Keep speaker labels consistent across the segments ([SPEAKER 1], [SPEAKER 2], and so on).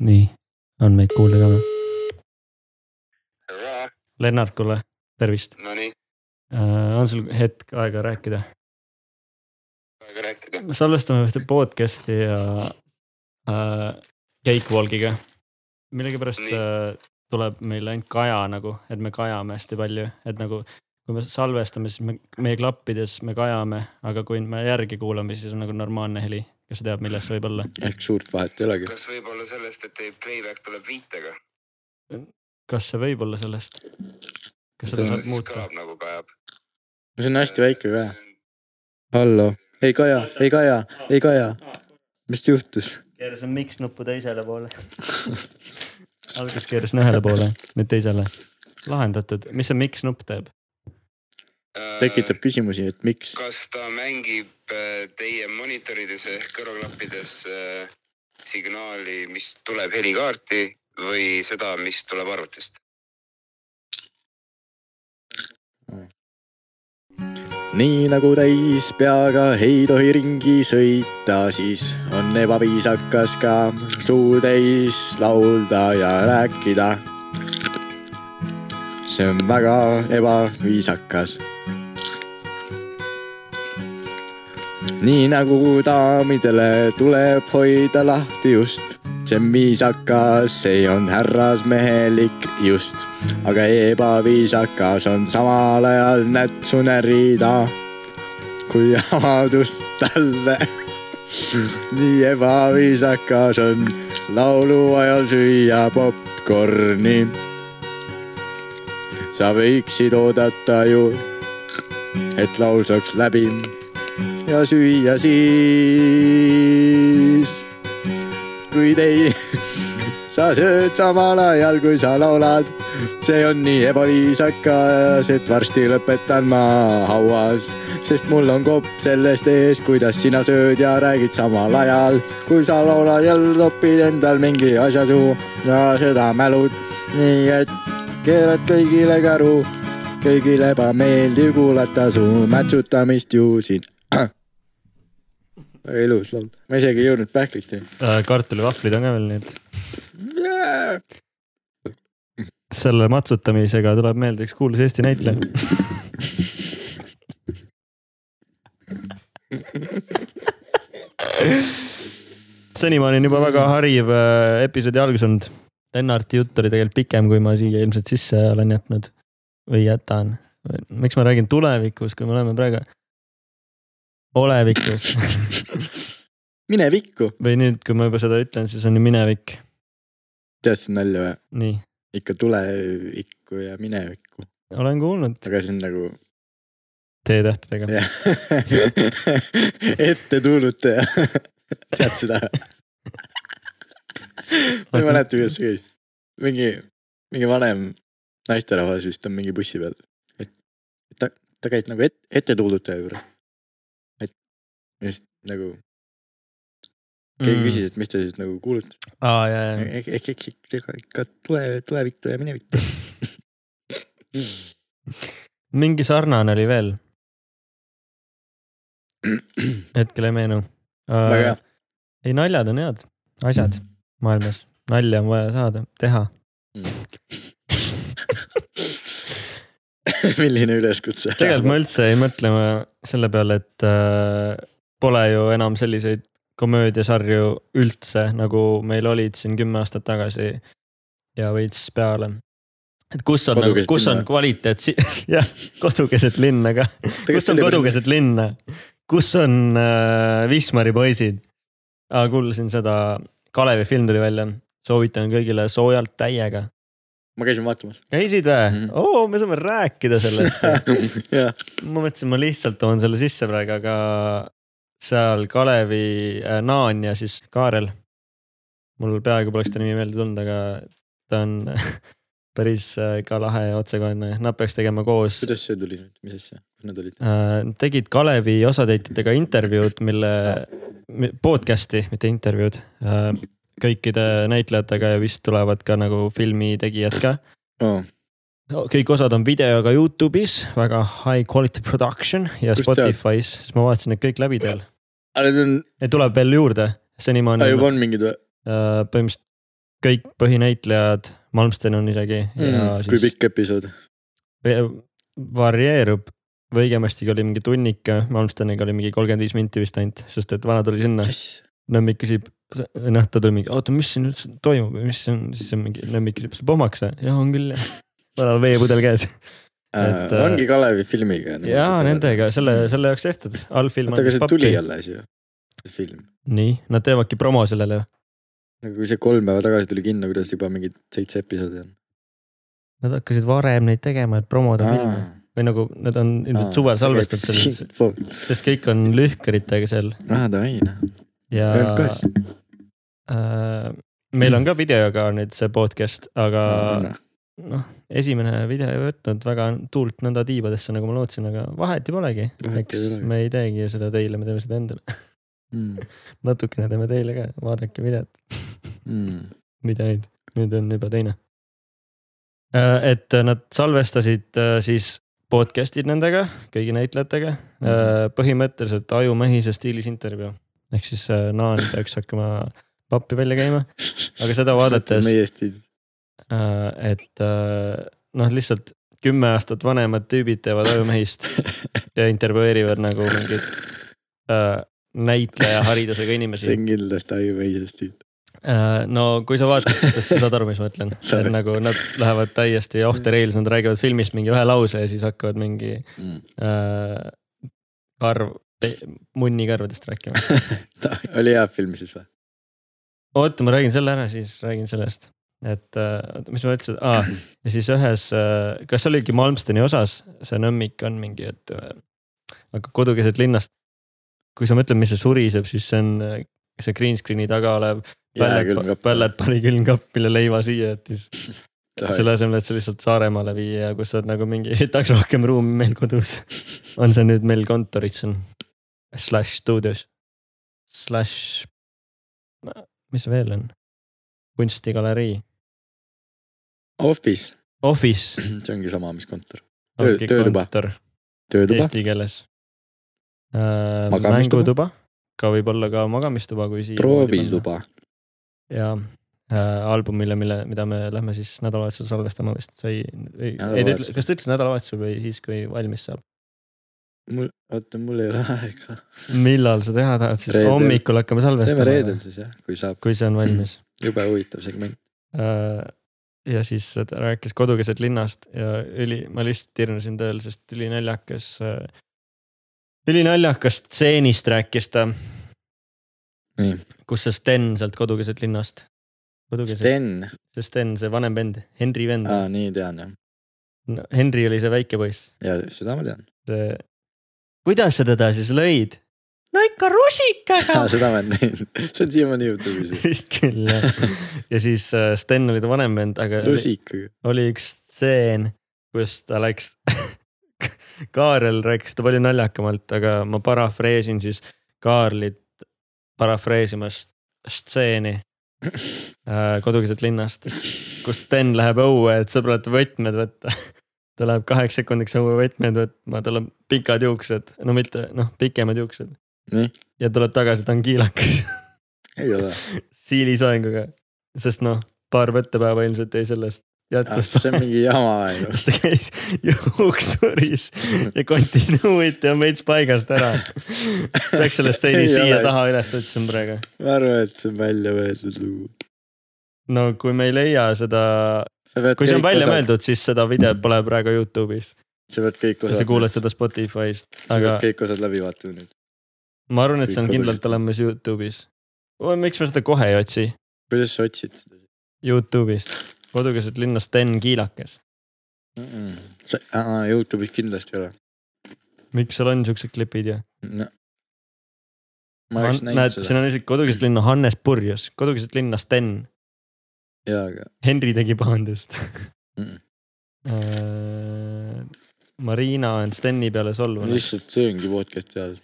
[SPEAKER 1] nii , on meid kuulda ka või ?
[SPEAKER 2] hurraa ,
[SPEAKER 1] Lennart , kuule , tervist .
[SPEAKER 2] nonii ,
[SPEAKER 1] on sul hetk aega rääkida ?
[SPEAKER 2] aega rääkida .
[SPEAKER 1] salvestame ühte podcast'i ja äh, Cakewalkiga . millegipärast
[SPEAKER 2] Nii.
[SPEAKER 1] äh, tuleb meil ainult kaja nagu , et me kajame hästi palju , et nagu kui me salvestame , siis me , meie klappides me kajame , aga kui me järgi kuulame , siis on nagu normaalne heli . kes teab , milles see võib olla ?
[SPEAKER 3] ehk suurt vahet ei olegi .
[SPEAKER 2] kas võib-olla sellest , et teie playback tuleb viitega ?
[SPEAKER 1] kas see võib olla sellest ? kas seda
[SPEAKER 3] See on-
[SPEAKER 1] saab muuta ?
[SPEAKER 2] kõlab nagu kajab .
[SPEAKER 3] no see on hästi väike ka . hallo , ei Kaja , ei Kaja , ei Kaja . mis juhtus ?
[SPEAKER 1] keeras on miks nuppu teisele poole . alguses keerasin ühele poole , nüüd teisele . lahendatud , mis see miks nupp teeb ?
[SPEAKER 3] tekitab . küsimusi , et miks .
[SPEAKER 2] Äh, kas ta mängib äh, teie monitorides ehk kõrvaklappides äh, signaali , mis tuleb helikaarti või seda , mis tuleb arvutist ?
[SPEAKER 3] nii nagu täis peaga ei tohi ringi sõita , siis on ebaviisakas ka suu täis laulda ja rääkida . see on väga ebaviisakas . nii nagu daamidele tuleb hoida lahti just , see on viisakas , see on härrasmehelik just aga ebaviisakas on samal ajal nätsu närida , kui avaldust talle . nii ebaviisakas on laulu ajal süüa popkorni . sa võiksid oodata ju , et laul saaks läbi ja süüa siis , kui teie sa sööd samal ajal , kui sa laulad . see on nii ebaviisakas , et varsti lõpetan ma hauas , sest mul on kopp sellest ees , kuidas sina sööd ja räägid samal ajal , kui sa laulad ja topid endal mingi asja suhu ja seda mälud . nii et keerad kõigile karu , kõigile ebameeldiv kuulata su mätsutamist ju siin . väga ilus laul , ma isegi ei jõudnud pähklit teha
[SPEAKER 1] Äh, kartulivahvlid on ka veel , nii et
[SPEAKER 3] yeah! .
[SPEAKER 1] selle matsutamisega tuleb meelde üks kuulus Eesti näitleja . senimaani on juba väga hariv äh, episoodi algus olnud . Lennarti jutt oli tegelikult pikem , kui ma siia ilmselt sisse olen jätnud või jätan . miks ma räägin tulevikus , kui me oleme praegu olevikus
[SPEAKER 3] mine vikku .
[SPEAKER 1] või nüüd , kui ma juba seda ütlen , siis on ju minevik ,
[SPEAKER 3] teadsid nalja või ?
[SPEAKER 1] nii
[SPEAKER 3] ikka tulevikku ja minevikku ,
[SPEAKER 1] olen kuulnud
[SPEAKER 3] aga see on nagu
[SPEAKER 1] T-tähtedega .
[SPEAKER 3] jah ette tuulutaja . tead seda ? ma ei mäleta , kuidas see käis . mingi , mingi vanem naisterahvas vist on mingi bussi peal , et ta , ta käis nagu et, ette tuulutaja juures . et ja siis nagu
[SPEAKER 1] Mm.
[SPEAKER 3] keegi küsis , e-, et mis te siis nagu kuulutate .
[SPEAKER 1] aa , ja , ja ,
[SPEAKER 3] ehk , ehk , ehk ikka , ikka tule , tulevikku ja minevikku .
[SPEAKER 1] Äh, mingi sarnane oli veel , hetkel ei meenu .
[SPEAKER 3] väga hea .. Mm.
[SPEAKER 1] ei , naljad on head asjad maailmas , nalja on vaja saada , teha .
[SPEAKER 3] Mm. milline üleskutse .
[SPEAKER 1] tegelikult ma üldse ei mõtle ma selle peale , et äh, pole ju enam selliseid komöödiasarju üldse , nagu meil olid siin kümme aastat tagasi ja veits peale . et kus on ,
[SPEAKER 3] Kodukeset
[SPEAKER 1] kus on
[SPEAKER 3] linna.
[SPEAKER 1] kvaliteet si- , jah , kodukeset linna ka . kus on kodukeset linna , kus on äh, Wismari poisid ? kuulasin seda , Kalevi film tuli välja , soovitan kõigile soojalt täiega .
[SPEAKER 3] ma käisin vaatamas .
[SPEAKER 1] käisid või mm
[SPEAKER 3] Mhm.
[SPEAKER 1] -hmm. ? oo , me saame rääkida sellest .
[SPEAKER 3] jah ,
[SPEAKER 1] ma mõtlesin , ma lihtsalt toon selle sisse praegu , aga seal Kalevi äh, Naan ja siis Kaarel . mul peaaegu poleks ta nimi meelde tulnud , aga ta on päris äh, ka lahe ja otsekohene , nad peaks tegema koos
[SPEAKER 3] kuidas see tuli nüüd , mis asja , kus nad olid ?
[SPEAKER 1] Äh, tegid Kalevi osatäitjatega intervjuud , mille , podcast'i , mitte intervjuud , kõikide näitlejatega ja vist tulevad ka nagu filmi tegijad ka . kõik osad on videoga Youtube'is , väga high quality production ja
[SPEAKER 3] Kust tead?
[SPEAKER 1] Spotify's , siis ma vaatasin need kõik läbi teil .
[SPEAKER 3] aga need on ,
[SPEAKER 1] Neid tuleb veel juurde , senimaani
[SPEAKER 3] juba . on mingid või ?
[SPEAKER 1] äh, põhimõtteliselt kõik põhinäitlejad , Malmsten on isegi ja
[SPEAKER 3] mm, . kui
[SPEAKER 1] siis Noh.
[SPEAKER 3] pikk episood ?
[SPEAKER 1] ve- äh, varieerub Võigemastega oli mingi tunnik ja Malmsteniga oli mingi kolmkümmend viis minti vist ainult , sest et vana tuli sinna ,
[SPEAKER 3] jess .
[SPEAKER 1] Nõmmik küsib , noh ta tuli mingi , oota , mis siin üldse toimub ja mis see on , siis on mingi , Nõmmik küsib , see pomaks või ? jah , on küll jah . vanal veepudel käes . et, äh,
[SPEAKER 3] ongi Kalevi filmiga .
[SPEAKER 1] jaa , nendega selle , selle jaoks tehtud , allfilm .
[SPEAKER 3] oota , aga see tuli . alles ju , see film .
[SPEAKER 1] nii , nad teevadki promo sellele .
[SPEAKER 3] aga Nagu kui see kolm päeva tagasi tuli kinno , kuidas juba mingid seitse episoodi on ?
[SPEAKER 1] Nad hakkasid varem neid tegema , et promoda filme või nagu nad on ilmselt suvel salvestatud selles ,
[SPEAKER 3] selles .
[SPEAKER 1] sest kõik on lühkeritega seal
[SPEAKER 3] aa , davai noh ,
[SPEAKER 1] ja
[SPEAKER 3] öelge
[SPEAKER 1] äh, meil on ka videoga nüüd see podcast , aga
[SPEAKER 3] kohe .
[SPEAKER 1] noh , esimene video ei võtnud väga tuult nõnda tiibadesse , nagu ma lootsin , aga vahet ju polegi .
[SPEAKER 3] Vahet ei
[SPEAKER 1] eks
[SPEAKER 3] olegi.
[SPEAKER 1] me ei teegi ju seda teile , me teeme seda endale .
[SPEAKER 3] Mm,
[SPEAKER 1] natukene teeme teile ka , vaadake videot ,
[SPEAKER 3] mm.
[SPEAKER 1] mida ei , nüüd on juba teine . et nad salvestasid äh, siis podcast'id nendega , kõigi näitlejatega ,
[SPEAKER 3] Mhm.
[SPEAKER 1] põhimõtteliselt ajumehise stiilis intervjuu . ehk siis äh, Naan peaks hakkama pappi välja käima , aga seda vaadates
[SPEAKER 3] meie stiilis .
[SPEAKER 1] Äh, et äh, noh , lihtsalt kümme aastat vanemad tüübid teevad ajumehist ja intervjueerivad nagu mingit äh, näitleja haridusega
[SPEAKER 3] see
[SPEAKER 1] inimesi .
[SPEAKER 3] on kindlasti Aive stiil .
[SPEAKER 1] Äh, no kui sa vaatad seda , siis sa saad aru , mis ma ütlen .
[SPEAKER 3] Sorry.
[SPEAKER 1] nagu nad lähevad täiesti off the rails , nad räägivad filmist mingi ühe lause ja siis hakkavad mingi
[SPEAKER 3] Mm.
[SPEAKER 1] äh, karv , munnikarvadest rääkima .
[SPEAKER 3] oli hea film siis või ?
[SPEAKER 1] oota , ma räägin selle ära , siis räägin sellest , et äh, oota, mis ma ütlesin ah, , ja siis ühes , kas see oligi Malmsteni osas , see nõmmik on mingi , et äh, aga kodukeset linnast . kui sa mõtled , mis see suriseb , siis see on äh, see green screen'i taga olev Pället , Pället . pani külmkapp , mille leiva siia jättis . selle asemel , et see lihtsalt Saaremaale viia , kus on nagu mingi , tahaks rohkem ruumi meil kodus . on see nüüd meil kontoris on , slaš stuudios , slaš , mis veel on , kunstigalerii ,
[SPEAKER 3] Office ,
[SPEAKER 1] office .
[SPEAKER 3] see ongi sama , mis kontor . Töö- töötuba. . töötuba ,
[SPEAKER 1] Eesti keeles äh, .
[SPEAKER 3] Magamistuba.
[SPEAKER 1] mängutuba , ka võib-olla ka magamistuba , kui siia .
[SPEAKER 3] proovituba .
[SPEAKER 1] ja äh, albumile , mille , mida me lähme siis nädalavahetusel salvestama vist sai , ei , ei ta ütles ,
[SPEAKER 3] Nädalavahetusel.
[SPEAKER 1] kas ta ütles nädalavahetusel või siis , kui valmis saab ?
[SPEAKER 3] mul , oota , mul ei ole aega .
[SPEAKER 1] millal sa teha tahad siis ?
[SPEAKER 3] Reedel.
[SPEAKER 1] hommikul hakkame
[SPEAKER 3] teeme
[SPEAKER 1] salvestama
[SPEAKER 3] reedel . siis jah , kui saab ,
[SPEAKER 1] kui see on valmis
[SPEAKER 3] jube huvitav segment .
[SPEAKER 1] äh, . ja siis ta rääkis kodukeset linnast ja üli , ma lihtsalt tirnusin tööl , sest ülinaljakas äh, , ülinaljakast stseenist rääkis ta ,
[SPEAKER 3] nii ,
[SPEAKER 1] kus see Sten sealt kodukeset linnast . kodukeset ,
[SPEAKER 3] Sten ,
[SPEAKER 1] see Sten , see vanem vend , Henri vend ah. .
[SPEAKER 3] aa nii tean jah ,
[SPEAKER 1] Henri oli see väike poiss ,
[SPEAKER 3] ja seda ma tean ,
[SPEAKER 1] see . kuidas sa teda siis lõid ? no ikka rusikaga
[SPEAKER 3] seda ma ei näinud , see on siiamaani Youtube'is ju.
[SPEAKER 1] vist küll jah , ja siis äh, Sten oli ta vanem vend , aga oli,
[SPEAKER 3] rusikaga ,
[SPEAKER 1] oli üks stseen , kus ta läks . Kaarel rääkis seda palju naljakamalt , aga ma parafreesin siis Kaarlit parafreesimast stseeni äh, kodukeset linnast . kus Sten läheb õue , et sõbralt võtmed võtta . ta läheb kaheks sekundiks õue võtmed võtma , tal on pikad juuksed , no mitte noh , pikemad juuksed
[SPEAKER 3] Nii. .
[SPEAKER 1] ja tuleb tagasi , ta on kiilakas
[SPEAKER 3] ei ole ,
[SPEAKER 1] siilisoenguga , sest noh , paar võttepäeva ilmselt jäi sellest jätkust
[SPEAKER 3] Ah, see on mingi jama ju ,
[SPEAKER 1] kus ta käis juuksuris ja continuity on veits paigast ära . peaks selle stseeni
[SPEAKER 3] Ei
[SPEAKER 1] siia
[SPEAKER 3] ole.
[SPEAKER 1] taha üles otsima praegu .
[SPEAKER 3] ma arvan , et see on välja mõeldud lugu .
[SPEAKER 1] no kui me ei leia seda , kui see on välja . mõeldud , siis seda videot pole praegu Youtube'is .
[SPEAKER 3] sa pead kõik
[SPEAKER 1] sa kuulad seda Spotify'st ,
[SPEAKER 3] sa
[SPEAKER 1] aga
[SPEAKER 3] pead kõik osad läbi vaatama nüüd .
[SPEAKER 1] ma arvan , et see on
[SPEAKER 3] kõik
[SPEAKER 1] kindlalt olemas Youtube'is . miks ma seda kohe ei otsi ?
[SPEAKER 3] kuidas sa otsid seda
[SPEAKER 1] Youtube'ist , kodukeset linna Sten Kiilakas .
[SPEAKER 3] mm ? -mm. aa , Youtube'is kindlasti ei ole
[SPEAKER 1] miks seal on siuksed klipid ja ?
[SPEAKER 3] no. . ma oleks näinud
[SPEAKER 1] näed ,
[SPEAKER 3] seda
[SPEAKER 1] siin on isegi kodukeset linna Hannes Purjus , kodukeset linna Sten ,
[SPEAKER 3] jaa , aga
[SPEAKER 1] Henri tegi pahandust
[SPEAKER 3] Mm.
[SPEAKER 1] mm. . Marina on Steni peale solvunud ,
[SPEAKER 3] lihtsalt see ongi podcast'i all ,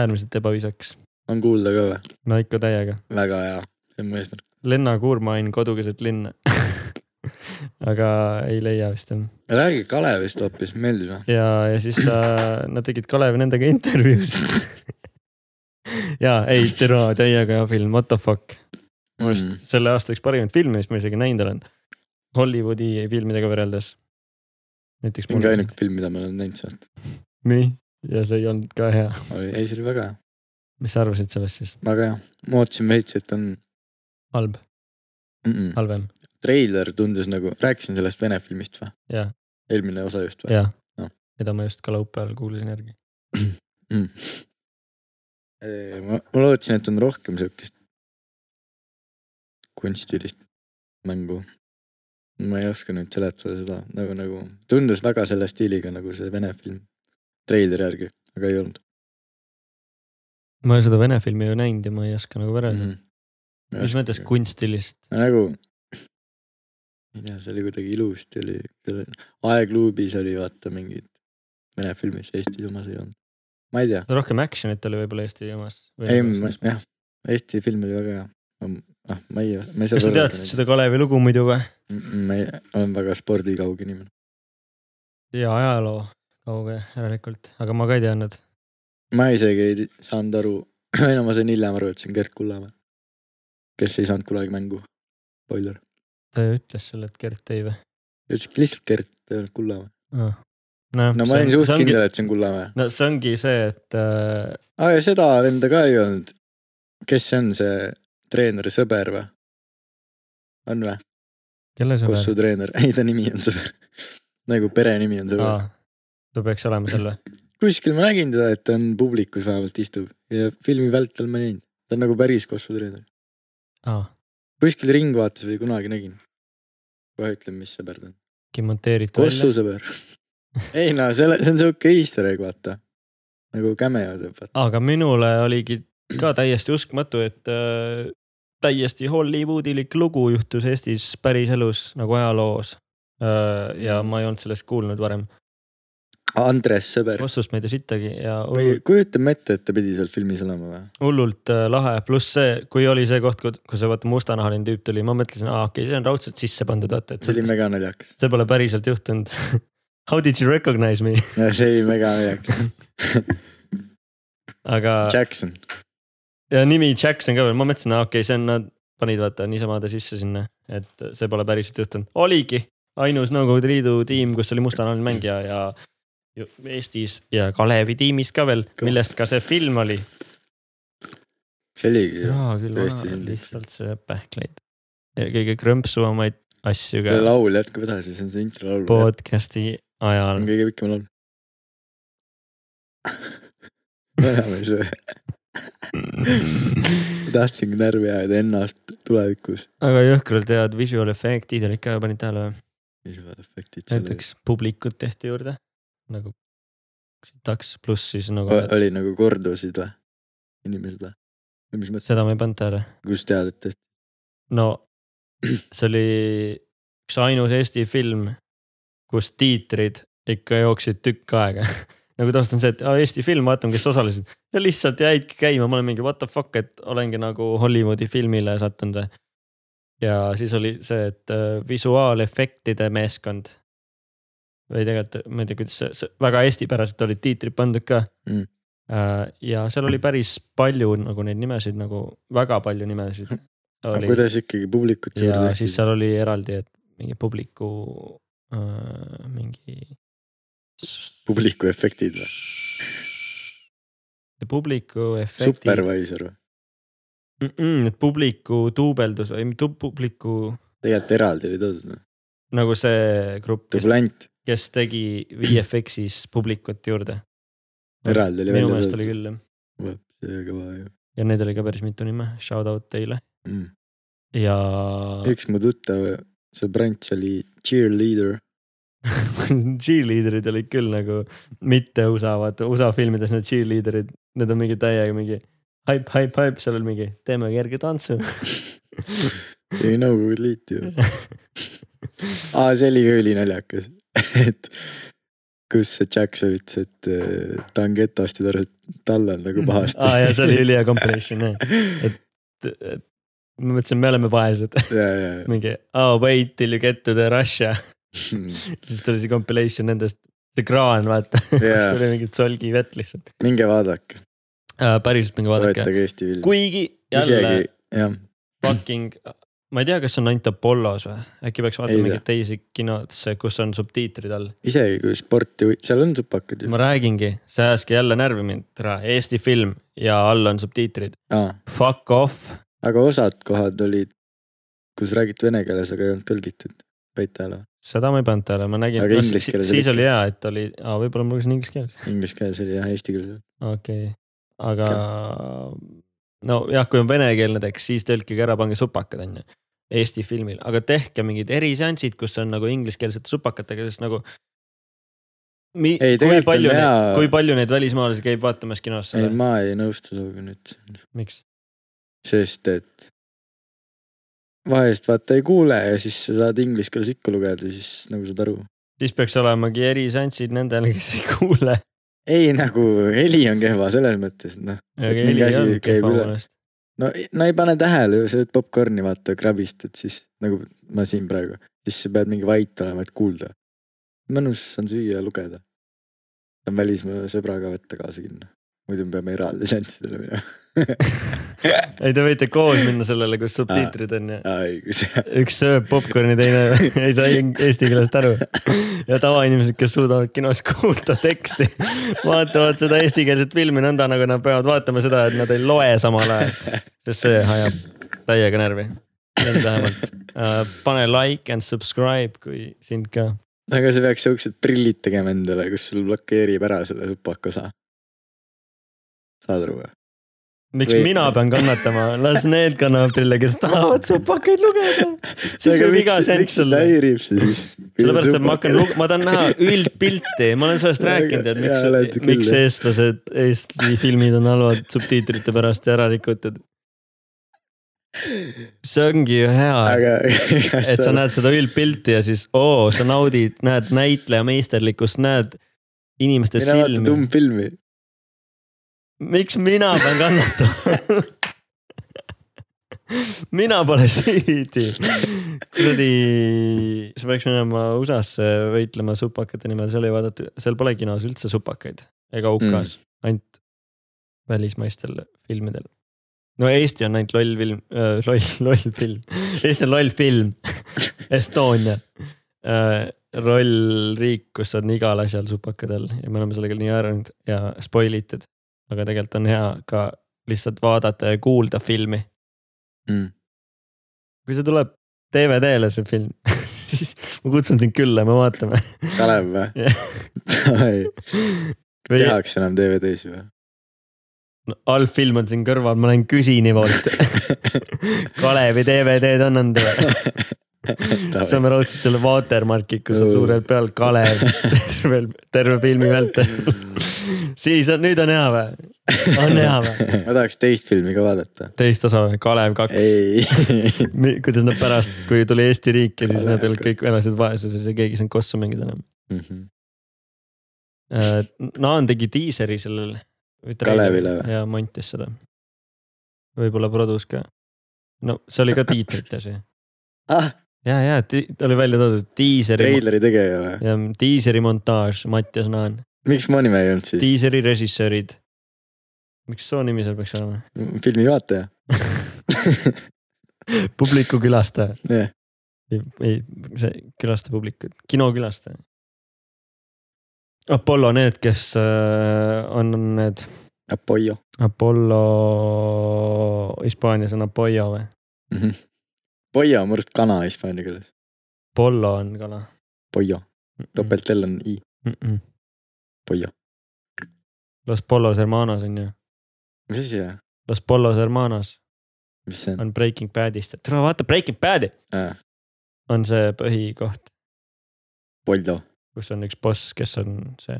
[SPEAKER 1] äärmiselt ebaviisakas ,
[SPEAKER 3] on kuulda ka või ?
[SPEAKER 1] no ikka täiega .
[SPEAKER 3] väga hea , see on mu eesmärk .
[SPEAKER 1] Lenna Kuurmain , kodukeset linna . aga ei leia vist enam .
[SPEAKER 3] räägi Kalevist hoopis , meeldis või ?
[SPEAKER 1] ja , ja siis ta , nad tegid Kalev nendega intervjuusid . ja ei , türa , täiega hea film , what the fuck . minu arust
[SPEAKER 3] Mm.
[SPEAKER 1] selle aasta üks parimaid filme , mis ma isegi näinud olen . Hollywoodi filmidega võrreldes . näiteks .
[SPEAKER 3] mingi ainuke film , mida ma olen näinud sellest .
[SPEAKER 1] nii , ja see ei olnud ka hea .
[SPEAKER 3] ei , see oli väga hea ,
[SPEAKER 1] mis sa arvasid sellest siis ?
[SPEAKER 3] väga hea . ma ootasin veits , et on
[SPEAKER 1] halb ,
[SPEAKER 3] mm -mm.
[SPEAKER 1] halvem ,
[SPEAKER 3] treiler tundus nagu , rääkisin sellest vene filmist või ?
[SPEAKER 1] Jah.
[SPEAKER 3] eelmine osa just või ?
[SPEAKER 1] jah
[SPEAKER 3] Noh. .
[SPEAKER 1] mida ma just ka laupäeval kuulasin järgi .
[SPEAKER 3] mm. . ma , ma lootsin , et on rohkem siukest kunstilist mängu . ma ei oska nüüd seletada seda nagu , nagu tundus väga selle stiiliga nagu see vene film treileri järgi , aga ei olnud
[SPEAKER 1] ma olen seda vene filmi ju näinud ja ma ei oska nagu võrrelda mm .
[SPEAKER 3] mm .
[SPEAKER 1] -hmm. mis mõttes kunstilist ?
[SPEAKER 3] nagu , ei tea , see oli kuidagi ilusti oli , seal oli- Aegluubis oli vaata mingid vene filmis , Eestis omas ei olnud . ma ei tea ,
[SPEAKER 1] rohkem action'it oli võib-olla Eesti nagu omas .
[SPEAKER 3] ei ma jah , Eesti film oli väga hea . ah , ma ei , ma ei saa .
[SPEAKER 1] kas sa teadsid seda Kalevi lugu muidu või ?
[SPEAKER 3] ma ei , olen väga spordikauge inimene
[SPEAKER 1] ja ajaloo kauge järelikult , aga ma ka ei teadnud .
[SPEAKER 3] ma isegi ei saanud aru , no ma sain hiljem aru , et see on Gert Kullamäe , kes ei saanud kunagi mängu . Spoiler ,
[SPEAKER 1] ta ju ütles sulle , et Gert tõi või ?
[SPEAKER 3] ütles lihtsalt Gert , ei olnud Kullamäe .
[SPEAKER 1] no
[SPEAKER 3] no ma olin suht kindel , et Ah, see on Kullamäe .
[SPEAKER 1] no see ongi see , et äh,
[SPEAKER 3] aa Ah, ja seda enda ka ei olnud . kes see on , see treeneri sõber või ? on või ?
[SPEAKER 1] kelle
[SPEAKER 3] kus
[SPEAKER 1] sõber
[SPEAKER 3] su treener , ei ta nimi on sõber . nagu perenimi on sõber .
[SPEAKER 1] aa , ta peaks olema seal või ?
[SPEAKER 3] kuskil ma nägin teda , et ta on publikus vähemalt istub ja filmi vältel ma ei näinud . ta on nagu päris Kossu treener .
[SPEAKER 1] aa ,
[SPEAKER 3] kuskil Ringvaates või kunagi nägin . kohe ütlen , mis sõber ta on .
[SPEAKER 1] monteeriti
[SPEAKER 3] Kossu
[SPEAKER 1] välja .
[SPEAKER 3] sõber . ei no selle , see on siuke easter egg vaata . nagu cameo teeb vaata .
[SPEAKER 1] aga minule oligi ka täiesti uskmatu , et äh, täiesti Hollywoodilik lugu juhtus Eestis päriselus nagu ajaloos äh, . ja ma ei olnud sellest kuulnud varem .
[SPEAKER 3] Andres sõber .
[SPEAKER 1] vastust ma ei tea sittagi ja hullult,
[SPEAKER 3] kujutame ette , et ta pidi seal filmis olema või ?
[SPEAKER 1] hullult äh, lahe , pluss see , kui oli see koht , kus see vaata mustanahaline tüüp tuli , ma mõtlesin , aa okei okay, , see on raudselt sisse pandud , vaata , et
[SPEAKER 3] see oli mega naljakas .
[SPEAKER 1] see pole päriselt juhtunud . How did you recognize me ?
[SPEAKER 3] see oli mega naljakas .
[SPEAKER 1] aga
[SPEAKER 3] Jackson .
[SPEAKER 1] ja nimi Jackson ka veel , ma mõtlesin , okei okay, , see on , nad panid vaata niisama ta sisse sinna , et see pole päriselt juhtunud , oligi ainus Nõukogude Liidu tiim , kus oli mustanahaline mängija ja ju- Eestis ja Kalevi tiimis ka veel , millest ka see film oli .
[SPEAKER 3] see oligi ju .
[SPEAKER 1] jaa , küll
[SPEAKER 3] tõesti, see
[SPEAKER 1] vana
[SPEAKER 3] on ,
[SPEAKER 1] lihtsalt sööb pähkleid . ja kõige krõmpsuvamaid asju ka
[SPEAKER 3] see laul jätkub edasi , see on see intro laul .
[SPEAKER 1] podcast'i
[SPEAKER 3] on
[SPEAKER 1] ajal .
[SPEAKER 3] kõige pikem laul . ma enam ei söö , tahtsingi närvi ajada ennast tulevikus .
[SPEAKER 1] aga jõhkralt head visual efektid olid ka , panid tähele või ?
[SPEAKER 3] visual efektid selle
[SPEAKER 1] näiteks publikut tehti juurde nagu sitaks , pluss siis nagu
[SPEAKER 3] O- oli nagu kordusid või ? inimesed või ? või mis mõttes ,
[SPEAKER 1] seda ma ei pannud tähele .
[SPEAKER 3] kus tead , et tehti ?
[SPEAKER 1] no see oli üks ainus Eesti film , kus tiitrid ikka jooksid tükk aega . nagu taust on see , et aa, Eesti film , vaatame , kes osalesid ja lihtsalt jäidki käima , ma olen mingi what the fuck , et olengi nagu Hollywoodi filmile sattunud . ja siis oli see , et äh, visuaalefektide meeskond või tegelikult ma ei tea , kuidas see, see väga eestipäraselt olid tiitrid pandud ka
[SPEAKER 3] Mm.
[SPEAKER 1] Äh, ja seal oli päris palju nagu neid nimesid nagu väga palju nimesid .
[SPEAKER 3] aga kuidas ikkagi publikut
[SPEAKER 1] ja
[SPEAKER 3] juurde
[SPEAKER 1] siis
[SPEAKER 3] tehti ?
[SPEAKER 1] seal oli eraldi , et mingi publiku äh, mingi .
[SPEAKER 3] publiku efektid või ?
[SPEAKER 1] publiku efektid ,
[SPEAKER 3] Supervisor või ?
[SPEAKER 1] et publiku duubeldus või tu- publiku
[SPEAKER 3] tegelikult eraldi oli toodud või ?
[SPEAKER 1] nagu see grupp , kes ,
[SPEAKER 3] dublant
[SPEAKER 1] kes tegi VFX-is publikut juurde .
[SPEAKER 3] eraldi oli
[SPEAKER 1] minu
[SPEAKER 3] välja
[SPEAKER 1] meelest oli
[SPEAKER 3] toodud .
[SPEAKER 1] küll jah ,
[SPEAKER 3] see oli kõva ju
[SPEAKER 1] ja neid oli ka päris mitu nime , shout out teile
[SPEAKER 3] mm. .
[SPEAKER 1] ja
[SPEAKER 3] üks mu tuttav sõbrants oli cheerleader .
[SPEAKER 1] cheerleader'id olid küll nagu mitte USA , vaata USA filmides need cheerleader'id , need on mingi täiega mingi haip , haip , haip , seal on mingi teeme kerge tantsu .
[SPEAKER 3] see oli Nõukogude Liit ju . aa , see oli ka ülinaljakas , et kus see Jackson ütles , et eh, ta on getost ja ta arvas , et talle on nagu pahasti .
[SPEAKER 1] Mm. aa ja Ah, see oli ülihea compilation jah ,
[SPEAKER 3] et .
[SPEAKER 1] et ma mõtlesin , me oleme vaesed ,
[SPEAKER 3] ja , ja ,
[SPEAKER 1] mingi oh wait till you get to the Russia ,
[SPEAKER 3] ja
[SPEAKER 1] siis tuli see compilation nendest , see kraan vaata , kus
[SPEAKER 3] Jaa.
[SPEAKER 1] tuli mingit solgi vett lihtsalt
[SPEAKER 3] minge vaadake ,
[SPEAKER 1] äh, . päriselt minge vaadake ,
[SPEAKER 3] toetage Eesti filmi .
[SPEAKER 1] kuigi jälle
[SPEAKER 3] isegi , jah ,
[SPEAKER 1] fucking , ma ei tea , kas see on ainult Apollos või , äkki peaks
[SPEAKER 3] Ei
[SPEAKER 1] vaatama
[SPEAKER 3] tea.
[SPEAKER 1] mingeid teisi kinodesse , kus on subtiitrid all .
[SPEAKER 3] isegi kui sporti , seal on supakad ju .
[SPEAKER 1] ma räägingi , see ajaski jälle närvi mind , tere , Eesti film ja all on subtiitrid ,
[SPEAKER 3] aga
[SPEAKER 1] fuck off .
[SPEAKER 3] osad kohad olid , kus räägiti vene keeles , aga ei olnud tõlgitud . peita ära ,
[SPEAKER 1] seda ma ei pannud tähele , ma nägin
[SPEAKER 3] Aga inglise keeles
[SPEAKER 1] siis
[SPEAKER 3] oli
[SPEAKER 1] oli hea , et oli , võib-olla ma lugesin inglise keeles .
[SPEAKER 3] inglise keeles oli jah , eesti keeles .
[SPEAKER 1] okei okay. , aga nojah , kui on venekeelne tekst , siis tõlkige ära , pange supakad on ju . Eesti filmil , aga tehke mingid eriseansid , kus on nagu ingliskeelsete supakatega , sest nagu .
[SPEAKER 3] Ei,
[SPEAKER 1] kui
[SPEAKER 3] tegelikult on
[SPEAKER 1] palju
[SPEAKER 3] hea-
[SPEAKER 1] neid , kui palju neid välismaalasi käib vaatamas kinos
[SPEAKER 3] ei ,
[SPEAKER 1] seda ,
[SPEAKER 3] ma ei nõustu sinuga nüüd ,
[SPEAKER 1] miks ?
[SPEAKER 3] sest et vahest vaata ei kuule ja siis sa saad inglise keeles ikka lugeda , siis nagu saad aru .
[SPEAKER 1] siis peaks olemegi eriseansid nendele , kes ei kuule .
[SPEAKER 3] ei nagu heli on kehva selles mõttes , et noh , Et mingi asi käib üle. no , no ei pane tähele ju , sa sööd popkorni , vaata , krabistad siis nagu ma siin praegu , siis sa pead mingi vait olema , et kuulda . mõnus on süüa ja lugeda . saan välismaa sõbraga võtta kaasa kinno , muidu me peame eraldi seanssidele minema .
[SPEAKER 1] ei , te võite koos minna sellele ,
[SPEAKER 3] Ah.
[SPEAKER 1] kus subtiitrid on ja
[SPEAKER 3] ai , kui see ,
[SPEAKER 1] üks sööb popkorni , teine ei saa ing- eesti keelest aru . ja tavainimesed , kes suudavad kinos kuulda teksti , vaatavad seda eestikeelset filmi nõnda , nagu nad peavad vaatama seda , et nad ei loe samal ajal . sest see ajab täiega närvi . mind vähemalt . pane like and subscribe , kui sind ka .
[SPEAKER 3] aga sa peaks siuksed prillid tegema endale , kus sul blokeerib ära selle supaka osa . saad aru või ?
[SPEAKER 1] miks
[SPEAKER 3] Või-
[SPEAKER 1] Või... mina pean kannatama , las need kannavad prille , kes tahavad supakaid lugeda . siis võib iga
[SPEAKER 3] miks
[SPEAKER 1] sent
[SPEAKER 3] miks sind
[SPEAKER 1] sulle
[SPEAKER 3] häirib see siis ?
[SPEAKER 1] sellepärast , et ma hakkan , ma tahan näha üldpilti , ma olen sellest rääkinud , et
[SPEAKER 3] Jaa, olete
[SPEAKER 1] miks ,
[SPEAKER 3] küll,
[SPEAKER 1] miks
[SPEAKER 3] jah.
[SPEAKER 1] eestlased , Eesti filmid on halvad subtiitrite pärast ja ära rikutud . see ongi ju hea ,
[SPEAKER 3] aga kas
[SPEAKER 1] et sa näed seda üldpilti ja siis oo , sa naudid , näed näitleja meisterlikkust , näed inimeste
[SPEAKER 3] mina vaatan
[SPEAKER 1] silmi .
[SPEAKER 3] tummfilmi .
[SPEAKER 1] miks mina pean kannatama ? mina pole süüdi . kuradi , sa peaks minema USA-sse võitlema supakate nimel , seal ei vaadata , seal pole kinos üldse supakaid ega UK-s mm. , ainult välismaistel filmidel . no Eesti on ainult loll film , loll , loll film , Eesti on loll film , Estonia . loll riik , kus on igal asjal supakad all ja me oleme sellega nii harjunud ja spoil itud . aga tegelikult on hea ka lihtsalt vaadata ja kuulda filmi .
[SPEAKER 3] Mm.
[SPEAKER 1] kui see tuleb DVD-le , see film , siis ma kutsun sind külla , me vaatame .
[SPEAKER 3] Kalev või ?
[SPEAKER 1] või
[SPEAKER 3] tehakse enam DVD-sid või ?
[SPEAKER 1] no, allfilm on siin kõrval , ma lähen küsin Ivolt . Kalevi DVD-d annan teile . saame raudselt selle watermarki , kus on
[SPEAKER 3] Õh.
[SPEAKER 1] suurelt peal Kalev terve , terve filmi vältel . siis on , nüüd on hea või ? on hea või ?
[SPEAKER 3] ma tahaks teist filmi ka vaadata .
[SPEAKER 1] teist osa või , Kalev kaks ?
[SPEAKER 3] ei ,
[SPEAKER 1] Mi- kuidas nad pärast , kui tuli Eesti riik ja siis nad olid
[SPEAKER 3] Väga.
[SPEAKER 1] kõik elasid vaesuses ja keegi ei saanud kossu mängida enam .
[SPEAKER 3] Mhm.
[SPEAKER 1] Naan tegi diiseri sellel .
[SPEAKER 3] Kalevile või?
[SPEAKER 1] ja montis seda . võib-olla produs ka . no see oli ka tiitrites ju .
[SPEAKER 3] ah ,
[SPEAKER 1] ja , ja ti- oli välja toodud diiseri ,
[SPEAKER 3] treileri tegija või ?
[SPEAKER 1] diiseri montaaž , Mattias Naan ,
[SPEAKER 3] miks Monime ei olnud siis ?
[SPEAKER 1] diiseri režissöörid . miks soo nimi seal peaks olema ?
[SPEAKER 3] filmi juhataja ?
[SPEAKER 1] publiku külastaja .
[SPEAKER 3] jah ,
[SPEAKER 1] ei , ei , see külasta publikut , kinokülastaja . Apollo need , kes äh, on need ,
[SPEAKER 3] Apollo .
[SPEAKER 1] Apollo , Hispaanias on Apollo või ?
[SPEAKER 3] Pollo Mhm. on murst kana hispaania keeles .
[SPEAKER 1] Apollo on noh. kala .
[SPEAKER 3] Pollo , topelt L on I ,
[SPEAKER 1] -mm.
[SPEAKER 3] Pollo .
[SPEAKER 1] Los Pollos Hermanos on ju ,
[SPEAKER 3] mis asi see ,
[SPEAKER 1] Los Pollos Hermanos
[SPEAKER 3] mis see on ?
[SPEAKER 1] on Breaking Badist , tule vaata Breaking Badi on see põhikoht ,
[SPEAKER 3] Pollo ,
[SPEAKER 1] kus on üks boss , kes on see .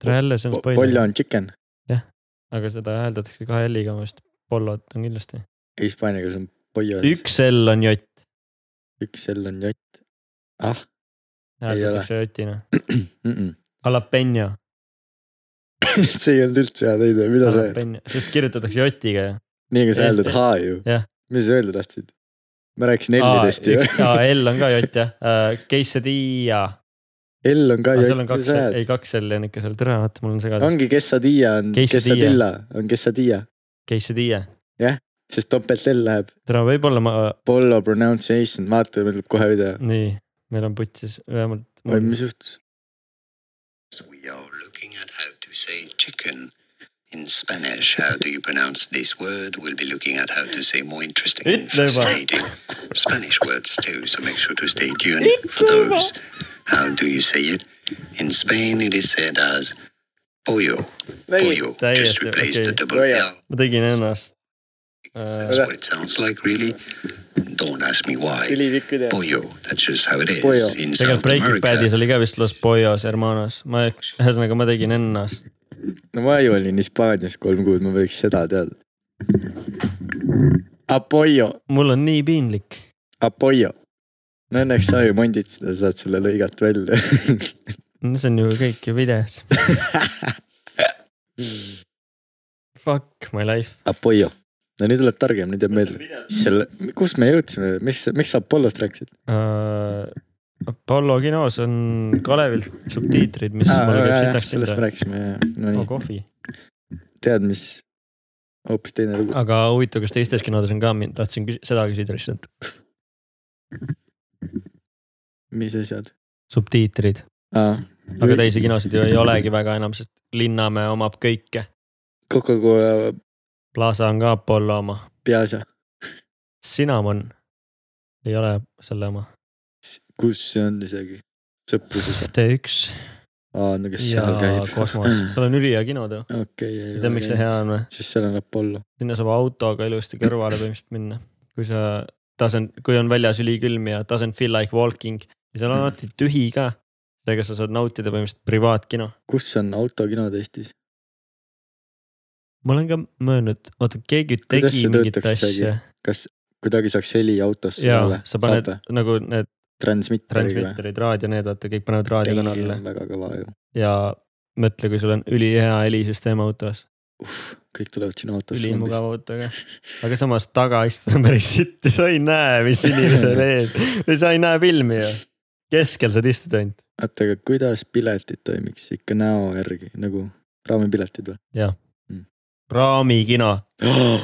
[SPEAKER 1] tere jälle , see on
[SPEAKER 3] Pollo
[SPEAKER 1] spoiler ,
[SPEAKER 3] on chicken ,
[SPEAKER 1] aga seda hääldatakse kahe L-iga minu arust , Pollot on kindlasti .
[SPEAKER 3] hispaania keeles on Pollo ,
[SPEAKER 1] üks L on J
[SPEAKER 3] üks L on jott . ah ,
[SPEAKER 1] hääldatakse jotina .
[SPEAKER 3] mm-mm.
[SPEAKER 1] Jalapeno ,
[SPEAKER 3] see ei olnud üldse hea teide , mida sa ,
[SPEAKER 1] jalapeno , sest kirjutatakse jotiga ju .
[SPEAKER 3] nii aga sa hääldad
[SPEAKER 1] Eesti-
[SPEAKER 3] H ju
[SPEAKER 1] jah. .
[SPEAKER 3] mis sa öelda tahtsid ? ma rääkisin L-idest ju .
[SPEAKER 1] L on ka jott jah , Quesadilla ,
[SPEAKER 3] L on ka
[SPEAKER 1] seal on
[SPEAKER 3] jott ,
[SPEAKER 1] kaks
[SPEAKER 3] sa , hääldad
[SPEAKER 1] ei . kaks L-i on ikka seal , tere , vaata mul on segadus .
[SPEAKER 3] ongi Quesadilla on ,
[SPEAKER 1] Quesadilla.
[SPEAKER 3] Quesadilla on Quesadilla .
[SPEAKER 1] Quesadilla .
[SPEAKER 3] Jah. sest topelt L läheb .
[SPEAKER 1] täna võib-olla ma ,
[SPEAKER 3] Polo pronunciation , vaata , meil tuleb kohe video .
[SPEAKER 1] nii , meil on putsis vähemalt .
[SPEAKER 3] oi , mis juhtus ?
[SPEAKER 4] We are looking at how to say chicken. In Spanish, how do you pronounce this word? We'll be looking at how to say more interesting and
[SPEAKER 1] Itleva.
[SPEAKER 4] fascinating Spanish words too, so make sure to stay tuned for those. How do you say it? In Spain, it is said as pollo. Pollo. Just
[SPEAKER 1] Täiesti,
[SPEAKER 4] replace the
[SPEAKER 1] okei.
[SPEAKER 4] double
[SPEAKER 3] Pollo.
[SPEAKER 4] L.
[SPEAKER 1] ma tegin ennast äh,
[SPEAKER 4] That's what it sounds like, really. Don't ask me why.
[SPEAKER 3] ülitikk video .
[SPEAKER 4] Pollo. That's just how it is.
[SPEAKER 3] Pollo.
[SPEAKER 4] In South
[SPEAKER 1] tegelikult Breaking
[SPEAKER 4] America,
[SPEAKER 1] Badis oli ka vist Los Pollos Hermanos , ma , ühesõnaga ma tegin ennast .
[SPEAKER 3] no ma ju olin Hispaanias kolm kuud , ma võiks seda teada . Apoio ,
[SPEAKER 1] mul on nii piinlik .
[SPEAKER 3] Apoio . no õnneks sa ju mondid seda , saad selle lõigalt välja .
[SPEAKER 1] see on ju kõik ju videos . Fuck my life .
[SPEAKER 3] Apoio , Ah, no nüüd oled targem , nüüd jääb meelde . selle , kus me jõudsime , miks , miks sa Apollost rääkisid ?
[SPEAKER 1] Äh, Apollo kinos on Kalevil subtiitrid , mis ah, mul käib sitaks
[SPEAKER 3] sellest me
[SPEAKER 1] kinda .
[SPEAKER 3] rääkisime , no
[SPEAKER 1] no
[SPEAKER 3] nii ,
[SPEAKER 1] kohvi ,
[SPEAKER 3] tead , mis hoopis teine lugu .
[SPEAKER 1] aga huvitav , kas teistes kinodes on ka , tahtsin küs- seda küsida lihtsalt .
[SPEAKER 3] mis asjad ? Ah.
[SPEAKER 1] subtiitrid , aga teisi kinosid ju ei olegi väga enam , sest Linnamäe omab kõike .
[SPEAKER 3] Coca-Cola
[SPEAKER 1] Plaza on ka Apollo oma ,
[SPEAKER 3] peaasja ,
[SPEAKER 1] Cinnamon ei ole selle oma ,
[SPEAKER 3] kus see on isegi ? sõpruses ,
[SPEAKER 1] T1
[SPEAKER 3] aa no kes
[SPEAKER 1] ja
[SPEAKER 3] seal käib .
[SPEAKER 1] Kosmos , seal on ülihea kino too .
[SPEAKER 3] okei , ei
[SPEAKER 1] tead , miks see hea . on või ?
[SPEAKER 3] siis seal on Apollo ,
[SPEAKER 1] sinna saab autoga ilusti kõrvale põhimõtteliselt minna , kui sa doesn't , kui on väljas ülikülm ja doesn't feel like walking ja seal on alati tühi ka . seega sa saad nautida põhimõtteliselt privaatkino .
[SPEAKER 3] kus on autokinod Eestis ?
[SPEAKER 1] ma olen ka möönnud , oota keegi
[SPEAKER 3] Kuidas
[SPEAKER 1] tegi
[SPEAKER 3] see
[SPEAKER 1] mingit
[SPEAKER 3] töötaks isegi?
[SPEAKER 1] asja
[SPEAKER 3] kas kuidagi saaks heli autosse
[SPEAKER 1] ja sa paned Saate. nagu need
[SPEAKER 3] transmitteriga või ?
[SPEAKER 1] transmitterid , raadio , need vaata , kõik panevad raadiokanalile
[SPEAKER 3] väga kõva ju ,
[SPEAKER 1] ja mõtle , kui sul on ülihea helisüsteem autos ,
[SPEAKER 3] kõik tulevad sinu autosse .
[SPEAKER 1] ülimugav . autoga . aga samas tagaistmed on päris sitt , sa ei näe , mis inimesel ees või sa ei näe filmi ju . keskel saad istuda ainult .
[SPEAKER 3] oota , aga kuidas piletid toimiks ikka näo järgi nagu raamipiletid või
[SPEAKER 1] raamikino ,
[SPEAKER 3] oh, ?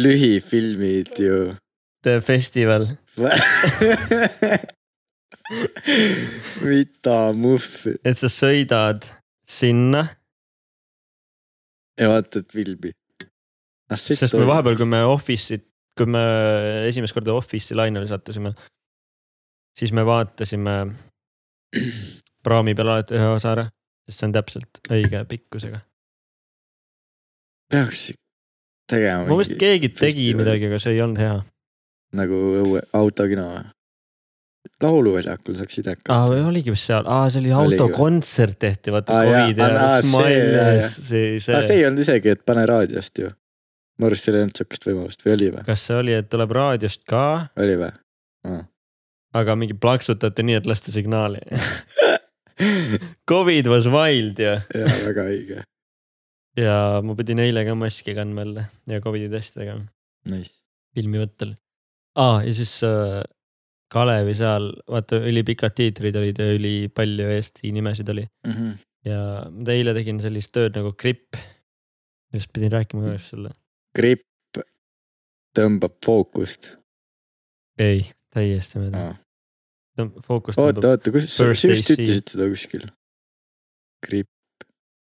[SPEAKER 3] lühifilmid ju
[SPEAKER 1] The Festival ,
[SPEAKER 3] mida muhvi ,
[SPEAKER 1] et sa sõidad sinna ,
[SPEAKER 3] ja vaatad filmi . Ah,
[SPEAKER 1] sest me vahepeal , kui me Office'it , kui me esimest korda Office'i lainele sattusime , siis me vaatasime praami peal alati ühe osa ära , sest see on täpselt õige pikkusega .
[SPEAKER 3] peaks tegema
[SPEAKER 1] mu meelest
[SPEAKER 3] mingi
[SPEAKER 1] keegi tegi
[SPEAKER 3] festival.
[SPEAKER 1] midagi , aga see ei olnud hea .
[SPEAKER 3] nagu õue , autokino või ? lauluväljakul saaks
[SPEAKER 1] aa ,
[SPEAKER 3] idekas
[SPEAKER 1] Ah, või . oligi vist seal , aa , see oli
[SPEAKER 3] Oligi või?
[SPEAKER 1] autokontsert tehti , vaata
[SPEAKER 3] Aa, jaa,
[SPEAKER 1] Covid ja
[SPEAKER 3] aa, see,
[SPEAKER 1] Smile
[SPEAKER 3] jaa,
[SPEAKER 1] ja
[SPEAKER 3] jaa.
[SPEAKER 1] see ,
[SPEAKER 3] aga Ah, see
[SPEAKER 1] see .
[SPEAKER 3] ei olnud isegi , et pane raadiost ju . mu arust seal ei olnud siukest võimalust või oli või ?
[SPEAKER 1] kas see oli , et tuleb raadiost ka ,
[SPEAKER 3] oli või ?
[SPEAKER 1] aga mingi plaksutate nii , et lasta signaali . Covid was wild ju
[SPEAKER 3] jaa , väga õige .
[SPEAKER 1] ja ma pidin eile ka maski kandma jälle ja Covidi testi tegema
[SPEAKER 3] Nice .
[SPEAKER 1] filmi võttel . aa , ja siis äh, Kalevi seal , vaata ülipikad tiitrid olid ja ülipalju Eesti nimesid oli
[SPEAKER 3] Mhm.
[SPEAKER 1] ja ma eile tegin sellist tööd nagu gripp . just pidin rääkima ka just selle .
[SPEAKER 3] gripp tõmbab fookust .
[SPEAKER 1] ei , täiesti mööda .
[SPEAKER 3] oota ,
[SPEAKER 1] fookus tõmbab .
[SPEAKER 3] oota , kus sa , sa
[SPEAKER 1] Birthday
[SPEAKER 3] just
[SPEAKER 1] seed.
[SPEAKER 3] ütlesid seda kuskil . gripp ,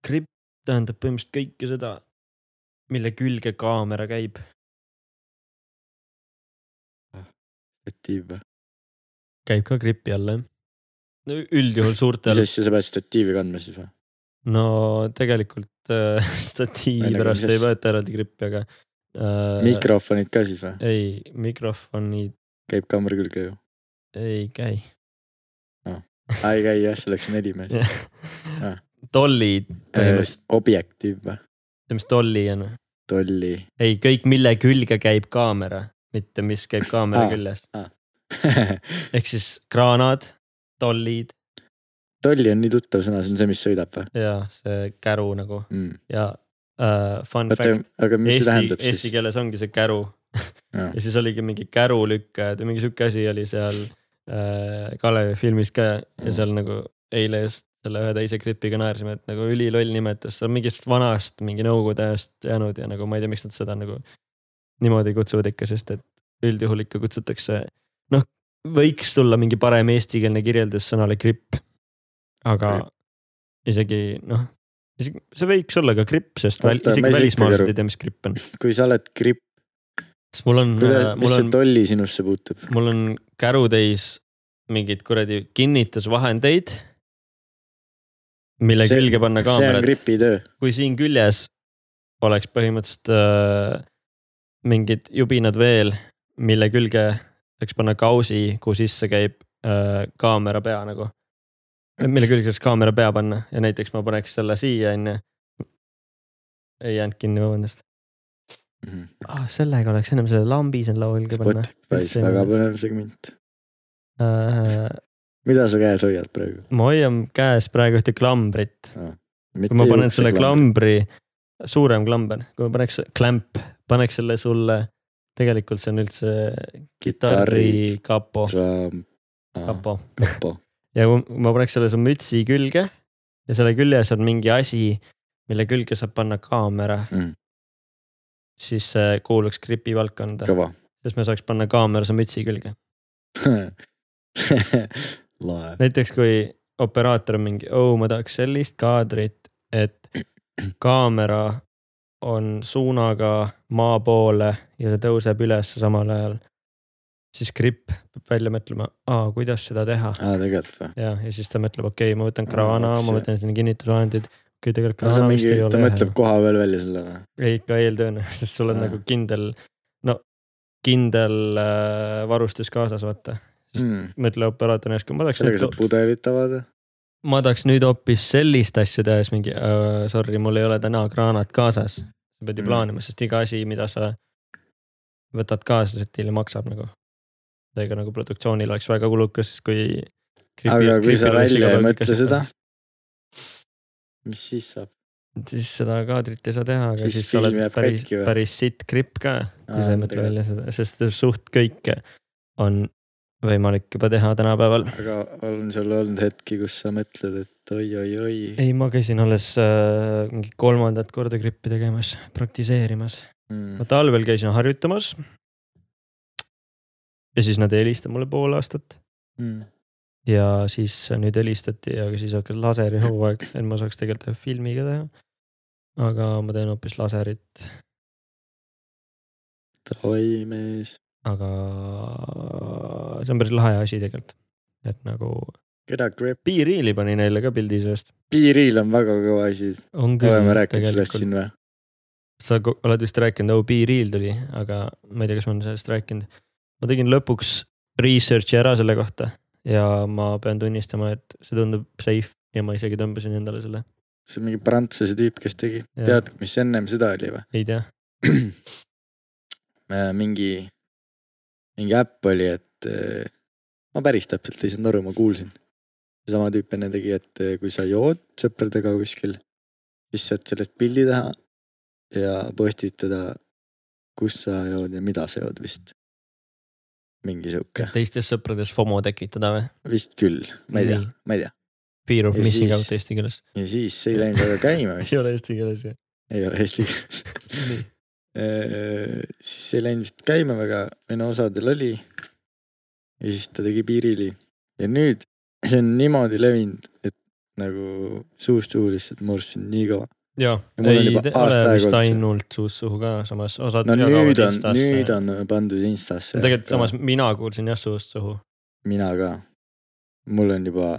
[SPEAKER 1] gripp tähendab põhimõtteliselt kõike seda , mille külge kaamera käib .
[SPEAKER 3] statiiv või ?
[SPEAKER 1] käib ka gripi all jah ? no üldjuhul
[SPEAKER 3] mis
[SPEAKER 1] suurtel ,
[SPEAKER 3] asja sa pead statiivi kandma siis või ?
[SPEAKER 1] no tegelikult äh, statiivi
[SPEAKER 3] Ei, nagu
[SPEAKER 1] pärast
[SPEAKER 3] mis
[SPEAKER 1] ei
[SPEAKER 3] asja?
[SPEAKER 1] võeta eraldi grippi , aga äh, .
[SPEAKER 3] mikrofonid ka siis või ?
[SPEAKER 1] ei , mikrofonid
[SPEAKER 3] käib kaamera külge ju ?
[SPEAKER 1] ei käi .
[SPEAKER 3] aa , ei käi jah , see oleks neli meest . Ah.
[SPEAKER 1] tollid põhimõtteliselt ,
[SPEAKER 3] objektiiv või ?
[SPEAKER 1] mis tolli on ?
[SPEAKER 3] tolli .
[SPEAKER 1] ei , kõik , mille külge käib kaamera , mitte mis käib kaamera
[SPEAKER 3] Aa.
[SPEAKER 1] küljes , ehk siis kraanad , tollid
[SPEAKER 3] tolli on nii tuttav sõna , see on see , mis sõidab või
[SPEAKER 1] ja see käru nagu
[SPEAKER 3] mm. ?
[SPEAKER 1] ja uh, fun
[SPEAKER 3] oota
[SPEAKER 1] fact ,,
[SPEAKER 3] aga mis see
[SPEAKER 1] eesti ,
[SPEAKER 3] tähendab
[SPEAKER 1] eesti
[SPEAKER 3] siis ?
[SPEAKER 1] keeles ongi see käru
[SPEAKER 3] Jaa.
[SPEAKER 1] ja siis oligi mingi kärulükkajad või mingi sihuke asi oli seal uh, Kalevi filmis ka ja seal nagu eile just selle ühe teise gripiga naersime , et nagu üliloll nimetus , see on mingist vanast mingi nõukogude ajast jäänud ja nagu ma ei tea , miks nad seda nagu niimoodi kutsuvad ikka, sest et üldjuhul ikka kutsutakse, noh, võiks tulla mingi parem eestikeelne kirjeldus sõnale gripp. aga isegi noh, isegi see võiks olla ka gripp, sest väl,
[SPEAKER 3] Oota, ma
[SPEAKER 1] isegi
[SPEAKER 3] ei saa
[SPEAKER 1] välismaalased
[SPEAKER 3] ikkagi
[SPEAKER 1] ei tea, mis gripp on.
[SPEAKER 3] kui sa oled gripp ,
[SPEAKER 1] sest mul on ,
[SPEAKER 3] mis
[SPEAKER 1] mul
[SPEAKER 3] see
[SPEAKER 1] on ,
[SPEAKER 3] tolli sinusse puutub ?
[SPEAKER 1] mul on kärutäis mingeid kuradi kinnitusvahendeid , mille
[SPEAKER 3] See-
[SPEAKER 1] see, külge panna
[SPEAKER 3] see on
[SPEAKER 1] kaamerat .
[SPEAKER 3] gripi töö .
[SPEAKER 1] kui siin küljes oleks põhimõtteliselt äh, mingid jubinad veel , mille külge saaks panna kausi , kuhu sisse käib äh, kaamera pea nagu . mille külge saaks kaamera pea panna ja näiteks ma paneks selle siia onju . ei jäänud kinni , vabandust
[SPEAKER 3] Mhm.
[SPEAKER 1] oh, . sellega oleks ennem selle lambi siin laua külge panna .
[SPEAKER 3] Spotify's
[SPEAKER 1] See on-
[SPEAKER 3] väga põnev segment .
[SPEAKER 1] Äh,
[SPEAKER 3] mida sa käes hoiad praegu ? Ah,
[SPEAKER 1] ma hoian käes praegu ühte klambrit , kui ma panen selle . klambri , suurem klamber , kui ma paneks , klämp , paneks selle sulle , tegelikult see on üldse kitarri kapo ,
[SPEAKER 3] ah, kapo .
[SPEAKER 1] kapo ja kui ma paneks selle su mütsi külge ja selle küljes on mingi asi , mille külge saab panna kaamera
[SPEAKER 3] Mm.
[SPEAKER 1] siis see kuuluks gripi valdkonda ,
[SPEAKER 3] kõva .
[SPEAKER 1] sest me saaks panna kaamera su mütsi külge .
[SPEAKER 3] lae .
[SPEAKER 1] näiteks kui operaator on mingi , oo , ma tahaks sellist kaadrit , et kaamera on suunaga maa poole ja see tõuseb üles samal ajal . siis gripp peab välja mõtlema , aa , kuidas seda teha
[SPEAKER 3] aa , Ah, tegelikult või ?
[SPEAKER 1] ja , ja siis ta mõtleb , okei okay, , ma võtan
[SPEAKER 3] Aa,
[SPEAKER 1] kraana , ma
[SPEAKER 3] see-
[SPEAKER 1] võtan sinna kinnitusvahendid . okei , tegelikult
[SPEAKER 3] see on
[SPEAKER 1] kraana vist
[SPEAKER 3] mingi
[SPEAKER 1] ei ,
[SPEAKER 3] ta
[SPEAKER 1] ole
[SPEAKER 3] mõtleb . koha peal välja selle või ?
[SPEAKER 1] ei , ikka eeltöönäoliselt , sul on
[SPEAKER 3] Aa.
[SPEAKER 1] nagu kindel , no kindel äh, varustus kaasas , vaata . mõtle operaatorina , ma tahaks
[SPEAKER 3] Mhm. sellega
[SPEAKER 1] nüüd
[SPEAKER 3] saab pudelit avada .
[SPEAKER 1] ma tahaks nüüd hoopis sellist asja teha , siis mingi äh, sorry , mul ei ole täna kraanat kaasas . sa pead ju
[SPEAKER 3] Mm.
[SPEAKER 1] plaanima , sest iga asi , mida sa võtad kaasa , see teile maksab nagu . seega nagu produktsioonil oleks väga kulukas , kui .
[SPEAKER 3] aga kui sa välja ei mõtle seda , mis siis saab ?
[SPEAKER 1] siis seda kaadrit ei saa teha , aga
[SPEAKER 3] Siis
[SPEAKER 1] siis, siis sa oled
[SPEAKER 3] film jääb
[SPEAKER 1] päris
[SPEAKER 3] katki , või?
[SPEAKER 1] päris sitt gripp ka , kui sa ei mõtle välja seda , sest suht kõike on võimalik juba teha tänapäeval .
[SPEAKER 3] aga on sul olnud hetki , kus sa mõtled , et oi-oi-oi
[SPEAKER 1] ei , ma käisin alles äh, mingi kolmandat korda grippi tegemas , praktiseerimas . ma
[SPEAKER 3] mm. ?
[SPEAKER 1] talvel käisin harjutamas . ja siis nad ei helista mulle pool aastat
[SPEAKER 3] Mm.
[SPEAKER 1] ja siis nüüd helistati , aga siis hakkas laseri hooaeg , et ma saaks tegelikult ühe filmi ka teha . aga ma teen hoopis laserit ,
[SPEAKER 3] davai , mees .
[SPEAKER 1] aga see on päris lahe asi tegelikult . et nagu
[SPEAKER 3] keda grip ?
[SPEAKER 1] B-Reali pani neile ka pildi seest .
[SPEAKER 3] piiril on väga kõva asi ,
[SPEAKER 1] on küll .
[SPEAKER 3] oleme rääkinud sellest siin või ?
[SPEAKER 1] sa ko- oled vist rääkinud , oh B-Real tuli , aga ma ei tea , kas ma olen sellest rääkinud . ma tegin lõpuks research'i ära selle kohta ja ma pean tunnistama , et see tundub safe ja ma isegi tõmbasin endale selle ,
[SPEAKER 3] see on mingi prantsuse tüüp , kes tegi ,
[SPEAKER 1] Jah.
[SPEAKER 3] tead , mis ennem seda oli või ?
[SPEAKER 1] ei tea .
[SPEAKER 3] mingi , mingi äpp oli , et äh, ma päris täpselt ei saanud aru , ma kuulsin . seesama tüüp enne tegi , et äh, kui sa jood sõpradega kuskil , siis saad sellest pildi taha ja postid teda , kus sa jood ja mida sa jood vist . mingi sihuke ,
[SPEAKER 1] teistes sõprades FOMO tekitada või ?
[SPEAKER 3] vist küll , ma ei tea , ma ei tea .
[SPEAKER 1] Fear of
[SPEAKER 3] Ja
[SPEAKER 1] missing
[SPEAKER 3] siis-
[SPEAKER 1] out eesti keeles .
[SPEAKER 3] ja siis see ei läinud väga käima vist
[SPEAKER 1] ei , ole eesti keeles jah .
[SPEAKER 3] ei ole eesti keeles .
[SPEAKER 1] nii .
[SPEAKER 3] Äh, siis see ei läinud vist käima väga , või no osadel oli . ja siis ta tegi piirili ja nüüd see on niimoodi levinud , et nagu suust suhu lihtsalt morsin nii kõva .
[SPEAKER 1] ja ,
[SPEAKER 3] Ja mul on
[SPEAKER 1] ei
[SPEAKER 3] juba
[SPEAKER 1] te-
[SPEAKER 3] aasta
[SPEAKER 1] ole
[SPEAKER 3] aega
[SPEAKER 1] vist
[SPEAKER 3] olnud see.
[SPEAKER 1] ainult suust suhu ka samas , osad
[SPEAKER 3] no nüüd on ,
[SPEAKER 1] Instasse.
[SPEAKER 3] nüüd on pandud Instasse .
[SPEAKER 1] tegelikult samas . mina kuulsin jah suust suhu ,
[SPEAKER 3] mina ka . mul on juba ,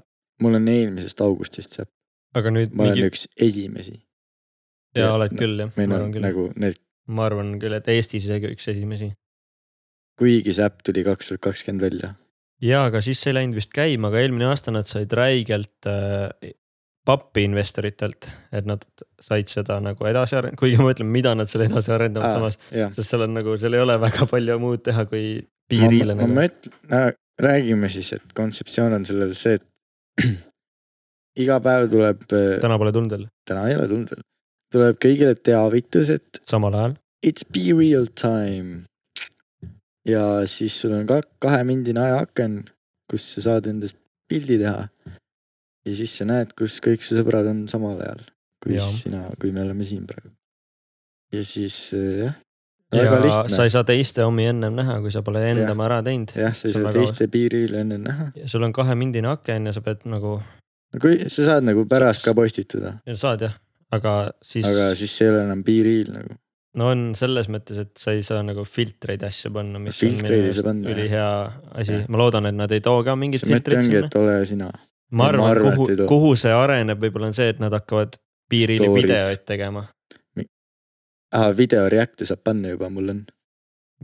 [SPEAKER 3] mul on eelmisest augustist see ,
[SPEAKER 1] aga nüüd
[SPEAKER 3] ma olen
[SPEAKER 1] mingi ,
[SPEAKER 3] üks esimesi
[SPEAKER 1] jaa oled
[SPEAKER 3] no,
[SPEAKER 1] küll jah ,
[SPEAKER 3] või
[SPEAKER 1] ma
[SPEAKER 3] no
[SPEAKER 1] arvan küll ,
[SPEAKER 3] nagu need ,
[SPEAKER 1] ma arvan küll , et Eestis isegi üks esimesi
[SPEAKER 3] kuigi see äpp tuli kaks tuhat kakskümmend välja .
[SPEAKER 1] ja , aga siis see ei läinud vist käima , aga eelmine aasta nad said räigelt äh, pappi investoritelt , et nad said seda nagu edasi arendada , kuigi ma ütlen , mida nad seal edasi arendavad
[SPEAKER 3] Aa.
[SPEAKER 1] ah. samas ,
[SPEAKER 3] jah ,
[SPEAKER 1] sest seal on nagu , seal ei ole väga palju muud teha , kui piirile
[SPEAKER 3] ma,
[SPEAKER 1] nagu
[SPEAKER 3] ma . ütlen , räägime siis , et kontseptsioon on sellel see , et iga päev tuleb , täna
[SPEAKER 1] täna pole tulnud veel ,
[SPEAKER 3] ei ole tulnud veel , tuleb kõigile teavitus , et
[SPEAKER 1] samal ajal ,
[SPEAKER 3] it's be real time . ja siis sul on ka kahemindine ajaaken , kus sa saad endast pildi teha . ja siis sa näed , kus kõik su sõbrad on samal ajal , kui
[SPEAKER 1] Jaa.
[SPEAKER 3] sina , kui me oleme siin praegu . ja siis äh, jah , väga
[SPEAKER 1] ja sa
[SPEAKER 3] lihtne .
[SPEAKER 1] ei saa teiste omi ennem näha , kui sa pole enda
[SPEAKER 3] Jah.
[SPEAKER 1] oma ära teinud .
[SPEAKER 3] jah , sa ei
[SPEAKER 1] see on
[SPEAKER 3] saa
[SPEAKER 1] väga
[SPEAKER 3] teiste piiril enne näha .
[SPEAKER 1] ja sul on kahemindine aken ja sa pead nagu ,
[SPEAKER 3] kui sa saad nagu pärast ka postitada ,
[SPEAKER 1] saad jah , aga siis
[SPEAKER 3] aga siis see ei ole enam piiril nagu .
[SPEAKER 1] no on selles mõttes , et sa ei saa nagu filtreid ja asju panna , mis on
[SPEAKER 3] Filtreid ei saa panna,
[SPEAKER 1] ülihea asi
[SPEAKER 3] Jah. ,
[SPEAKER 1] ma loodan , et nad ei too ka mingit
[SPEAKER 3] see mõte
[SPEAKER 1] filtrit
[SPEAKER 3] ongi ,
[SPEAKER 1] sinna
[SPEAKER 3] et . ole sina .
[SPEAKER 1] ma
[SPEAKER 3] ma
[SPEAKER 1] arvan ,
[SPEAKER 3] arvan, et ei
[SPEAKER 1] kuhu
[SPEAKER 3] too. ,
[SPEAKER 1] kuhu see areneb , võib-olla on see , et nad hakkavad piiril
[SPEAKER 3] Story'd.
[SPEAKER 1] videoid tegema .
[SPEAKER 3] aa , video React'i saab panna juba , mul on .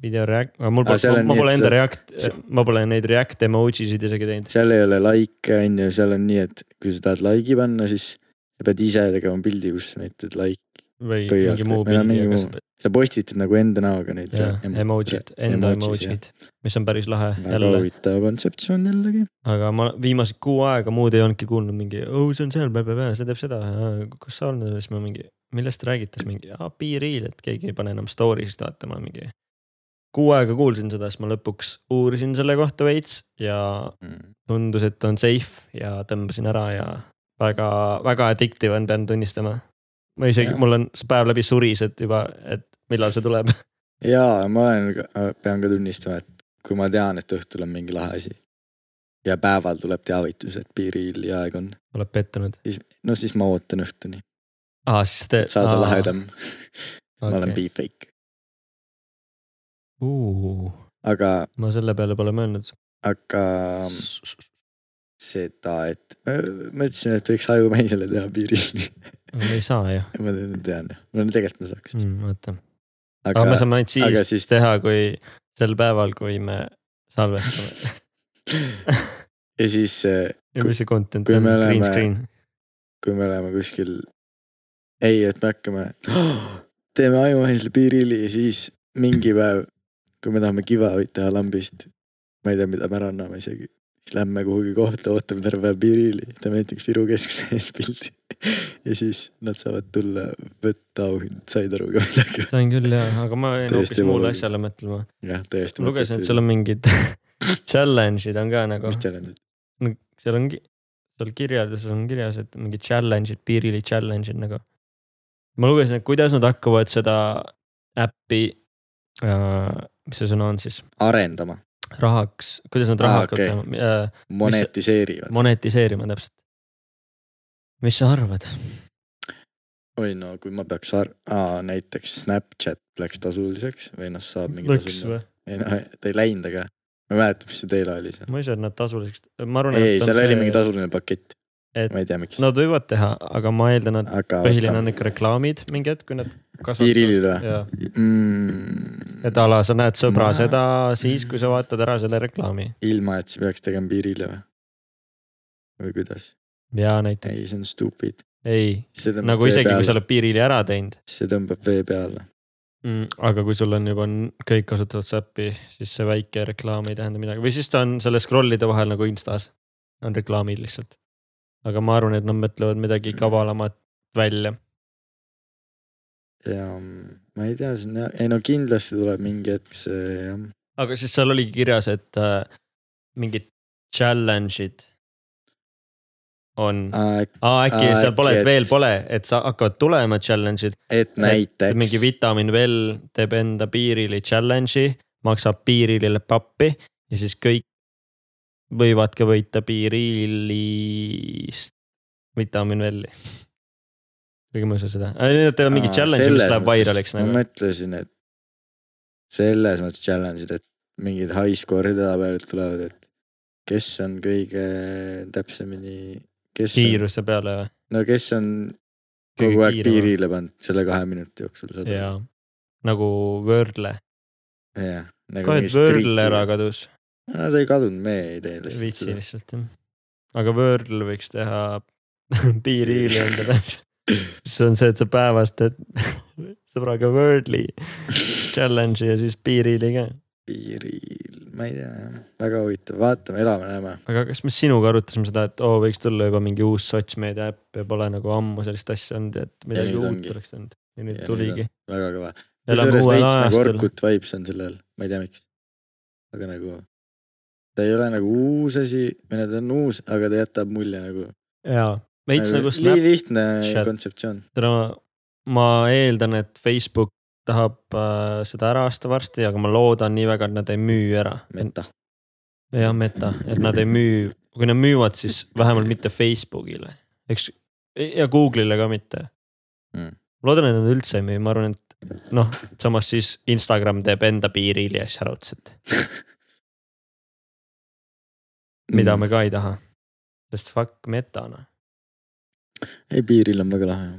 [SPEAKER 1] video react , aga mul
[SPEAKER 3] Aga seal
[SPEAKER 1] pole ,
[SPEAKER 3] on
[SPEAKER 1] ma
[SPEAKER 3] nii,
[SPEAKER 1] pole
[SPEAKER 3] et
[SPEAKER 1] enda
[SPEAKER 3] sa-
[SPEAKER 1] react
[SPEAKER 3] sa- ,
[SPEAKER 1] ma pole neid react emoji sid isegi teinud .
[SPEAKER 3] seal ei ole like on ju , seal on nii , et kui sa tahad like'i panna , siis sa pead ise tegema pildi , kus sa näitad like .
[SPEAKER 1] või
[SPEAKER 3] Põhjalt,
[SPEAKER 1] mingi muu
[SPEAKER 3] meil on
[SPEAKER 1] pildi ,
[SPEAKER 3] mingi
[SPEAKER 1] aga
[SPEAKER 3] muu-
[SPEAKER 1] sa pead ,
[SPEAKER 3] sa postitad nagu enda näoga neid .
[SPEAKER 1] jah , emojid , enda
[SPEAKER 3] emojis,
[SPEAKER 1] emojid , mis on päris lahe
[SPEAKER 3] väga
[SPEAKER 1] jälle ,
[SPEAKER 3] huvitav kontseptsioon jällegi .
[SPEAKER 1] aga ma viimased kuu aega muud ei olnudki kuulnud mingi , oh see on seal , see teeb seda , kus sa olnud , siis ma mingi , millest te räägite , siis mingi , aa B-reel , et keegi ei pane enam story sest vaatama mingi . kuu aega kuulsin seda , siis ma lõpuks uurisin selle kohta veits ja
[SPEAKER 3] Hmm.
[SPEAKER 1] tundus , et on safe ja tõmbasin ära ja väga , väga addictive on , pean tunnistama . ma isegi ,
[SPEAKER 3] Jah.
[SPEAKER 1] mul on see päev läbi suris , et juba , et millal see tuleb .
[SPEAKER 3] jaa , ma olen , pean ka tunnistama , et kui ma tean , et õhtul on mingi lahe asi ja päeval tuleb teavitus , et piiril ja aeg on ,
[SPEAKER 1] oled pettunud ?
[SPEAKER 3] siis no siis ma ootan õhtuni ,
[SPEAKER 1] aa , Ah, siis te .
[SPEAKER 3] et saada lahedam . ma
[SPEAKER 1] okay.
[SPEAKER 3] olen beefake ,
[SPEAKER 1] uh, .
[SPEAKER 3] aga ,
[SPEAKER 1] ma selle peale pole mõelnud
[SPEAKER 3] aga
[SPEAKER 1] um, .
[SPEAKER 3] seda , et öö, ma ütlesin , et võiks ajumeisele teha piiril .
[SPEAKER 1] aga me ei saa ju
[SPEAKER 3] ma tean- tean , no tegelikult ma saaks vist ,
[SPEAKER 1] mm, , oota . aga me
[SPEAKER 3] aga
[SPEAKER 1] saame ainult siis,
[SPEAKER 3] aga
[SPEAKER 1] siis
[SPEAKER 3] siis-
[SPEAKER 1] teha , kui sel päeval , kui me salvestame .
[SPEAKER 3] ja siis äh,
[SPEAKER 1] ja mis see content
[SPEAKER 3] kui
[SPEAKER 1] on ,
[SPEAKER 3] me
[SPEAKER 1] green
[SPEAKER 3] oleme-
[SPEAKER 1] screen .
[SPEAKER 3] kui me oleme kuskil . ei , et me hakkame , teeme ajumaisele piirili ja siis mingi päev , kui me tahame kivavõit teha lambist . ma ei tea , mida me ära anname isegi , siis lähme kuhugi kohta , ootame terve päev piirili , teeme näiteks Viru keskuse ees pildi . ja siis nad saavad tulla , võtta auhind , said aru ka midagi ?
[SPEAKER 1] sain küll ja , aga ma jäin hoopis
[SPEAKER 3] Täiesti
[SPEAKER 1] muule
[SPEAKER 3] ebaoluline.
[SPEAKER 1] asjale mõtlema .
[SPEAKER 3] jah , täiesti .
[SPEAKER 1] ma lugesin , et seal on mingid challenge'id on ka nagu
[SPEAKER 3] mis , challenge'id ,
[SPEAKER 1] seal ongi , seal kirjelduses on kirjas , et mingi challenge'id , piirili challenge'id nagu . ma lugesin , et kuidas nad hakkavad seda äppi äh, , mis see sõna on siis ,
[SPEAKER 3] arendama ,
[SPEAKER 1] rahaks , kuidas nad
[SPEAKER 3] Aa,
[SPEAKER 1] raha hakkavad
[SPEAKER 3] okei.
[SPEAKER 1] tegema äh, ,
[SPEAKER 3] monetiseerivad .
[SPEAKER 1] monetiseerima täpselt . mis sa arvad ?
[SPEAKER 3] oi no kui ma peaks , näiteks Snapchat läks tasuliseks või noh , saab mingi
[SPEAKER 1] läks
[SPEAKER 3] tasuline
[SPEAKER 1] või ?
[SPEAKER 3] ei noh , ta ei läinud , aga ma ei mäleta , mis see teile oli seal .
[SPEAKER 1] ma ei saa , et nad tasuliseks , ma arvan ,
[SPEAKER 3] ei ,
[SPEAKER 1] et
[SPEAKER 3] seal oli mingi tasuline pakett
[SPEAKER 1] et- .
[SPEAKER 3] ma ei tea , miks no, ,
[SPEAKER 1] Nad võivad teha , aga ma eeldan , et
[SPEAKER 3] aga .
[SPEAKER 1] põhiline on ikka reklaamid mingi hetk , kui nad kasvatavad .
[SPEAKER 3] piirilil või ?
[SPEAKER 1] jaa , et
[SPEAKER 3] Mm,
[SPEAKER 1] a la sa näed sõbra
[SPEAKER 3] Ma-
[SPEAKER 1] seda siis , kui sa vaatad ära selle reklaami
[SPEAKER 3] ilma , et sa peaks tegema piirile või ? või kuidas ?
[SPEAKER 1] ja näiteks ,
[SPEAKER 3] ei , see on stupid .
[SPEAKER 1] ei , nagu isegi kui sa oled piiril ära teinud
[SPEAKER 3] see tõmbab vee peale .
[SPEAKER 1] mm, . aga kui sul on juba n- kõik kasutavad Zappi , siis see väike reklaam ei tähenda midagi või siis ta on selle scroll'ide vahel nagu Instas on reklaamid lihtsalt . aga ma arvan , et nad mõtlevad midagi kavalamat välja .
[SPEAKER 3] ja mm, ma ei tea , see on jah , ei no kindlasti tuleb mingi hetk see jah .
[SPEAKER 1] aga siis seal oligi kirjas , et äh, mingid challenge'id on . aa , äkki
[SPEAKER 3] Aa,
[SPEAKER 1] seal pole ,
[SPEAKER 3] äkki,
[SPEAKER 1] et veel
[SPEAKER 3] et-
[SPEAKER 1] pole , et sa hakkavad tulema challenge'id .
[SPEAKER 3] et näiteks .
[SPEAKER 1] mingi vitamiin veel teeb enda piirili challenge'i , maksab piirilile pappi ja siis kõik võivad ka võita piirilist vitamiin velli . kuigi ma ei usu seda , nad teevad mingi
[SPEAKER 3] Aa,
[SPEAKER 1] challenge'i , mis
[SPEAKER 3] selles
[SPEAKER 1] läheb
[SPEAKER 3] mõttes.
[SPEAKER 1] vairaliks
[SPEAKER 3] ma
[SPEAKER 1] nagu .
[SPEAKER 3] mõtlesin , et selles mõttes challenge'id , et mingid high score'i tabeelid tulevad , et kes on kõige täpsemini , kes ,
[SPEAKER 1] kiiruse peale või ?
[SPEAKER 3] no kes on kogu aeg piirile pannud selle kahe minuti jooksul .
[SPEAKER 1] jaa , nagu Wordle ,
[SPEAKER 3] jah , nagu
[SPEAKER 1] kohe et Wordle ära . kadus .
[SPEAKER 3] no ta ei kadunud , me ei tee lihtsalt
[SPEAKER 1] viitsi
[SPEAKER 3] seda .
[SPEAKER 1] lihtsalt jah . aga Wordle võiks teha piiriili enda peale . see on see , et sa päevast teed sõbraga Wordli challenge'i ja siis piiriili ka .
[SPEAKER 3] piiril , ma ei tea jah , väga huvitav , vaatame , elame-näeme .
[SPEAKER 1] aga kas me sinuga arutasime seda , et oo , võiks tulla juba mingi uus sotsmeedia äpp ja pole nagu ammu sellist asja olnud , et midagi
[SPEAKER 3] nüüd
[SPEAKER 1] uut
[SPEAKER 3] ongi.
[SPEAKER 1] oleks tulnud ja nüüd
[SPEAKER 3] Ja nüüd
[SPEAKER 1] tuligi .
[SPEAKER 3] väga kõva .
[SPEAKER 1] elame
[SPEAKER 3] kusjuures
[SPEAKER 1] uuel
[SPEAKER 3] veits nagu
[SPEAKER 1] ajastul .
[SPEAKER 3] Orkut vibes on sellel , ma ei tea , miks . aga nagu ta ei ole nagu uus asi või no ta on uus , aga ta jätab mulje nagu .
[SPEAKER 1] jaa , veits nagu
[SPEAKER 3] nii
[SPEAKER 1] Snapchat ,
[SPEAKER 3] lihtne
[SPEAKER 1] Snapchat.
[SPEAKER 3] kontseptsioon .
[SPEAKER 1] ma eeldan , et Facebook tahab äh, seda ära osta varsti , aga ma loodan nii väga , et nad ei müü ära .
[SPEAKER 3] meta .
[SPEAKER 1] jah , meta , et nad ei müü , kui nad müüvad , siis vähemalt mitte Facebookile , eks ja Google'ile ka mitte
[SPEAKER 3] Mm.
[SPEAKER 1] mm. . loodan , et nad üldse ei müü , ma arvan , et noh , samas siis Instagram teeb enda piiril ja asja raudselt , mida
[SPEAKER 3] Mm.
[SPEAKER 1] me ka ei taha . sest fuck meta noh ,
[SPEAKER 3] Mm. ei , piiril on väga lahe .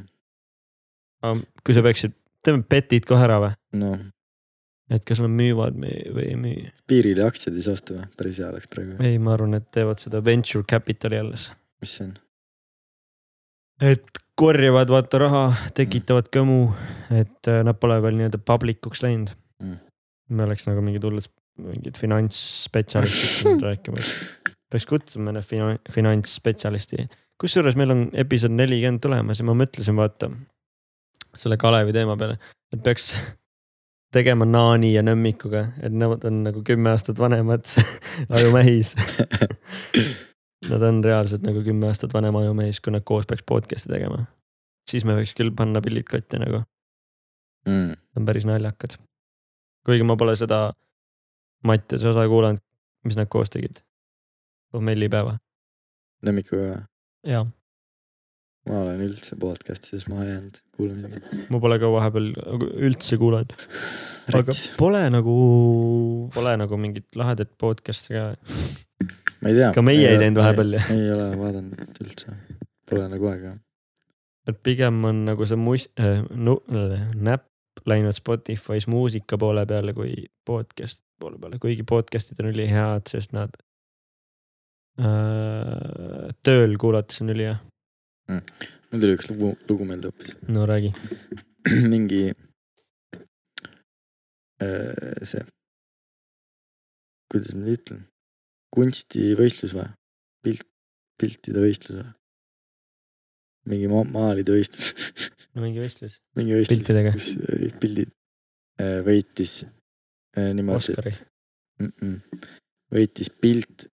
[SPEAKER 1] kui sa peaksid , teeme petid kohe ära või ,
[SPEAKER 3] noh ,
[SPEAKER 1] et kas nad müüvad me- või ei müü .
[SPEAKER 3] piiril ja aktsiaid ei saa osta või ? päris hea oleks praegu .
[SPEAKER 1] ei , ma arvan , et teevad seda venture capital'i alles ,
[SPEAKER 3] mis see on ?
[SPEAKER 1] et korjavad vaata raha , tekitavad kõmu , et äh, nad pole veel nii-öelda public uks läinud
[SPEAKER 3] Mm.
[SPEAKER 1] mm. . me oleks nagu mingid hullud , mingid finantsspetsialistid nüüd rääkimas , peaks kutsuma enne fina- finantsspetsialisti . kusjuures meil on episood nelikümmend tulemas ja ma mõtlesin , vaata selle Kalevi teema peale , et peaks tegema Naani ja Nõmmikuga , et nemad on nagu kümme aastat vanemad ajumähis . Nad on reaalselt nagu kümme aastat vanem ajumehis , kui nad koos peaks podcast'i tegema . siis me võiks küll panna pillid kotti nagu ,
[SPEAKER 3] mm. .
[SPEAKER 1] on päris naljakad . kuigi ma pole seda Mattiase osa kuulanud , mis nad koos tegid . pommellipäeva .
[SPEAKER 3] lemmikuga ,
[SPEAKER 1] jaa ,
[SPEAKER 3] ma olen üldse podcast'is maha jäänud , kuulan midagi .
[SPEAKER 1] ma pole ka vahepeal nagu üldse kuulanud , aga
[SPEAKER 3] Rets ,
[SPEAKER 1] pole nagu , pole nagu mingit lahedat podcast'i ka .
[SPEAKER 3] ma ei tea .
[SPEAKER 1] ka meie ei teinud vahepeal ju .
[SPEAKER 3] ei ole vaadanud üldse , pole nagu aega .
[SPEAKER 1] et pigem on nagu see mus- äh, , nu- äh, näpp läinud Spotify's muusika poole peale kui podcast poole peale , kuigi podcast'id on ülihead , sest nad äh, . tööl kuulates on ülihea ,
[SPEAKER 3] mul tuli üks lugu , lugu meelde hoopis .
[SPEAKER 1] no räägi ,
[SPEAKER 3] mingi öö, äh, see , kuidas ma nüüd ütlen , kunstivõistlus või , pilt , piltide võistlus või , mingi ma- maalide võistlus
[SPEAKER 1] mingi vestlus ,
[SPEAKER 3] mingi võistlus .
[SPEAKER 1] Piltidega.
[SPEAKER 3] kus olid pildid , võitis öö, niimoodi ,
[SPEAKER 1] Oscari ,
[SPEAKER 3] mm -mm. võitis pilt ,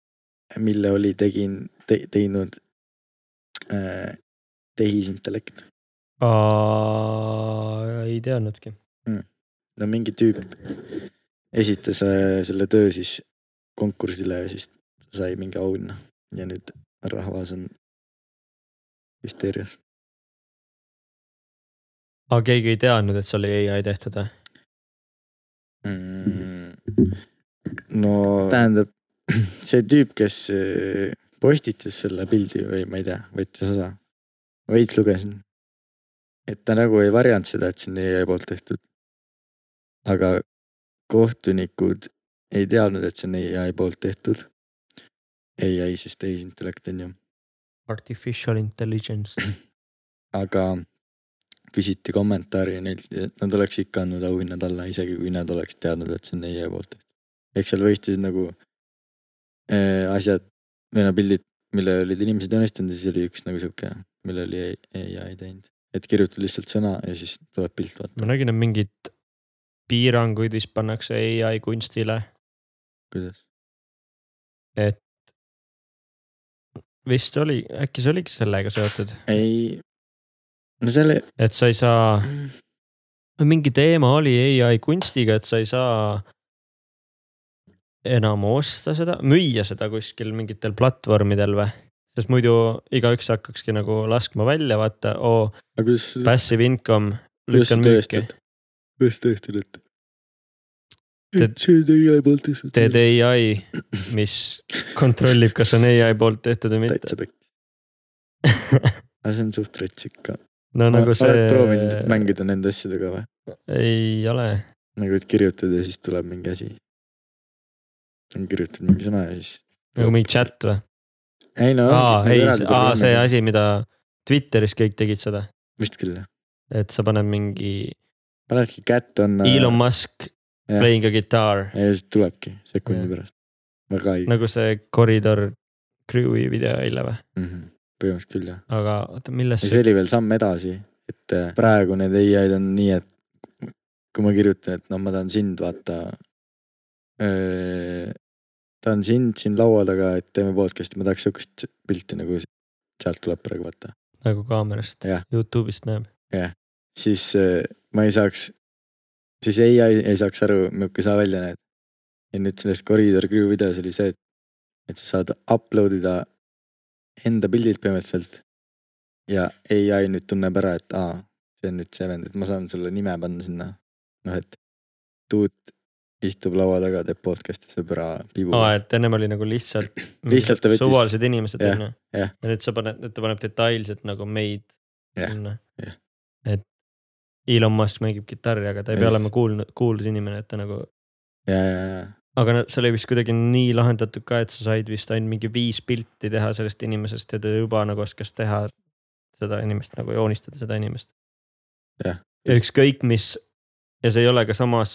[SPEAKER 3] mille oli tegin te, , teinud öö, tehisintellekt .
[SPEAKER 1] ei teadnudki ,
[SPEAKER 3] no mingi tüüp esitas äh, selle töö siis konkursile ja siis ta sai mingi auhinna ja nüüd rahvas on hüsteerias .
[SPEAKER 1] aga keegi ei teadnud , et see oli ai tehtud või ?
[SPEAKER 3] no Mm. tähendab , see tüüp , kes äh, postitas selle pildi või ma ei tea , võttis osa , veits lugesin . et ta nagu ei varjanud seda , et see on EI poolt tehtud . aga kohtunikud ei teadnud , et see on EI poolt tehtud . EI siis tehisintellekt on ju ,
[SPEAKER 1] Artificial intelligence ,
[SPEAKER 3] aga küsiti kommentaari ja neilt , et nad oleks ikka andnud auhinna talle , isegi kui nad oleks teadnud , et see on EI poolt tehtud . eks seal võistlesid nagu äh, asjad või no pildid , mille olid inimesed joonistanud ja siis oli üks nagu sihuke , mille oli EI teinud . et kirjutad lihtsalt sõna ja siis tuleb pilt , vaata
[SPEAKER 1] ma nägin , et mingeid piiranguid vist pannakse ai kunstile
[SPEAKER 3] kuidas .
[SPEAKER 1] et vist oli , äkki see oligi sellega seotud ,
[SPEAKER 3] ei , no selle ,
[SPEAKER 1] et sa ei saa , mingi teema oli ai kunstiga , et sa ei saa enam osta seda , müüa seda kuskil mingitel platvormidel või ? sest muidu igaüks hakkakski nagu laskma välja , vaata , oo ,
[SPEAKER 3] aga kuidas .
[SPEAKER 1] passive income , lükkan
[SPEAKER 3] kuidas sa
[SPEAKER 1] müüki ,
[SPEAKER 3] tõestad , kuidas tõestad , et ?
[SPEAKER 1] Teed-
[SPEAKER 3] et see on EI poolt tehtud .
[SPEAKER 1] teed ai , mis kontrollib , kas on ai poolt tehtud või mitte .
[SPEAKER 3] täitsa pekki . aga see on suht rets ikka .
[SPEAKER 1] no nagu see
[SPEAKER 3] oled proovinud mängida nende asjadega või ?
[SPEAKER 1] ei ole
[SPEAKER 3] nagu , et kirjutad ja siis tuleb mingi asi . kirjutad mingi sõna ja siis .
[SPEAKER 1] nagu mingi chat või ?
[SPEAKER 3] ei no .
[SPEAKER 1] aa , ei , aa see . asi , mida Twitteris kõik tegid seda ,
[SPEAKER 3] nagu vist küll jah .
[SPEAKER 1] et sa paned mingi
[SPEAKER 3] panedki kätt on .
[SPEAKER 1] Elon Musk
[SPEAKER 3] Jah.
[SPEAKER 1] playing a guitar ,
[SPEAKER 3] ja siis tulebki sekundi
[SPEAKER 1] Jah.
[SPEAKER 3] pärast . väga õige .
[SPEAKER 1] nagu see koridor crew'i video eile või ,
[SPEAKER 3] Mhm. põhimõtteliselt küll jah .
[SPEAKER 1] aga oota , millest
[SPEAKER 3] ja
[SPEAKER 1] see
[SPEAKER 3] see oli veel samm edasi , et äh, praegu need ai-d on nii , et kui ma kirjutan , et noh , ma tahan sind vaata . tahan sind siin laua taga , et teeme podcast'i , ma tahaks sihukest pilti nagu s- sealt tuleb praegu vaata ,
[SPEAKER 1] nagu kaamerast
[SPEAKER 3] Jah.
[SPEAKER 1] Youtube'ist näeb ,
[SPEAKER 3] siis äh, ma ei eh, saaks siis ei, ei, ei saaks aru, milline sa välja näed. ja nüüd selles Corridor Crew videos oli see, et, et sa saad upload ida enda pildid põhimõtteliselt. ja ai nüüd tunneb ära, et aa, see on nüüd see vend, et ma saan selle nime panna sinna. noh, et Tuut istub laua taga, teeb podcast'i sõbra pibu
[SPEAKER 1] aa , et ennem oli nagu lihtsalt .
[SPEAKER 3] Lihtsalt ta võttis-
[SPEAKER 1] suvalised inimesed
[SPEAKER 3] jah,
[SPEAKER 1] on ju . ja
[SPEAKER 3] jah.
[SPEAKER 1] nüüd sa paned , nüüd ta paneb detailselt nagu meid
[SPEAKER 3] Jah,
[SPEAKER 1] sinna
[SPEAKER 3] jah. .
[SPEAKER 1] et Elon Musk mängib kitarri , aga ta ei
[SPEAKER 3] Ja
[SPEAKER 1] pea
[SPEAKER 3] siis-
[SPEAKER 1] olema kuulnud , kuulus inimene , et ta nagu
[SPEAKER 3] ja , ja , ja ,
[SPEAKER 1] aga no see oli vist kuidagi nii lahendatud ka , et sa said vist ainult mingi viis pilti teha sellest inimesest ja ta juba nagu oskas teha seda inimest nagu joonistada seda inimest .
[SPEAKER 3] Jah.
[SPEAKER 1] ja ükskõik mis ja see ei ole ka samas ,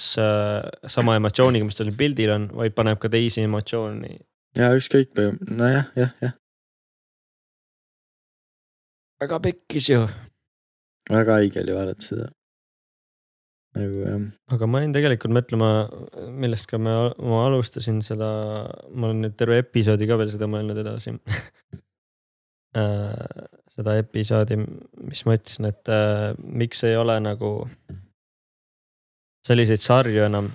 [SPEAKER 1] sama emotsiooniga , mis tal pildil on , vaid paneb ka teisi emotsiooni .
[SPEAKER 3] ja ükskõik , nojah , jah , jah ,
[SPEAKER 1] väga pekkis ju .
[SPEAKER 3] väga haige oli vaadata seda . nagu jah ,
[SPEAKER 1] aga ma jäin tegelikult mõtlema , millest ka me , ma alustasin seda , ma olen nüüd terve episoodi ka veel seda mõelnud edasi Äh, seda episoodi , mis ma ütlesin , et äh, miks ei ole nagu selliseid sarju enam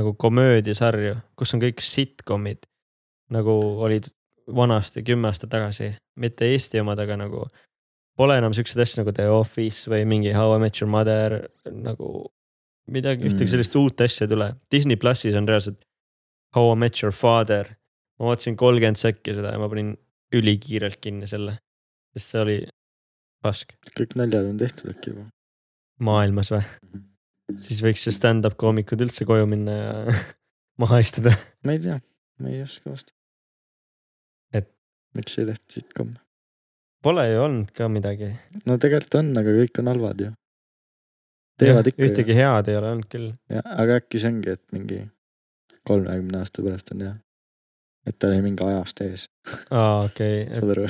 [SPEAKER 1] nagu komöödiasarju , kus on kõik sitcom'id nagu olid vanasti kümme aastat tagasi , mitte Eesti omad , aga nagu pole enam siukseid asju nagu The Office või mingi How I Met Your Mother nagu midagi , ühtegi
[SPEAKER 3] Mm.
[SPEAKER 1] sellist uut asja ei tule . Disney plussis on reaalselt How I Met Your Father . ma vaatasin kolmkümmend sekki seda ja ma panin ülikiirelt kinni selle , sest see oli pask
[SPEAKER 3] kõik naljad on tehtud äkki juba .
[SPEAKER 1] maailmas või ?
[SPEAKER 3] Mhm.
[SPEAKER 1] siis võiks ju stand-up koomikud üldse koju minna ja maha istuda .
[SPEAKER 3] ma ei tea , ma ei oska vastata .
[SPEAKER 1] Et- ?
[SPEAKER 3] miks ei tehtud sitcom'e ?
[SPEAKER 1] Pole ju olnud ka midagi .
[SPEAKER 3] no tegelikult on , aga kõik on halvad ju . teevad ikka ju ,
[SPEAKER 1] ühtegi head ei ole olnud küll .
[SPEAKER 3] aga äkki see ongi , et mingi kolmekümne aasta pärast on hea . et ta oli mingi ajast ees ,
[SPEAKER 1] aa , okei okay. ,
[SPEAKER 3] saad aru ?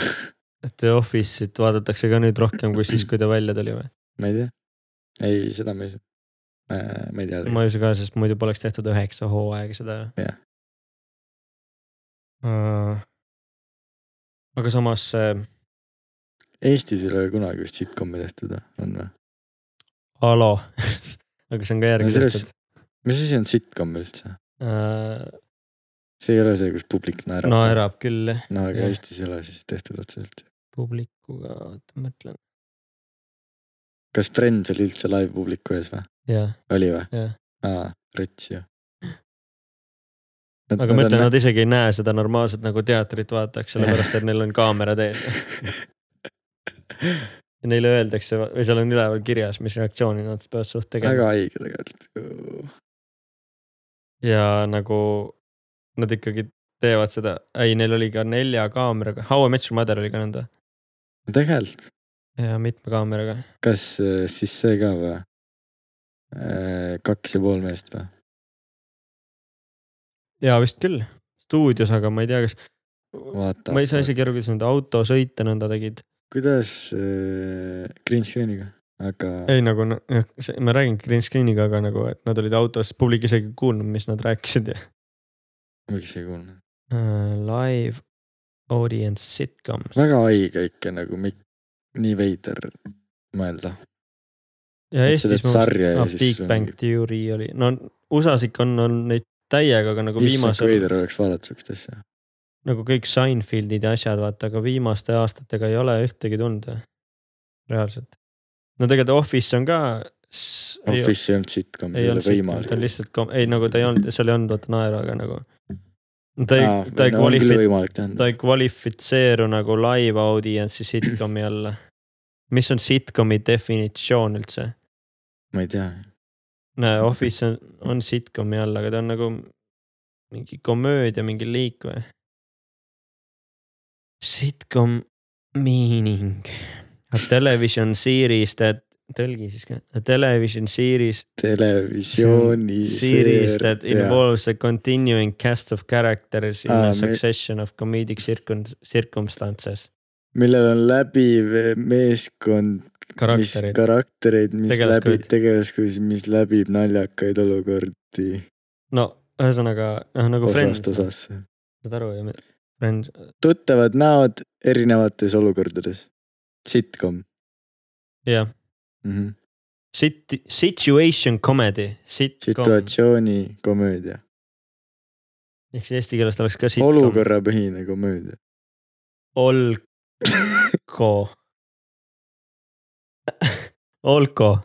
[SPEAKER 1] et The Office'it vaadatakse ka nüüd rohkem kui siis , kui ta välja tuli või ?
[SPEAKER 3] ma ei tea . ei , seda ma ei usu . ma ei tea .
[SPEAKER 1] ma ei usu ka , sest muidu poleks tehtud üheksa hooaega seda ju
[SPEAKER 3] Jah. .
[SPEAKER 1] aga samas see
[SPEAKER 3] Eestis ei ole kunagi vist sitcom'e tehtud või , on või ?
[SPEAKER 1] Alo , aga see on ka järgi
[SPEAKER 3] No selles-
[SPEAKER 1] tehtud .
[SPEAKER 3] mis asi on sitcom üldse ? see ei ole see , kus publik naerab .
[SPEAKER 1] naerab küll jah ,
[SPEAKER 3] no aga
[SPEAKER 1] jah.
[SPEAKER 3] Eestis ei ole siis tehtud otseselt .
[SPEAKER 1] publikuga , oota ma mõtlen ,
[SPEAKER 3] kas Friends oli üldse live publiku ees või ?
[SPEAKER 1] jah ,
[SPEAKER 3] oli või ?
[SPEAKER 1] jah .
[SPEAKER 3] aa , rets ju .
[SPEAKER 1] aga ma ütlen , nad isegi ei näe seda normaalset nagu teatrit vaataks , sellepärast et neil on kaamerad ees . ja neile öeldakse või seal on üleval kirjas , mis reaktsiooni nad peavad suht tegema
[SPEAKER 3] väga haige tegelikult .
[SPEAKER 1] ja nagu nad ikkagi teevad seda , ei , neil oli ka nelja kaameraga , How I Met Your Mother oli ka nõnda
[SPEAKER 3] tegelikult ,
[SPEAKER 1] ja mitme kaameraga .
[SPEAKER 3] kas äh, siis see ka või ? kaks ja pool meest või ?
[SPEAKER 1] ja vist küll , stuudios , aga ma ei tea , kas ,
[SPEAKER 3] vaata .
[SPEAKER 1] ma ei saa isegi aru , kuidas nad autosõite nõnda tegid .
[SPEAKER 3] kuidas äh, green screen'iga , aga
[SPEAKER 1] ei nagu no, , ma räägin green screen'iga , aga nagu , et nad olid autos , publik isegi ei kuulnud , mis nad rääkisid ja
[SPEAKER 3] miks ei kuulnud ?
[SPEAKER 1] uh, . Live audience sitcoms
[SPEAKER 3] väga haige ikka nagu , nii veider mõelda .
[SPEAKER 1] ja
[SPEAKER 3] et sa
[SPEAKER 1] Eestis
[SPEAKER 3] teed sarja ja
[SPEAKER 1] ah,
[SPEAKER 3] siis äh,
[SPEAKER 1] Big
[SPEAKER 3] sul on
[SPEAKER 1] Bang
[SPEAKER 3] mingi-
[SPEAKER 1] Theory oli , no USA-s ikka on , on neid täiega , aga nagu
[SPEAKER 3] issand , kui
[SPEAKER 1] viimasel ,
[SPEAKER 3] veider oleks vaadata siukest asja .
[SPEAKER 1] nagu kõik Seinfeldid ja asjad , vaata , aga viimaste aastatega ei ole ühtegi tulnud ju. reaalselt . no tegelikult Office on ka .
[SPEAKER 3] Office ei olnud sitcom , see ei ole
[SPEAKER 1] ta on
[SPEAKER 3] võimalik .
[SPEAKER 1] lihtsalt , ei nagu ta ei olnud , seal ei olnud vaata naeru , aga nagu . ta ei , ta ei kvalifi- ,
[SPEAKER 3] võimalik
[SPEAKER 1] ta
[SPEAKER 3] teha .
[SPEAKER 1] ei kvalifitseeru nagu live audience'i sitcomi alla . mis on sitcomi definitsioon üldse ?
[SPEAKER 3] ma ei tea ,
[SPEAKER 1] näe , Office on , on sitcomi all , aga ta on nagu mingi komöödia mingi liik või ? Sitcom meaning . A television series that , tõlgi siis ka , a television series Hmm.
[SPEAKER 3] televisiooni .
[SPEAKER 1] series that involves a continuing cast of characters in a
[SPEAKER 3] Aa, me-
[SPEAKER 1] succession of comedic circum- , circumstances .
[SPEAKER 3] millel on läbiv meeskond , mis
[SPEAKER 1] karakterid .
[SPEAKER 3] karaktereid , mis läbi
[SPEAKER 1] Tegelaskuid. ,
[SPEAKER 3] tegelaskuid , mis läbib naljakaid olukordi
[SPEAKER 1] no ühesõnaga , noh nagu Friends
[SPEAKER 3] osast , osasse .
[SPEAKER 1] saad aru ju , Friends ,
[SPEAKER 3] tuttavad näod erinevates olukordades . Sitcom
[SPEAKER 1] jah ,
[SPEAKER 3] mm . -hmm.
[SPEAKER 1] Sit- , situation comedy , sitcom .
[SPEAKER 3] situatsiooni komöödia ,
[SPEAKER 1] ehk siis eesti keeles ta oleks ka sitcom .
[SPEAKER 3] olukorrapõhine komöödia .
[SPEAKER 1] Olko . Olko .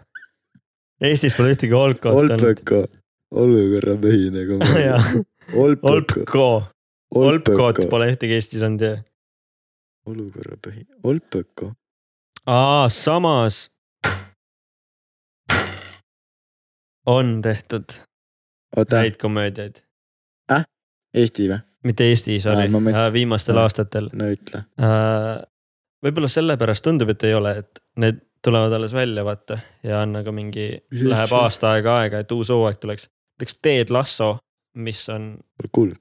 [SPEAKER 1] Eestis pole ühtegi Olkot olnud .
[SPEAKER 3] Olpeko , olukorrapõhine komöödia . Olpeko ,
[SPEAKER 1] Olpko , Olpkot
[SPEAKER 3] Olpeko ,
[SPEAKER 1] pole ühtegi Eestis olnud ju .
[SPEAKER 3] olukorrapõhine , Olpeko .
[SPEAKER 1] aa , samas . on tehtud
[SPEAKER 3] oota ,
[SPEAKER 1] häid komöödiaid ,
[SPEAKER 3] Eesti või ?
[SPEAKER 1] mitte Eestis ,
[SPEAKER 3] Aa,
[SPEAKER 1] oli äh,
[SPEAKER 3] ma mõtlen-
[SPEAKER 1] viimastel
[SPEAKER 3] Aa.
[SPEAKER 1] aastatel .
[SPEAKER 3] no ütle .
[SPEAKER 1] võib-olla sellepärast tundub , et ei ole , et need tulevad alles välja , vaata ja on nagu mingi ,
[SPEAKER 3] Yes,
[SPEAKER 1] läheb
[SPEAKER 3] sure.
[SPEAKER 1] aasta aega aega , et uus hooaeg tuleks . näiteks Ted Lasso , mis on ,
[SPEAKER 3] kuulge ,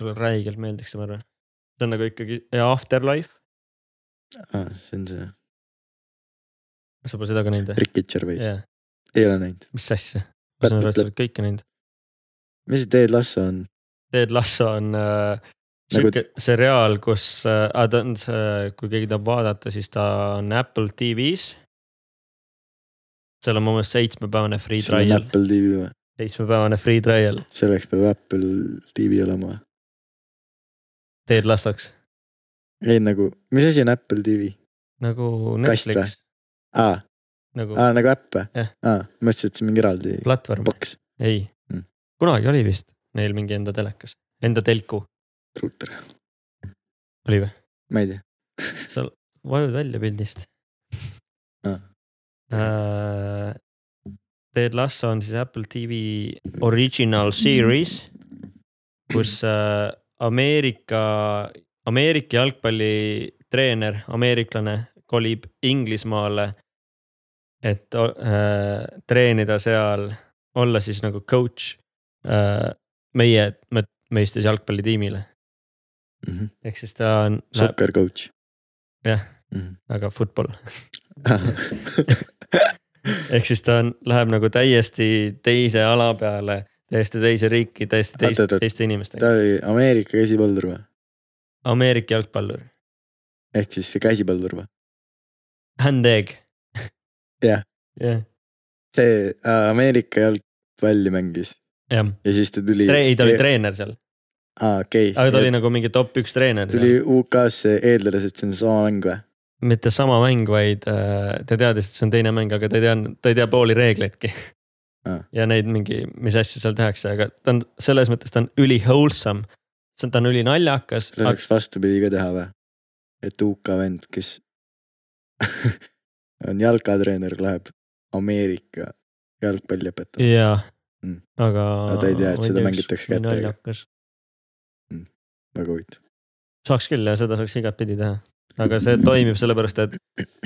[SPEAKER 1] mulle räigelt meeldiks , ma arvan . see on nagu ikkagi ja Afterlife ,
[SPEAKER 3] Ah, see on see
[SPEAKER 1] sa pole seda ka näinud või ?
[SPEAKER 3] Ricky Gervais ,
[SPEAKER 1] jaa ,
[SPEAKER 3] ei ole näinud .
[SPEAKER 1] mis asja , ma saan aru , et sa oled kõike näinud .
[SPEAKER 3] mis see Ted Lasso on ?
[SPEAKER 1] Ted Lasso on äh,
[SPEAKER 3] Nagu-
[SPEAKER 1] sihuke seriaal , kus äh, , ta on see , kui keegi tahab vaadata , siis ta on Apple TV-s . seal on mu meelest seitsmepäevane free
[SPEAKER 3] sul on
[SPEAKER 1] trial ,
[SPEAKER 3] Apple TV või ?
[SPEAKER 1] seitsmepäevane free trial
[SPEAKER 3] selleks peab Apple TV olema või ?
[SPEAKER 1] Ted Lassoks
[SPEAKER 3] ei nagu , mis asi on Apple TV ?
[SPEAKER 1] nagu
[SPEAKER 3] Kast
[SPEAKER 1] Netflix ,
[SPEAKER 3] aa ,
[SPEAKER 1] nagu
[SPEAKER 3] aa nagu äpp või ?
[SPEAKER 1] Jah.
[SPEAKER 3] aa , mõtlesin , et see on mingi eraldi
[SPEAKER 1] platvorm ,
[SPEAKER 3] boks ,
[SPEAKER 1] ei
[SPEAKER 3] Mm.
[SPEAKER 1] mm. . kunagi oli vist neil mingi enda telekas , enda telku
[SPEAKER 3] ruuter ,
[SPEAKER 1] oli või ?
[SPEAKER 3] ma ei tea .
[SPEAKER 1] vajud välja pildist
[SPEAKER 3] Ah.
[SPEAKER 1] uh, . Ted Lasso on siis Apple TV original Nagu series , kus uh, Ameerika , Ameerika jalgpallitreener , ameeriklane kolib Inglismaale . et uh, treenida seal , olla siis nagu coach uh, meie , meistes jalgpallitiimile , ehk siis ta on ,
[SPEAKER 3] Mhm. Soccer coach . Mhm.
[SPEAKER 1] Jah. aga football . ehk siis ta on , läheb nagu täiesti teise ala peale , täiesti teise riiki , täiesti teiste
[SPEAKER 3] Oot-oot-oot. ,
[SPEAKER 1] teiste inimestega .
[SPEAKER 3] ta oli Ameerika käsipallur või ?
[SPEAKER 1] Ameerika jalgpallur ,
[SPEAKER 3] ehk siis see käsipallur või ?
[SPEAKER 1] Handegg .
[SPEAKER 3] Jah. .
[SPEAKER 1] jah ,
[SPEAKER 3] see aa, Ameerika jalgpalli mängis
[SPEAKER 1] jah ,
[SPEAKER 3] ja siis ta tuli .
[SPEAKER 1] ei ta oli . treener seal ,
[SPEAKER 3] aa , okei .
[SPEAKER 1] aga ta oli nagu mingi top üks treener
[SPEAKER 3] tuli
[SPEAKER 1] seal .
[SPEAKER 3] UK-sse , eeldades , et see on sama mäng või ?
[SPEAKER 1] mitte sama mäng , vaid äh, ta teadis , et see on teine mäng , aga ta ei teadnud , ta ei tea pooli reegleidki
[SPEAKER 3] Aa. .
[SPEAKER 1] ja neid mingi , mis asju seal tehakse , aga ta on selles mõttes ta on üli wholesome , ta on ülinaljakas , aga
[SPEAKER 3] laseks vastupidi ka teha või ? et UK vend , kes on jalkatreener , läheb Ameerika jalgpalli õpetama .
[SPEAKER 1] jaa
[SPEAKER 3] Mm. ,
[SPEAKER 1] aga .
[SPEAKER 3] Aga ta ei tea, et seda mängitakse kätega.
[SPEAKER 1] naljakas ,
[SPEAKER 3] väga huvitav .
[SPEAKER 1] saaks küll ja seda saaks igatpidi teha , aga see toimib sellepärast , et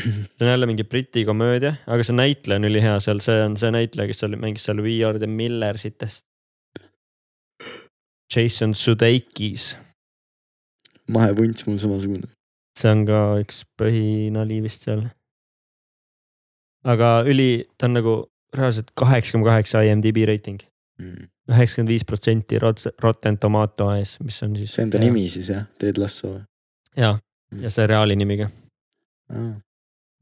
[SPEAKER 1] see on jälle mingi Briti komöödia , aga see näitleja on ülihea seal , see on see näitleja , kes seal mängis seal We are the Millersitest . Jason Sudeikis ,
[SPEAKER 3] mahevunts mul samasugune .
[SPEAKER 1] see on ka üks põhinali vist seal . aga üli , ta on nagu reaalselt kaheksakümmend kaheksa IMDB reiting ,
[SPEAKER 3] Mm.
[SPEAKER 1] üheksakümmend viis protsenti Rotten Tomato ees , mis on siis .
[SPEAKER 3] see on ta nimi siis jah , Ted Lasso või ?
[SPEAKER 1] ja , ja seriaali nimiga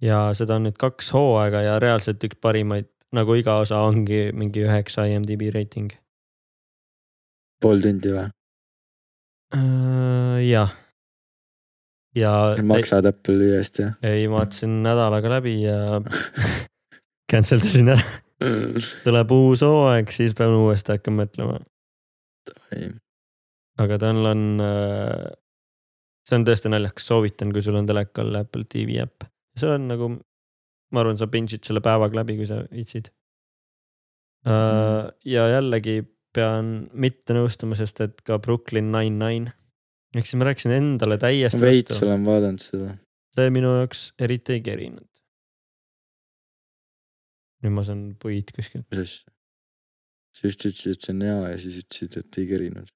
[SPEAKER 1] ja seda on nüüd kaks hooaega ja reaalselt üks parimaid , nagu iga osa ongi mingi üheksa IMDB reiting .
[SPEAKER 3] pool tundi või ?
[SPEAKER 1] Äh, jah . ja ei,
[SPEAKER 3] maksad Apple'i eest jah ?
[SPEAKER 1] ei , ma vaatasin nädalaga läbi ja cancel dasin ära , tuleb uus hooaeg , siis pean uuesti hakkama mõtlema , aga tal on . see on tõesti naljakas , soovitan , kui sul on telekal Apple TV äpp , see on nagu , ma arvan , sa pinch'id selle päevaga läbi , kui sa viitsid . ja jällegi pean mitte nõustuma , sest et ka Brooklyn Nine-Nine , ehk siis ma rääkisin endale täiesti
[SPEAKER 3] veits
[SPEAKER 1] vastu ,
[SPEAKER 3] olen vaadanud seda .
[SPEAKER 1] see minu jaoks eriti ei kerinud . nüüd ma saan puid kuskilt ,
[SPEAKER 3] mis asja ? sa just ütlesid , et see on hea ja siis ütlesid , et ei kerinud .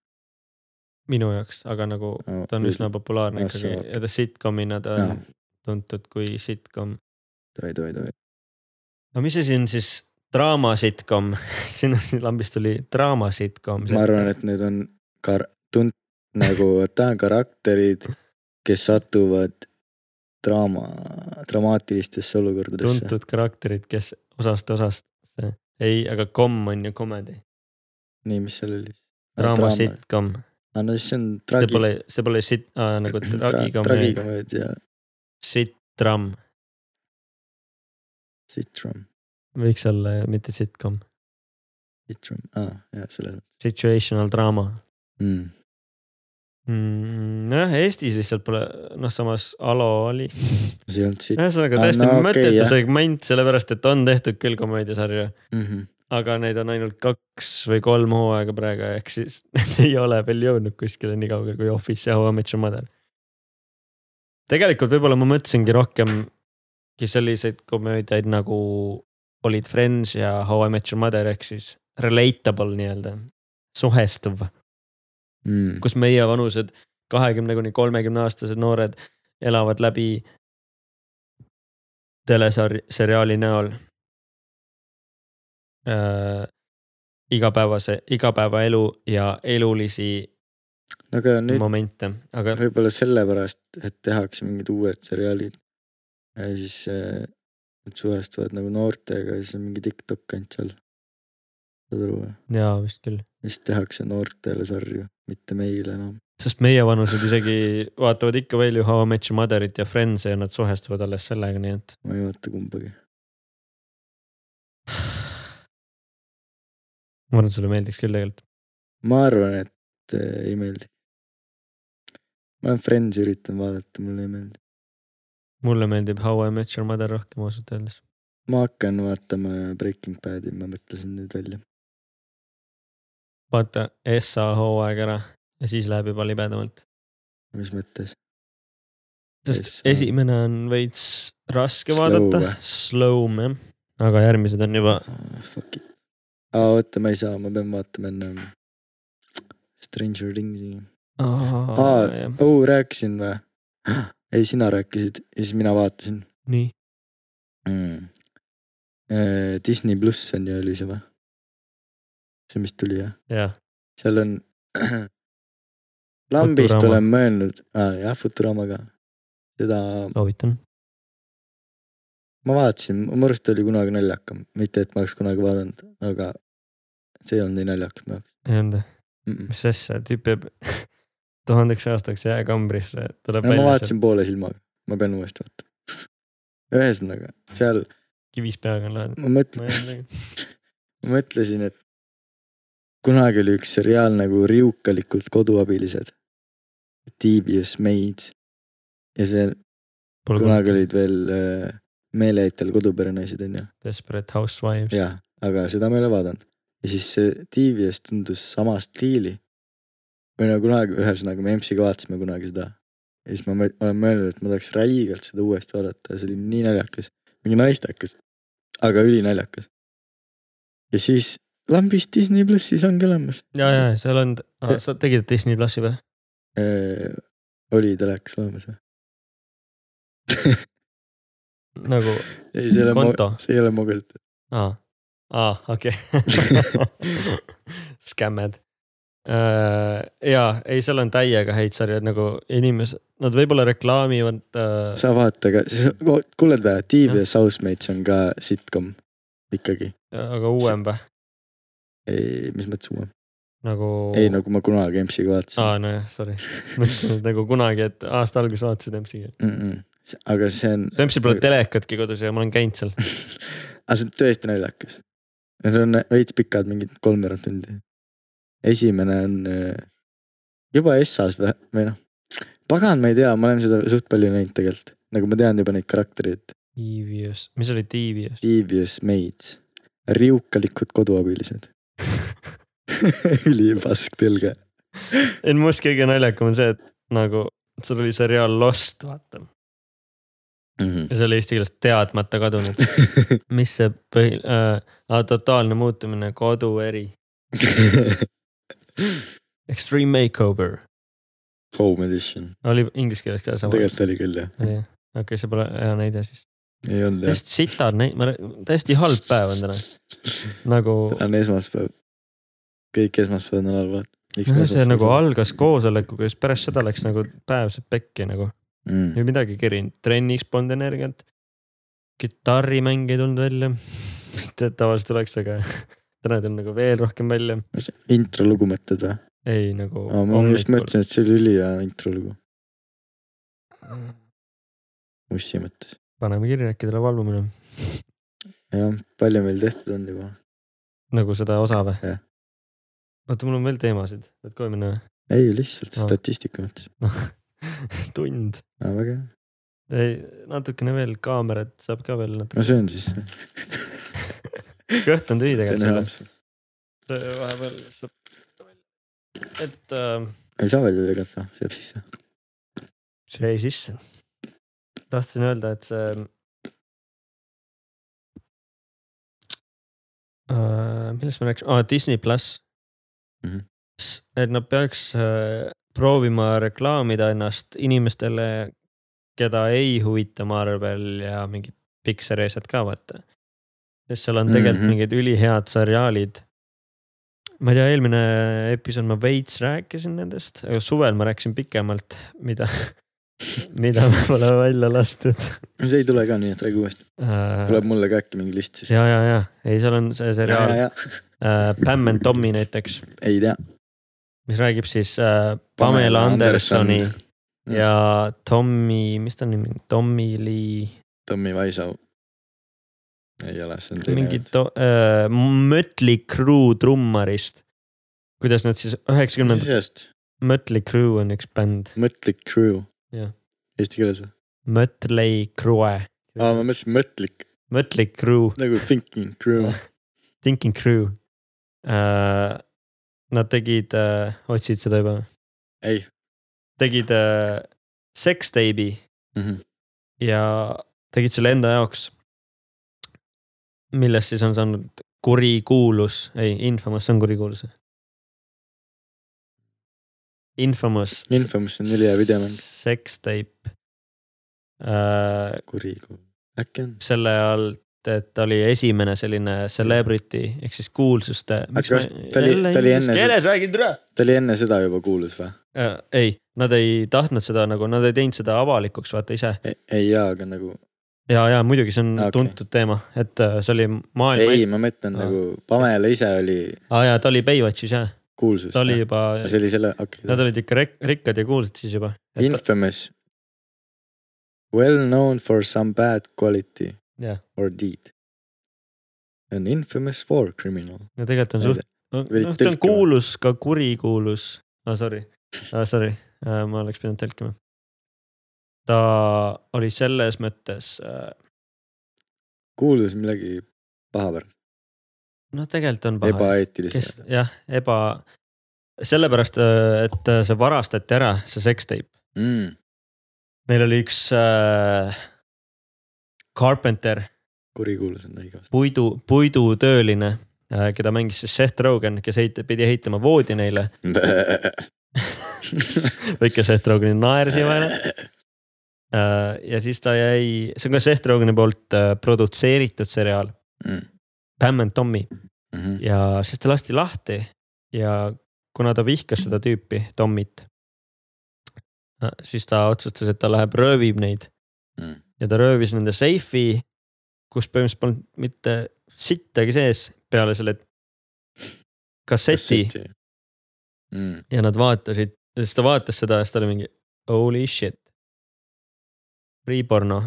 [SPEAKER 1] minu jaoks , aga nagu ta on üsna populaarne
[SPEAKER 3] Ah, sa
[SPEAKER 1] ikkagi
[SPEAKER 3] vaatad.
[SPEAKER 1] ja ta sitcom'ina ta
[SPEAKER 3] Jaa.
[SPEAKER 1] on tuntud kui sitcom .
[SPEAKER 3] tohi , tohi , tohi .
[SPEAKER 1] aga mis asi on siis draamasitcom ? siin siin lambist tuli draamasitcom .
[SPEAKER 3] ma arvan , et need on kar- , tunt- , nagu , ta on karakterid , kes satuvad draama , dramaatilistesse olukordadesse .
[SPEAKER 1] tuntud karakterid , kes osast osast , ei , aga kom on ju comedy ,
[SPEAKER 3] nii , mis seal oli ?
[SPEAKER 1] draama . sitcom ,
[SPEAKER 3] aa , no siis see on
[SPEAKER 1] see
[SPEAKER 3] tragi ,
[SPEAKER 1] pole , see pole sit- äh, nagu tragikomöödia ,
[SPEAKER 3] tragikomöödia ,
[SPEAKER 1] sitram
[SPEAKER 3] sitrum ,
[SPEAKER 1] võiks olla ju , mitte sitcom ,
[SPEAKER 3] sitrum , aa , Ah, jaa , selles mõttes
[SPEAKER 1] situational drama
[SPEAKER 3] mm. .
[SPEAKER 1] mm, . nojah , Eestis lihtsalt pole , noh , samas Alo oli ,
[SPEAKER 3] see ei olnud sit-
[SPEAKER 1] ühesõnaga
[SPEAKER 3] Ah,
[SPEAKER 1] täiesti
[SPEAKER 3] no
[SPEAKER 1] no,
[SPEAKER 3] okei,
[SPEAKER 1] mõttetu okay,
[SPEAKER 3] jah.
[SPEAKER 1] segment , sellepärast et on tehtud küll komöödiasarju ,
[SPEAKER 3] mm . -hmm.
[SPEAKER 1] aga neid on ainult kaks või kolm hooaega praegu , ehk siis ei ole veel jõudnud kuskile nii kaugele kui Office ja How I Met Your Mother . tegelikult võib-olla ma mõtlesingi rohkemgi selliseid komöödiaid nagu olid Friends ja How I Met Your Mother ehk siis relatable nii-öelda , suhestuv .
[SPEAKER 3] Mm.
[SPEAKER 1] Mhm. kus meie vanused kahekümne kuni kolmekümne aastased noored elavad läbi teleseriaali näol äh, igapäevase , igapäevaelu ja elulisi
[SPEAKER 3] aga
[SPEAKER 1] Nüüd...
[SPEAKER 3] nüüd
[SPEAKER 1] momente , aga
[SPEAKER 3] võib-olla sellepärast , et tehakse mingid uued seriaalid . ja siis äh, nad suhestuvad nagu noortega ja siis on mingi Tiktok ainult seal . saad aru või ?
[SPEAKER 1] jaa vist küll ,
[SPEAKER 3] ja siis tehakse noortele sarju , mitte meile enam .
[SPEAKER 1] sest meie vanused isegi vaatavad ikka veel ju How I Met Your Mother'it ja Friends'e ja nad suhestuvad alles sellega , nii et
[SPEAKER 3] ma ei vaata kumbagi .
[SPEAKER 1] ma arvan , et sulle meeldiks küll tegelikult .
[SPEAKER 3] ma arvan , et äh, ei meeldi . ma olen Friendsi üritanud vaadata , mulle ei meeldi .
[SPEAKER 1] mulle meeldib How I Met Your Mother rohkem ausalt öeldes .
[SPEAKER 3] ma hakkan vaatama Breaking Badi , ma mõtlesin nüüd välja .
[SPEAKER 1] vaata SA hooaeg ära ja siis läheb juba libedamalt .
[SPEAKER 3] mis mõttes ?
[SPEAKER 1] sest
[SPEAKER 3] SA.
[SPEAKER 1] esimene on veits raske
[SPEAKER 3] Slow
[SPEAKER 1] vaadata
[SPEAKER 3] või? ,
[SPEAKER 1] slowm jah , aga järgmised on juba
[SPEAKER 3] Ah, Fuck it . aa , oota , ma ei saa , ma pean vaatama enne Stranger Things'i . Aa.
[SPEAKER 1] oh, .
[SPEAKER 3] oo , rääkisin või ? ei , sina rääkisid ja siis mina vaatasin
[SPEAKER 1] nii ,
[SPEAKER 3] mm. . Disney pluss on ju , oli see või ? see , mis tuli jah ,
[SPEAKER 1] jah ,
[SPEAKER 3] seal on . lambist
[SPEAKER 1] Futurama.
[SPEAKER 3] olen mõelnud ah, , jah , Futurama ka . seda
[SPEAKER 1] soovitan .
[SPEAKER 3] ma vaatasin , mu arust oli kunagi naljakam , mitte et ma oleks kunagi vaadanud , aga see ei olnud nii naljakas minu jaoks
[SPEAKER 1] ei olnud ,
[SPEAKER 3] mm . -mm.
[SPEAKER 1] mis asja , tüüp jääb tuhandeks aastaks jääkambrisse , tuleb
[SPEAKER 3] no ma
[SPEAKER 1] välja sealt
[SPEAKER 3] vaatasin poole silmaga , ma pean uuesti vaatama . ühesõnaga seal
[SPEAKER 1] kivis peaga on lahendus .
[SPEAKER 3] ma mõtlen , ma mõtlesin , et kunagi oli üks seriaal nagu Riukalikult koduabilised . TBS Maids ja see kunagi olid veel äh, meeleheitel koduperenaised onju ,
[SPEAKER 1] Desperate Housewives .
[SPEAKER 3] jaa , aga seda ma ei ole vaadanud . ja siis see TBS tundus sama stiili . või no kunagi , ühesõnaga me EMS-iga vaatasime kunagi seda . ja siis ma mõ- olen mõelnud , et ma tahaks räigelt seda uuesti vaadata , see oli nii naljakas , mingi naistekas , aga ülinaljakas . ja siis lambist Disney plussis ongi olemas .
[SPEAKER 1] ja , ja seal on , sa tegid Disney plussi või ?
[SPEAKER 3] oli telekas olemas või ?
[SPEAKER 1] nagu ,
[SPEAKER 3] ei , see ei ole
[SPEAKER 1] Konto. ,
[SPEAKER 3] see ei ole mogult .
[SPEAKER 1] aa , aa , Ah. okei . Skämmed . Äh, jaa , ei , seal on täiega häid sarju , nagu inimesed , nad võib-olla reklaamivad äh, .
[SPEAKER 3] sa vaata ka , kuuled või , TBS Housemates on ka sitcom ikkagi ,
[SPEAKER 1] aga uuem või ?
[SPEAKER 3] mis mõttes uuem ,
[SPEAKER 1] nagu .
[SPEAKER 3] ei nagu ma kunagi EMS-iga vaatasin
[SPEAKER 1] aa , nojah , sorry , mõtlesin , et nagu kunagi , et aasta alguses vaatasid EMS-i .
[SPEAKER 3] mm . -mm. See- aga see on ,
[SPEAKER 1] EMS-il pole telekatki kodus ja ma olen käinud seal .
[SPEAKER 3] aga see on tõesti naljakas . Need on veits pikad , mingid kolmveerand tundi . esimene on äh, juba Essas või , või noh , pagan , ma ei tea , ma olen seda suht palju näinud tegelikult , nagu ma tean juba neid karaktereid ,
[SPEAKER 1] TVS , mis oli TVS ?
[SPEAKER 3] TBS Maids , riukalikud koduabilised . ülipask tõlge .
[SPEAKER 1] ei , minu arust kõige naljakam on see , et nagu sul oli seriaal Lost , vaata . ja see oli eesti keeles teadmata kadunud .
[SPEAKER 3] Mhm.
[SPEAKER 1] mis see põhi- äh, , totaalne muutumine , kodueri , extreme makeover
[SPEAKER 3] Home edition ,
[SPEAKER 1] oli inglise keeles ka sama .
[SPEAKER 3] tegelikult oli küll jah ,
[SPEAKER 1] oli jah , okei okay, , see pole hea näide siis .
[SPEAKER 3] ei olnud jah .
[SPEAKER 1] täiesti sitad näid- , ma , täiesti halb päev on täna , nagu .
[SPEAKER 3] täna on esmaspäev . kõik esmaspäevad on halvad .
[SPEAKER 1] see nagu algas koosolekuga , siis pärast seda läks nagu päev see pekki nagu .
[SPEAKER 3] mm. .
[SPEAKER 1] või midagi kerinud , trenniks polnud energiat . kitarrimänge ei tulnud välja . mitte , et tavaliselt oleks , aga täna tuli nagu veel rohkem välja .
[SPEAKER 3] kas intro lugu mõtled või ?
[SPEAKER 1] ei nagu .
[SPEAKER 3] ma just mõtlesin , et see oli ülihea intro lugu , Mussi mõttes .
[SPEAKER 1] paneme kirja , äkki tuleb albumile .
[SPEAKER 3] jah , palju meil tehtud on juba ?
[SPEAKER 1] nagu seda osa või
[SPEAKER 3] Jah. ?
[SPEAKER 1] oota , mul on veel teemasid , tahad kohe minna
[SPEAKER 3] ei , lihtsalt
[SPEAKER 1] Aa.
[SPEAKER 3] statistika mõttes .
[SPEAKER 1] või ? tund ,
[SPEAKER 3] väga hea .
[SPEAKER 1] ei natukene veel kaamerat saab ka veel natuke ,
[SPEAKER 3] no see on siis .
[SPEAKER 1] kõht on tühi tegelikult .
[SPEAKER 3] ei
[SPEAKER 1] vahepeal saab , et äh,
[SPEAKER 3] saa välja tegelikult või , jääb sisse .
[SPEAKER 1] see jäi sisse . tahtsin öelda , et see uh, . millest me rääkisime ah, , Disney pluss
[SPEAKER 3] Mhm.
[SPEAKER 1] S- et nad peaks äh, proovima reklaamida ennast inimestele , keda ei huvita Marvel ja mingid Pixari asjad ka vaata . sest seal on tegelikult mm
[SPEAKER 3] Mhm.
[SPEAKER 1] -hmm. mingid ülihead sarjaalid . ma ei tea , eelmine episood ma veits rääkisin nendest , aga suvel ma rääkisin pikemalt , mida , mida me pole välja lastud .
[SPEAKER 3] see ei tule ka nii , et räägi uuesti . tuleb mulle ka äkki mingi list siis .
[SPEAKER 1] Äh, ja , ja , ja ei , seal on see seriaal
[SPEAKER 3] ja ,
[SPEAKER 1] äh, Pam and Tommy näiteks ,
[SPEAKER 3] ei tea .
[SPEAKER 1] mis räägib siis äh, Pamela Mm. Andersoni
[SPEAKER 3] Anderson.
[SPEAKER 1] ja Tommy , mis ta nimi on , Tommy Lee ,
[SPEAKER 3] Tommy Wiseau . ei ole , see on teine .
[SPEAKER 1] mingi to- äh, Mötley Crüe trummarist . kuidas nad siis üheksakümnendad ,
[SPEAKER 3] sisest ,
[SPEAKER 1] Mötley Crüe on üks bänd ,
[SPEAKER 3] mõtlik crew .
[SPEAKER 1] Jah.
[SPEAKER 3] Eesti keeles või ?
[SPEAKER 1] Mötley Crüe ,
[SPEAKER 3] aa , ma mõtlesin mõtlik
[SPEAKER 1] Mötley Crüe ,
[SPEAKER 3] nagu thinking crew .
[SPEAKER 1] Thinking Crüe äh, . Nad tegid äh, , otsid seda juba ,
[SPEAKER 3] ei
[SPEAKER 1] tegid äh, Sex Tape'i
[SPEAKER 3] mm . -hmm.
[SPEAKER 1] ja tegid selle enda jaoks . millest siis on saanud kurikuulus , ei Infamous on kurikuulus . Infamous .
[SPEAKER 3] Infamous on ülihea videomäng .
[SPEAKER 1] Sex tape äh, .
[SPEAKER 3] kuri , äkki on .
[SPEAKER 1] selle all , et ta oli esimene selline celebrity ehk siis kuulsuste .
[SPEAKER 3] kas ta oli- ta oli enne seda-
[SPEAKER 1] keeles räägid üle
[SPEAKER 3] ta oli enne seda juba kuulus või ?
[SPEAKER 1] äh, ? ei , nad ei tahtnud seda nagu , nad ei teinud seda avalikuks , vaata ise .
[SPEAKER 3] ei jaa , aga nagu ,
[SPEAKER 1] ja , ja muidugi see on
[SPEAKER 3] Okei.
[SPEAKER 1] okay. tuntud teema , et äh, see oli maailma .
[SPEAKER 3] ei , ma mõtlen
[SPEAKER 1] Aa.
[SPEAKER 3] nagu Pamela ise oli
[SPEAKER 1] aa ah, jaa , ta oli Baywatchis jah ,
[SPEAKER 3] kuulsus .
[SPEAKER 1] ta oli juba ,
[SPEAKER 3] see oli selle , okei
[SPEAKER 1] nad olid ikka rik- rikkad ja kuulsad siis juba .
[SPEAKER 3] Infamous . Well known for some bad quality
[SPEAKER 1] jah ,
[SPEAKER 3] or deed . An infamous war criminal .
[SPEAKER 1] no tegelikult on
[SPEAKER 3] Ma ei
[SPEAKER 1] suht , noh
[SPEAKER 3] pidid
[SPEAKER 1] ta on
[SPEAKER 3] tõlkima.
[SPEAKER 1] kuulus ka kurikuulus , ah sorry ah, , sorry ah, , ma oleks pidanud tõlkima . ta oli selles mõttes , äh,
[SPEAKER 3] kuulus millegi paha pärast ,
[SPEAKER 1] noh tegelikult on paha , kes
[SPEAKER 3] ebaeetilist .
[SPEAKER 1] jah , eba , sellepärast , et äh, see varastati ära , see sekstape ,
[SPEAKER 3] Mm.
[SPEAKER 1] neil oli üks äh, Carpenter
[SPEAKER 3] kurikuulus on ta igast .
[SPEAKER 1] puidu , puidutööline , keda mängis siis Seth Rogen , kes heit- , pidi heitama voodi neile . väike Seth Rogeni naer siin vahel . Äh, ja siis ta jäi , see on ka Seth Rogeni poolt äh, produtseeritud seriaal
[SPEAKER 3] Mm. Mhm.
[SPEAKER 1] Pam and Tommy ja siis ta lasti lahti ja kuna ta vihkas seda tüüpi , Tommit . siis ta otsustas , et ta läheb röövib neid
[SPEAKER 3] Mm.
[SPEAKER 1] ja ta röövis nende seifi , kus põhimõtteliselt polnud mitte sittagi sees peale selle kasseti
[SPEAKER 3] mm. .
[SPEAKER 1] ja nad vaatasid , siis ta vaatas seda ja siis ta oli mingi holy shit . Free porno ,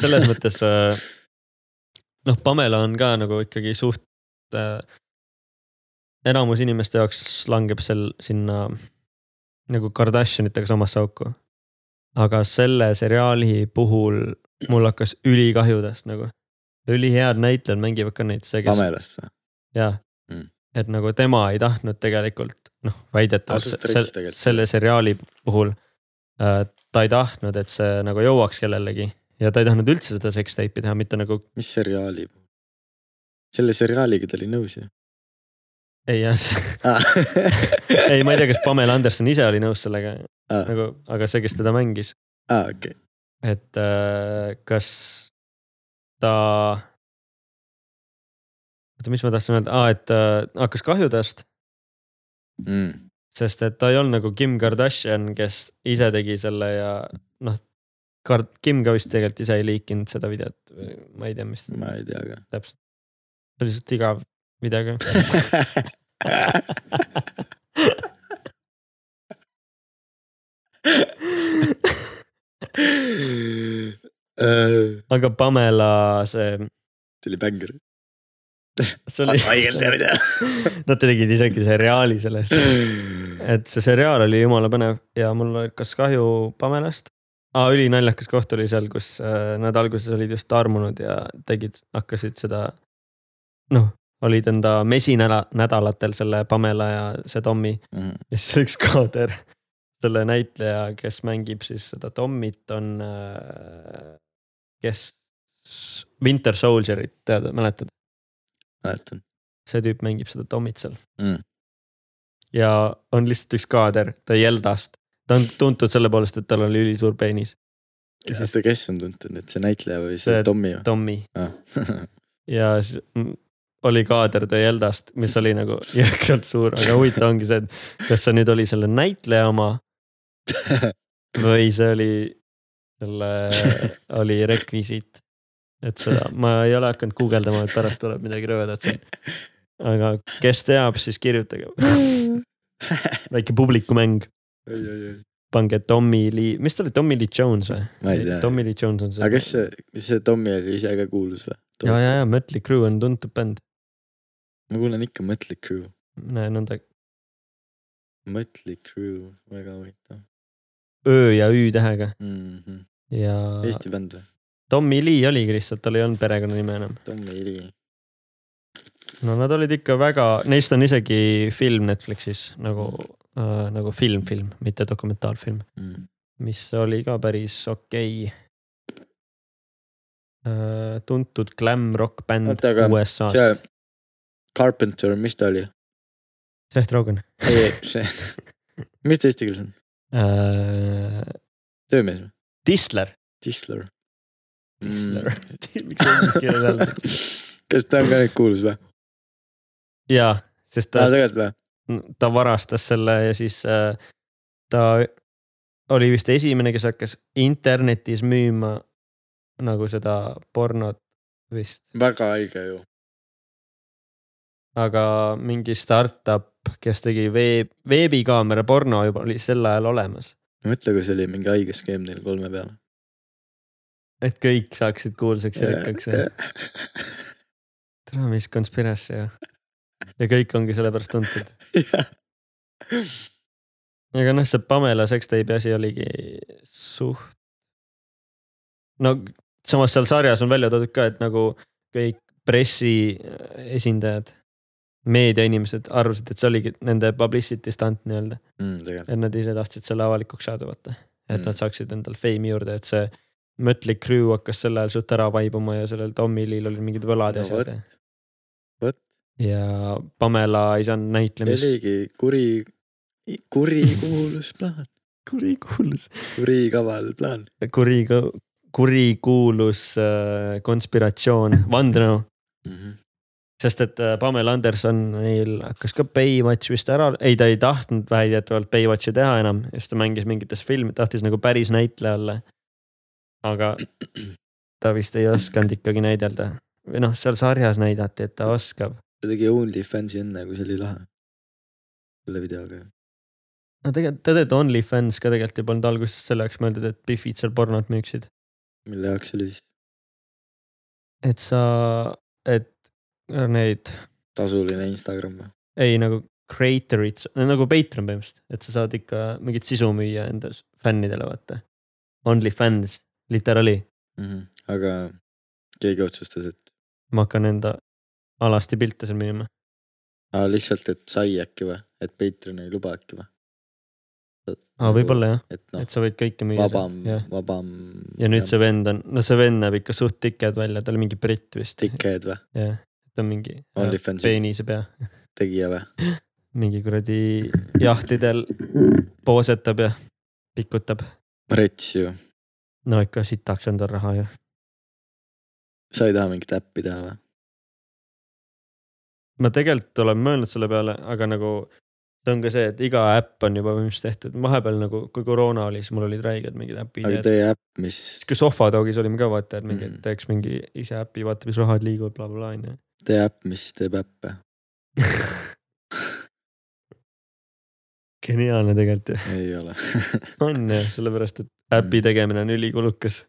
[SPEAKER 1] selles mõttes äh, noh , Pamela on ka nagu ikkagi suht äh, . enamus inimeste jaoks langeb seal sinna nagu Kardashinitega samasse auku . aga selle seriaali puhul mul hakkas ülikahju tast nagu , ülihead näitlejad mängivad ka neid , see kes ,
[SPEAKER 3] Pamelast või ?
[SPEAKER 1] jaa
[SPEAKER 3] Mm.
[SPEAKER 1] et nagu tema ei tahtnud tegelikult noh , väidetavalt
[SPEAKER 3] Tasus trits
[SPEAKER 1] sel,
[SPEAKER 3] tegelikult.
[SPEAKER 1] selle seriaali puhul äh, . ta ei tahtnud , et see nagu jõuaks kellelegi ja ta ei tahtnud üldse seda seksteipi teha , mitte nagu
[SPEAKER 3] mis seriaali ? selle seriaaliga ta oli nõus ju .
[SPEAKER 1] ei jah ,
[SPEAKER 3] Ah.
[SPEAKER 1] ei ma ei tea , kas Pamela Anderson ise oli nõus sellega
[SPEAKER 3] Aa.
[SPEAKER 1] nagu , aga see , kes teda mängis ,
[SPEAKER 3] aa , Ah, okei .
[SPEAKER 1] et äh, kas ta . oota , mis ma tahtsin öelda ah, , et äh, hakkas kahju tast ,
[SPEAKER 3] Mm.
[SPEAKER 1] sest et ta ei olnud nagu Kim Kardashian , kes ise tegi selle ja noh , Kard- , Kim ka vist tegelikult ise ei liikinud seda videot , ma ei tea , mis
[SPEAKER 3] ma ei tea ka .
[SPEAKER 1] täpselt . see oli lihtsalt igav video ka .
[SPEAKER 3] see
[SPEAKER 1] aga Pamela see ,
[SPEAKER 3] oli bängar .
[SPEAKER 1] see oli ,
[SPEAKER 3] mida .
[SPEAKER 1] nad tegid isegi seriaali sellest .
[SPEAKER 3] Mm,
[SPEAKER 1] et see seriaal oli jumala põnev ja mul hakkas kahju Pamelast ah, . ülinaljakas koht oli seal , kus äh, nad alguses olid just armunud ja tegid , hakkasid seda noh , olid enda mesinäla- , nädalatel selle Pamela ja see Tommy ja siis üks kaader , selle näitleja , kes mängib siis seda Tommit , on äh, kes , Winter Soldierit tead , mäletad ,
[SPEAKER 3] mäletan .
[SPEAKER 1] see tüüp mängib seda Tommit seal
[SPEAKER 3] Mm. .
[SPEAKER 1] ja on lihtsalt üks kaader , ta ei Eldast , ta on tuntud selle poolest , et tal oli ülisuur peenis ,
[SPEAKER 3] oota , kes on tuntud nüüd , see näitleja või see
[SPEAKER 1] See-
[SPEAKER 3] Tommy või ? Ah.
[SPEAKER 1] Tommy ja siis m- oli kaader The Eldast , mis oli nagu jõhkralt suur , aga huvitav ongi see , et kas see nüüd oli selle näitleja oma või see oli , selle oli rekvisiit . et seda , ma ei ole hakanud guugeldama , et pärast tuleb midagi rõvedat siin . aga kes teab , siis kirjutage , väike publikumäng , pange Tommy Lee , mis ta oli , Tommy Lee Jones või ?
[SPEAKER 3] ma ei tea .
[SPEAKER 1] Tommy Lee Jones on see .
[SPEAKER 3] aga kas see , kas see Tommy oli ise ka kuulus või ?
[SPEAKER 1] ja , ja , ja Mötley Crüe on tuntud bänd ,
[SPEAKER 3] ma kuulan ikka Mötley Crüe ,
[SPEAKER 1] nõnda
[SPEAKER 3] Mötley Crüe , väga huvitav
[SPEAKER 1] öö ja ü tähega
[SPEAKER 3] mm . -hmm.
[SPEAKER 1] ja
[SPEAKER 3] Eesti bänd või ?
[SPEAKER 1] Tommy Lee oligi lihtsalt , tal ei olnud perekonnanime enam .
[SPEAKER 3] Tommy Lee .
[SPEAKER 1] no nad olid ikka väga , neist on isegi film Netflixis nagu
[SPEAKER 3] Mm.
[SPEAKER 1] äh, , nagu film , film , mitte dokumentaalfilm , mis oli ka päris okei äh, . tuntud glam rock bänd
[SPEAKER 3] Oota, aga see
[SPEAKER 1] USA-st ,
[SPEAKER 3] Carpenter , mis ta oli ?
[SPEAKER 1] Seth Rogen
[SPEAKER 3] ei , see , mis ta eesti keeles on ?
[SPEAKER 1] äh, .
[SPEAKER 3] töömees või ?
[SPEAKER 1] Disler ,
[SPEAKER 3] Tisler .
[SPEAKER 1] Disler mm. , miks see inglise keeles öeldakse ?
[SPEAKER 3] kas ta on ka nüüd kuulus või ?
[SPEAKER 1] jaa , sest ta
[SPEAKER 3] aa , tegelikult või ?
[SPEAKER 1] ta varastas selle ja siis äh, ta oli vist esimene , kes hakkas internetis müüma nagu seda pornot vist ,
[SPEAKER 3] väga haige ju .
[SPEAKER 1] aga mingi startup , kes tegi veeb , veebikaamera porno juba oli sel ajal olemas ,
[SPEAKER 3] mõtle , kui see oli mingi haige skeem neil kolme peale .
[SPEAKER 1] et kõik saaksid kuulsaks ja rikkaks ja tere , mis conspiracy ja , ja kõik ongi sellepärast tuntud . aga noh , see Pamela seksteibi asi oligi suht . no samas seal sarjas on välja toodud ka , et nagu kõik pressi äh, esindajad , meediainimesed arvasid , et see oligi nende publicity stunt nii-öelda ,
[SPEAKER 3] Mm, tegelikult .
[SPEAKER 1] et nad ise tahtsid selle avalikuks saada , vaata . et
[SPEAKER 3] Mm.
[SPEAKER 1] nad saaksid endal feimi juurde , et see Mötley Crüe hakkas sel ajal suht ära vaibuma ja sellel Tommy Lee'l olid mingid võlad ja
[SPEAKER 3] No vot.
[SPEAKER 1] asjad ja
[SPEAKER 3] Vot. .
[SPEAKER 1] ja Pamela ei saanud
[SPEAKER 3] see
[SPEAKER 1] näitlemist .
[SPEAKER 3] oligi kuri , kurikuulus plaan ,
[SPEAKER 1] kurikuulus .
[SPEAKER 3] kurikaval plaan .
[SPEAKER 1] kuri , kurikuulus äh, konspiratsioon , vandenõu , Mhm. sest et äh, Pamela Anderson , neil hakkas ka Baywatch vist ära , ei ta ei tahtnud väidetavalt Baywatchi teha enam , siis ta mängis mingites film , tahtis nagu päris näitleja olla . aga ta vist ei osanud ikkagi näidelda või noh , seal sarjas näidati , et ta oskab .
[SPEAKER 3] ta tegi OnlyFansi enne , kui see oli lahe . selle videoga .
[SPEAKER 1] no tegelikult tead , et OnlyFans ka tegelikult ei polnud alguses selle jaoks mõeldud , et Biffid seal pornot müüksid .
[SPEAKER 3] mille jaoks see oli siis ?
[SPEAKER 1] et sa , et neid
[SPEAKER 3] tasuline Instagram või ?
[SPEAKER 1] ei nagu creator'id , nagu Patreon põhimõtteliselt , et sa saad ikka mingit sisu müüa enda s- fännidele , vaata . OnlyFans , literally ,
[SPEAKER 3] aga keegi otsustas , et
[SPEAKER 1] ma hakkan enda alasti pilte seal müüma .
[SPEAKER 3] aa, lihtsalt , et sai äkki või , et Patreon ei luba äkki või ?
[SPEAKER 1] aa , võib-olla jah ,
[SPEAKER 3] et noh
[SPEAKER 1] et , sa võid kõike müüa .
[SPEAKER 3] vabam
[SPEAKER 1] ja. ,
[SPEAKER 3] vabam .
[SPEAKER 1] ja nüüd see vend on , no see vend näeb ikka suht tiked välja , ta oli mingi britt vist .
[SPEAKER 3] tikked või ,
[SPEAKER 1] jah , ta on mingi äh,
[SPEAKER 3] OnlyFansi
[SPEAKER 1] peenise pea ,
[SPEAKER 3] tegija või ?
[SPEAKER 1] mingi kuradi jahtidel poosetab ja pikutab .
[SPEAKER 3] rets ju ,
[SPEAKER 1] no ikka sitaks on tal raha ju .
[SPEAKER 3] sa ei taha mingit äppi teha või ?
[SPEAKER 1] ma tegelikult olen mõelnud selle peale , aga nagu see on ka see , et iga äpp on juba põhimõtteliselt tehtud , vahepeal nagu kui koroona oli , siis mul olid räiged mingid äpid
[SPEAKER 3] aga
[SPEAKER 1] ja
[SPEAKER 3] teie äpp , mis
[SPEAKER 1] siis kui Sohvatogis olime ka vaata , et mingi mm.
[SPEAKER 3] Mhm.
[SPEAKER 1] teeks mingi ise äpi , vaata , mis rahad liiguvad bla, , blablabla onju .
[SPEAKER 3] teie äpp , mis teeb äppe ?
[SPEAKER 1] geniaalne tegelikult ju ,
[SPEAKER 3] ei ole .
[SPEAKER 1] on ju , sellepärast et äpi tegemine on ülikulukas ,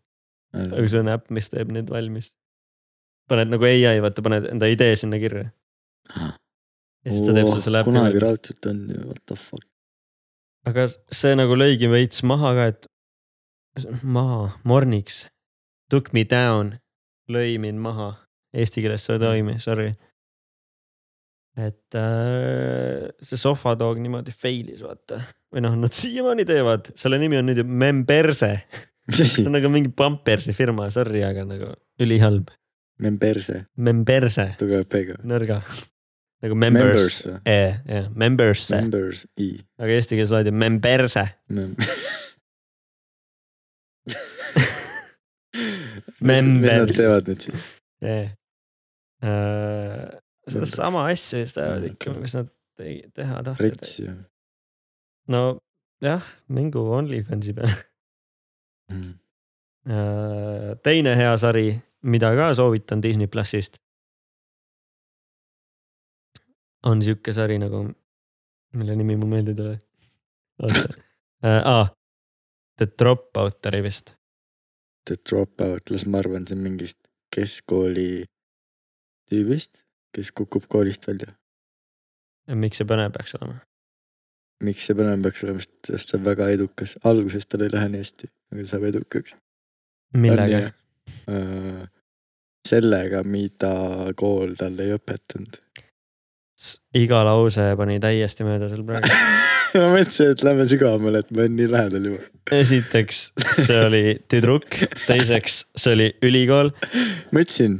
[SPEAKER 1] aga kui sul on äpp , mis teeb need valmis . paned nagu ai , vaata , paned enda idee sinna kirja ja siis ta teeb sulle selle äpi
[SPEAKER 3] kunagi
[SPEAKER 1] valmis .
[SPEAKER 3] raudselt on ju , what the fuck .
[SPEAKER 1] aga see nagu lõigi veits maha ka , et maha , morniks , took me down , lõi mind maha , eesti keeles see ei toimi , sorry . et äh, see sohvatog niimoodi fail'is vaata või noh , nad siiamaani teevad , selle nimi on nüüd ju Memberse ,
[SPEAKER 3] mis asi
[SPEAKER 1] see on ? nagu mingi Pampersi firma , sorry , aga nagu ülihalb ,
[SPEAKER 3] Memberse ,
[SPEAKER 1] Memberse ,
[SPEAKER 3] tugeva P-ga .
[SPEAKER 1] nõrga nagu members,
[SPEAKER 3] Members või?
[SPEAKER 1] members. , jah , members ,
[SPEAKER 3] Members I .
[SPEAKER 1] aga eesti keeles loodi Memberse ,
[SPEAKER 3] mis nad
[SPEAKER 1] Members.
[SPEAKER 3] teevad nüüd siis ?
[SPEAKER 1] jah . sedasama asja vist ajavad
[SPEAKER 3] Jaa,
[SPEAKER 1] ikka ,
[SPEAKER 3] okei.
[SPEAKER 1] mis nad te- teha tahtsid .
[SPEAKER 3] rits ju .
[SPEAKER 1] nojah , mingu OnlyFansi peale .
[SPEAKER 3] Mm,
[SPEAKER 1] teine hea sari , mida ka soovitan Disney plussist . on sihuke sari nagu , mille nimi mul meelde ei tule . oota , aa , The Dropout oli vist ,
[SPEAKER 3] The dropout , las ma arvan , see on mingist keskkooli tüübist , kes kukub koolist välja .
[SPEAKER 1] miks see põnev peaks olema ?
[SPEAKER 3] miks see põnev peaks olema , sest see on väga edukas , alguses tal ei lähe nii hästi , aga ta saab edukaks .
[SPEAKER 1] millega ?
[SPEAKER 3] sellega , mida kool talle ei õpetanud .
[SPEAKER 1] iga lause pani täiesti mööda seal praegu .
[SPEAKER 3] ma mõtlesin , et lähme sügavamale , et ma olen nii lähedal juba .
[SPEAKER 1] esiteks , see oli tüdruk , teiseks , see oli ülikool
[SPEAKER 3] mõtlesin ,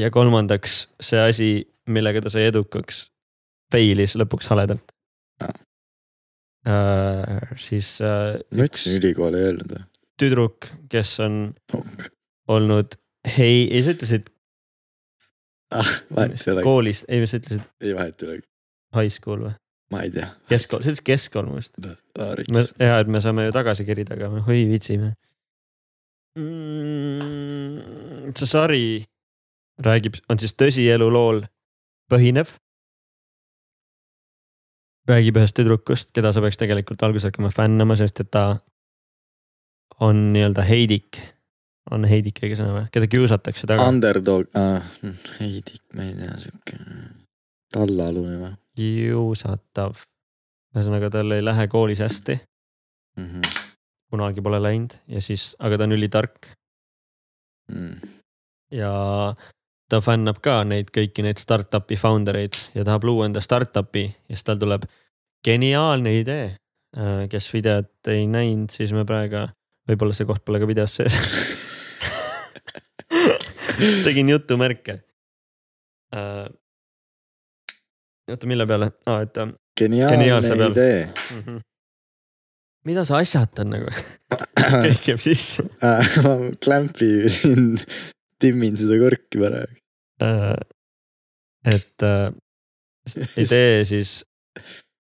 [SPEAKER 1] ja kolmandaks see asi , millega ta sai edukaks , failis lõpuks haledalt
[SPEAKER 3] Aa.
[SPEAKER 1] uh, . siis uh,
[SPEAKER 3] mõtlesin ülikool ei öelnud või ?
[SPEAKER 1] tüdruk , kes on olnud hei , ei sa ütlesid
[SPEAKER 3] ah , vahet ei ole ,
[SPEAKER 1] koolist , ei sa ütlesid
[SPEAKER 3] ei vahet ei ole ,
[SPEAKER 1] high school või
[SPEAKER 3] ma ei tea .
[SPEAKER 1] keskkool , sa ütlesid keskkool mu meelest . me
[SPEAKER 3] rits ,
[SPEAKER 1] hea , et me saame ju tagasi kerida , aga me oi viitsime mm, . see sari räägib , on siis tõsielu lool põhinev . räägib ühest tüdrukust , keda sa peaks tegelikult alguses hakkama fännama , sest et ta on nii-öelda heidik . on heidik õige sõna või , keda kiusatakse taga um, ,
[SPEAKER 3] underdog ah, , ei tikk , ma ei tea , siuke tallaalune või
[SPEAKER 1] kiusatav . ühesõnaga , tal ei lähe koolis hästi ,
[SPEAKER 3] mm ? -hmm.
[SPEAKER 1] kunagi pole läinud ja siis , aga ta on ülitark
[SPEAKER 3] Mm.
[SPEAKER 1] ja ta fännab ka neid kõiki neid startup'i founder eid ja tahab luua enda startup'i ja siis tal tuleb geniaalne idee . kes videot ei näinud , siis me praegu , võib-olla see koht pole ka videos sees . tegin jutumärke . oota , mille peale ah, , et ähm, Geniaalse
[SPEAKER 3] geniaalne
[SPEAKER 1] peal.
[SPEAKER 3] idee .
[SPEAKER 1] mhm. mida sa asjatad nagu , kõik jääb sisse .
[SPEAKER 3] Ah, ma klämpi siin timmin seda korki praegu .
[SPEAKER 1] Äh, et äh, ei tee siis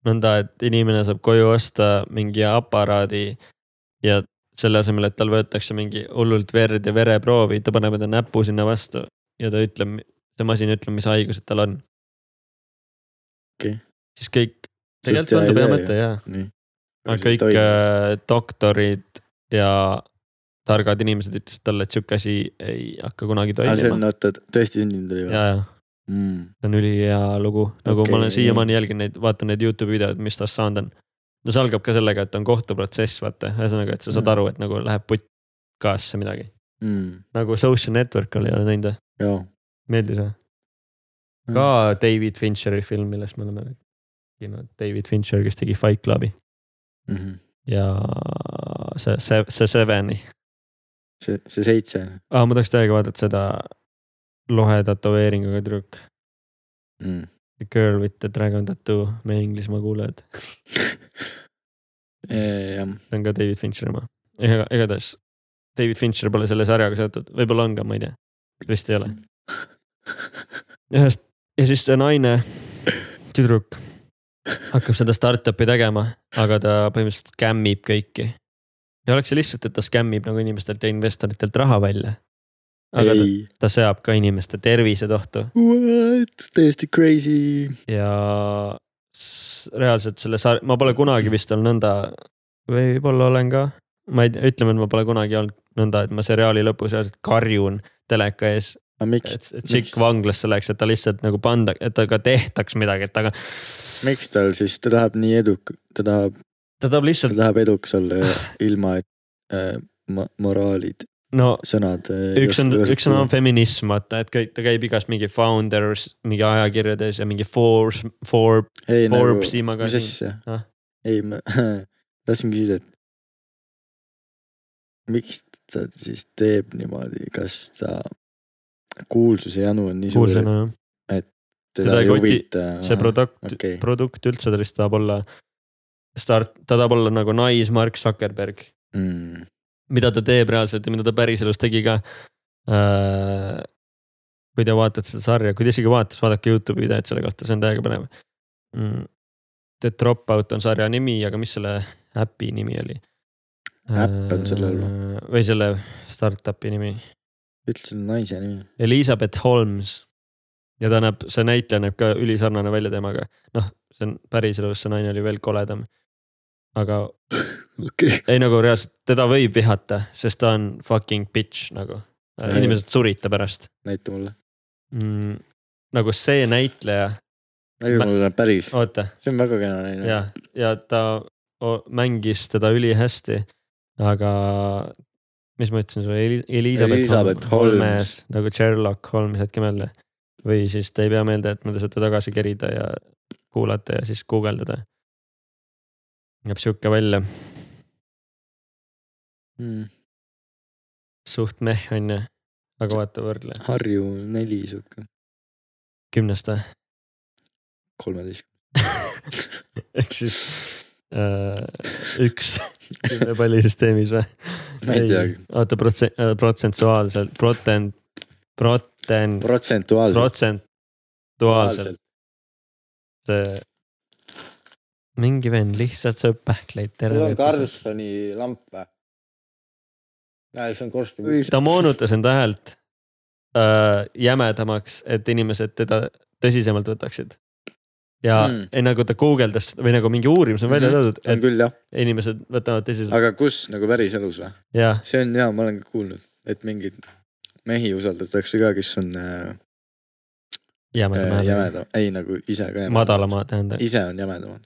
[SPEAKER 1] nõnda , et inimene saab koju osta mingi aparaadi ja selle asemel , et tal võetakse mingi hullult verd ja vereproovi , ta paneb enda näpu sinna vastu ja ta ütleb , see masin ütleb , mis haigused tal on .
[SPEAKER 3] Okei.
[SPEAKER 1] siis kõik ,
[SPEAKER 3] Suht
[SPEAKER 1] tegelikult
[SPEAKER 3] hea
[SPEAKER 1] tundub hea
[SPEAKER 3] idee
[SPEAKER 1] mõte jaa ,
[SPEAKER 3] nii .
[SPEAKER 1] aga kõik äh, doktorid ja targad inimesed ütlesid talle , et sihuke asi ei hakka kunagi
[SPEAKER 3] aga see on ,
[SPEAKER 1] toimima .
[SPEAKER 3] nagu oota , tõesti sündinud oli või ?
[SPEAKER 1] ja , ja
[SPEAKER 3] Mm.
[SPEAKER 1] see on ülihea lugu , nagu okay,
[SPEAKER 3] Okei,
[SPEAKER 1] ma olen
[SPEAKER 3] nii.
[SPEAKER 1] siiamaani jälginud neid , vaatan neid Youtube'i videoid , mis tast saanud on . no see algab ka sellega , et on kohtuprotsess , vaata , ühesõnaga , et sa saad
[SPEAKER 3] Mm.
[SPEAKER 1] aru , et nagu läheb putkasse midagi .
[SPEAKER 3] Mm.
[SPEAKER 1] nagu Social Network oli , olen näinud või ?
[SPEAKER 3] joo .
[SPEAKER 1] meeldis või ?
[SPEAKER 3] Mm.
[SPEAKER 1] ka David Fincheri film , millest me oleme rääkinud , David Fincher , kes tegi Fight Clubi
[SPEAKER 3] mm . -hmm.
[SPEAKER 1] ja see , see , see Seveni .
[SPEAKER 3] see , see seitse
[SPEAKER 1] aa , ma tahaks täiega vaadata seda lohe tätoveeringuga tüdruk ,
[SPEAKER 3] mm. .
[SPEAKER 1] The Girl with the Dragon Tattoo , meie Inglismaa kuulajad .
[SPEAKER 3] jah ,
[SPEAKER 1] see on ka David Fincheri oma . ega , igatahes David Fincher pole selle sarjaga seotud , võib-olla on ka , ma ei tea , vist ei ole . ühest ja siis see naine , tüdruk hakkab seda startup'i tegema , aga ta põhimõtteliselt skämmib kõiki . ja oleks see lihtsalt , et ta skämmib nagu inimestelt ja investoritelt raha välja . aga ta,
[SPEAKER 3] ei ,
[SPEAKER 1] ta seab ka inimeste tervised ohtu
[SPEAKER 3] what , täiesti crazy .
[SPEAKER 1] ja s- reaalselt selle sar- , ma pole kunagi vist olnud nõnda , võib-olla olen ka , ma ei tea , ütleme , et ma pole kunagi olnud nõnda , et ma seriaali lõpus reaalselt karjun teleka ees ,
[SPEAKER 3] aga miks ,
[SPEAKER 1] et et tšikk vanglasse läks , et ta lihtsalt nagu panda , et temaga tehtaks midagi , et aga
[SPEAKER 3] miks tal siis , ta tahab nii eduk- , ta tahab ,
[SPEAKER 1] ta tahab
[SPEAKER 3] ta
[SPEAKER 1] lihtsalt ,
[SPEAKER 3] tahab eduks olla ja ilma , et äh, ma- moraalid ,
[SPEAKER 1] no
[SPEAKER 3] sõnad . äh,
[SPEAKER 1] üks on , üks on feminism , vaata , et kõik , ta käib igas mingi founders , mingi ajakirjades ja mingi Forbes , Forbes ,
[SPEAKER 3] ei nagu ,
[SPEAKER 1] Forbesi
[SPEAKER 3] mis
[SPEAKER 1] magasiin .
[SPEAKER 3] asja
[SPEAKER 1] Ah. ?
[SPEAKER 3] ei , ma tahtsin küsida , et miks ta siis teeb niimoodi , kas ta kuulsuse janu on nii suur ,
[SPEAKER 1] kuulsana jah ,
[SPEAKER 3] et
[SPEAKER 1] teda
[SPEAKER 3] teda
[SPEAKER 1] ei
[SPEAKER 3] ei
[SPEAKER 1] koti-
[SPEAKER 3] huvita .
[SPEAKER 1] see produkt ,
[SPEAKER 3] okei.
[SPEAKER 1] produkt üldse ta lihtsalt tahab olla start , ta tahab olla nagu nais-Mark Zuckerberg ,
[SPEAKER 3] mm. .
[SPEAKER 1] mida ta teeb reaalselt ja mida ta päriselus tegi ka äh, . kui te vaatate seda sarja , kui te isegi vaatate , siis vaadake Youtube'i videot selle kohta , see on täiega põnev mm. . The Dropout on sarja nimi , aga mis selle äpi nimi oli ?
[SPEAKER 3] Äpp on sellel või? ?
[SPEAKER 1] või selle startup'i nimi ,
[SPEAKER 3] ütlesin naise nimi .
[SPEAKER 1] Elizabeth Holmes . ja ta näeb , see näitleja näeb ka ülisarnane välja temaga , noh , see on päriselus , see naine oli veel koledam . aga
[SPEAKER 3] okei .
[SPEAKER 1] ei nagu reaalselt teda võib vihata , sest ta on fucking bitch nagu .
[SPEAKER 3] Jaa.
[SPEAKER 1] inimesed surid ta pärast
[SPEAKER 3] näita mulle .
[SPEAKER 1] mm, . nagu see näitleja , Ma-
[SPEAKER 3] näita mulle päris ,
[SPEAKER 1] oota
[SPEAKER 3] see on väga kena naine .
[SPEAKER 1] ja , ja ta o- mängis teda ülihästi . aga mis ma ütlesin sulle , Elizabeth,
[SPEAKER 3] Elizabeth Holmes.
[SPEAKER 1] Holmes nagu Sherlock Holmes , jätke meelde . või siis te ei pea meelde jätma , te saate tagasi kerida ja kuulata ja siis guugeldada . näeb sihuke välja ,
[SPEAKER 3] mm. .
[SPEAKER 1] suht meh on ju , aga vaata võrdle ,
[SPEAKER 3] Harju neli sihuke ,
[SPEAKER 1] kümnest või ,
[SPEAKER 3] kolmeteist .
[SPEAKER 1] ehk siis äh, üks kümne palli süsteemis või ?
[SPEAKER 3] ma ei teagi ,
[SPEAKER 1] oota protsent , protsentuaalselt , protent , proten- ,
[SPEAKER 3] protsentuaalselt .
[SPEAKER 1] protsentuaalselt see . mingi vend lihtsalt sööb pähkleid terve öö .
[SPEAKER 5] Karlssoni lamp või ? näe , see on korstnaga .
[SPEAKER 1] ta moonutas enda häält äh, jämedamaks , et inimesed teda tõsisemalt võtaksid . ja
[SPEAKER 3] Mm.
[SPEAKER 1] mm. ei, nagu ta guugeldas või nagu mingi uurimus on välja
[SPEAKER 3] Mhm.
[SPEAKER 1] toodud ,
[SPEAKER 3] on
[SPEAKER 1] et
[SPEAKER 3] küll jah ,
[SPEAKER 1] inimesed võtavad tõsiselt
[SPEAKER 3] aga kus nagu päriselus või ?
[SPEAKER 1] ja
[SPEAKER 3] see on hea , ma olen ka kuulnud , et mingeid mehi usaldatakse ka , kes on äh,
[SPEAKER 1] jämedama
[SPEAKER 3] äh,
[SPEAKER 1] häälega .
[SPEAKER 3] jämedam , ei nagu ise ka jämedam .
[SPEAKER 1] madalama tähendab ,
[SPEAKER 3] ise on jämedamad ,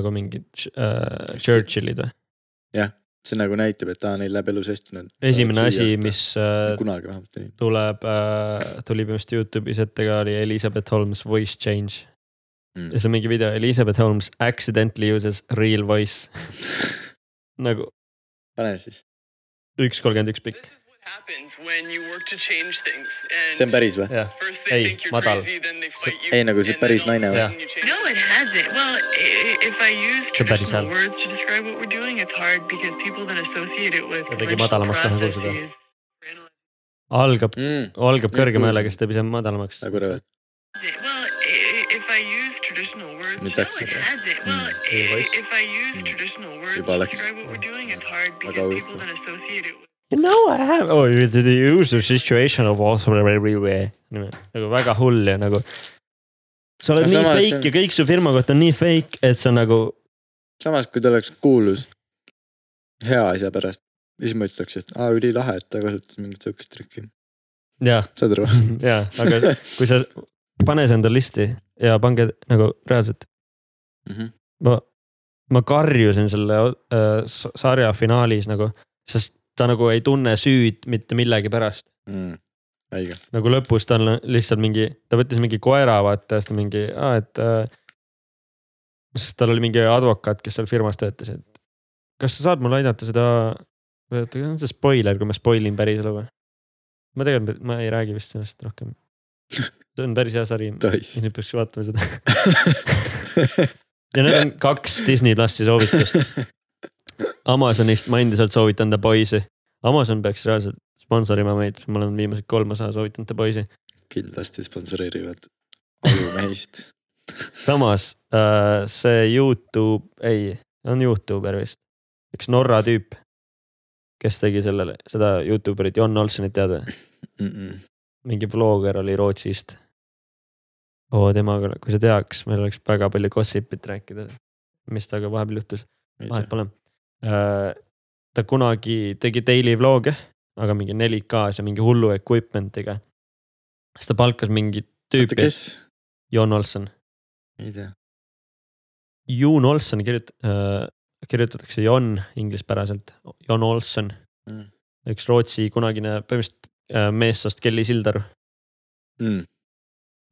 [SPEAKER 1] nagu mingid äh, Churchillid või ?
[SPEAKER 3] see nagu näitab , et aa neil läheb elus hästi , nad .
[SPEAKER 1] esimene asi , mis äh,
[SPEAKER 3] kunagi vähemalt oli .
[SPEAKER 1] tuleb äh, , tuli põhimõtteliselt Youtube'is ette ka oli Elizabeth Holmes voice change
[SPEAKER 3] Mm.
[SPEAKER 1] ja see on mingi video Elizabeth Holmes accidentally uses real voice nagu
[SPEAKER 3] pane siis ,
[SPEAKER 1] üks kolmkümmend üks pikk
[SPEAKER 6] This is what happens when you work to change things. And
[SPEAKER 3] see on päris või ?
[SPEAKER 1] jah ,
[SPEAKER 6] First they
[SPEAKER 1] Ei,
[SPEAKER 6] think you're
[SPEAKER 1] madal.
[SPEAKER 6] crazy, then they fight you.
[SPEAKER 3] Ei, nagu see
[SPEAKER 6] and then
[SPEAKER 3] päris
[SPEAKER 6] all of a
[SPEAKER 3] naine
[SPEAKER 1] või?
[SPEAKER 6] sudden you change
[SPEAKER 7] No, it hasn't. Well, i- i- if I use
[SPEAKER 1] See on päris
[SPEAKER 7] traditional
[SPEAKER 1] hääl.
[SPEAKER 7] words to describe what we're doing, it's hard because people then associate it with
[SPEAKER 1] Kuidagi
[SPEAKER 7] original
[SPEAKER 1] madalamast tahan kuulsida.
[SPEAKER 7] processes.
[SPEAKER 1] algab , algab
[SPEAKER 3] Nüüd
[SPEAKER 1] kõrgema
[SPEAKER 3] kuulsin.
[SPEAKER 1] häälega , siis teeb ise madalamaks .
[SPEAKER 3] nagu rõve ,
[SPEAKER 7] Well, i- i- if I use traditional words,
[SPEAKER 3] Nüüd
[SPEAKER 7] no,
[SPEAKER 3] läks
[SPEAKER 7] it
[SPEAKER 3] juba.
[SPEAKER 7] hasn't. Well, i-
[SPEAKER 1] Teie poiss.
[SPEAKER 7] if I use traditional words
[SPEAKER 3] Juba
[SPEAKER 7] to
[SPEAKER 3] läks.
[SPEAKER 7] describe what we're doing, it's hard because
[SPEAKER 3] huvitav.
[SPEAKER 7] people then associate it with
[SPEAKER 1] You know I have oh, you did you use the situation of awesome everywhere nagu väga hull ja nagu sa oled
[SPEAKER 3] Aga
[SPEAKER 1] nii
[SPEAKER 3] samas see on-
[SPEAKER 1] fake ja kõik su firma kohta on nii fake , et sa nagu
[SPEAKER 3] samas kui ta oleks kuulus hea asja pärast , siis ma ütleks , et aa ülilahe , et ta kasutas mingit siukest trikki ,
[SPEAKER 1] jah ,
[SPEAKER 3] saad aru ?
[SPEAKER 1] ja aga kui sa , pane see enda listi ja pange nagu reaalselt
[SPEAKER 3] Mhm.
[SPEAKER 1] ma , ma karjusin selle äh, s- sarja finaalis nagu , sest ta nagu ei tunne süüd mitte millegi pärast .
[SPEAKER 3] Mm. õige ,
[SPEAKER 1] nagu lõpus tal on lihtsalt mingi , ta võttis mingi koera vaata ja siis ta mingi , et äh, . siis tal oli mingi advokaat , kes seal firmas töötas , et kas sa saad mulle aidata seda , või oota , on see spoiler , kui ma spoil in päriselu või ? ma tegelikult , ma ei räägi vist sellest rohkem . see on päris hea sari ,
[SPEAKER 3] tohis
[SPEAKER 1] siis . nüüd peaks vaatama seda . ja need on kaks Disney plussi soovitust . Amazonist ma endiselt soovitan The Boys'i . Amazon peaks reaalselt sponsorima meid , ma olen viimased kolm osa soovitanud The Boys'i .
[SPEAKER 3] kindlasti sponsoreerivad alumeest
[SPEAKER 1] samas äh, see Youtube , ei , on Youtuber vist , üks Norra tüüp , kes tegi sellele , seda Youtuberit , Jon Olsenit tead või ? mingi blogger oli Rootsist . oo , temaga , kui sa teaks , meil oleks väga palju gossip'it rääkida , mis temaga vahepeal juhtus , vahet pole . ta kunagi tegi daily vlog'e , aga mingi 4K-s ja mingi hullu equipment'iga . siis ta palkas mingi
[SPEAKER 3] oota ,
[SPEAKER 1] tüüpi ,
[SPEAKER 3] kes ?
[SPEAKER 1] Jon Olsen .
[SPEAKER 3] ei tea .
[SPEAKER 1] Jon Olson kirjut- äh, , kirjutatakse Jon inglispäraselt , Jon Olson
[SPEAKER 3] Mm.
[SPEAKER 1] mm. . üks Rootsi kunagine põhimõtteliselt äh, meessoost Kelly Sildaru
[SPEAKER 3] Mm.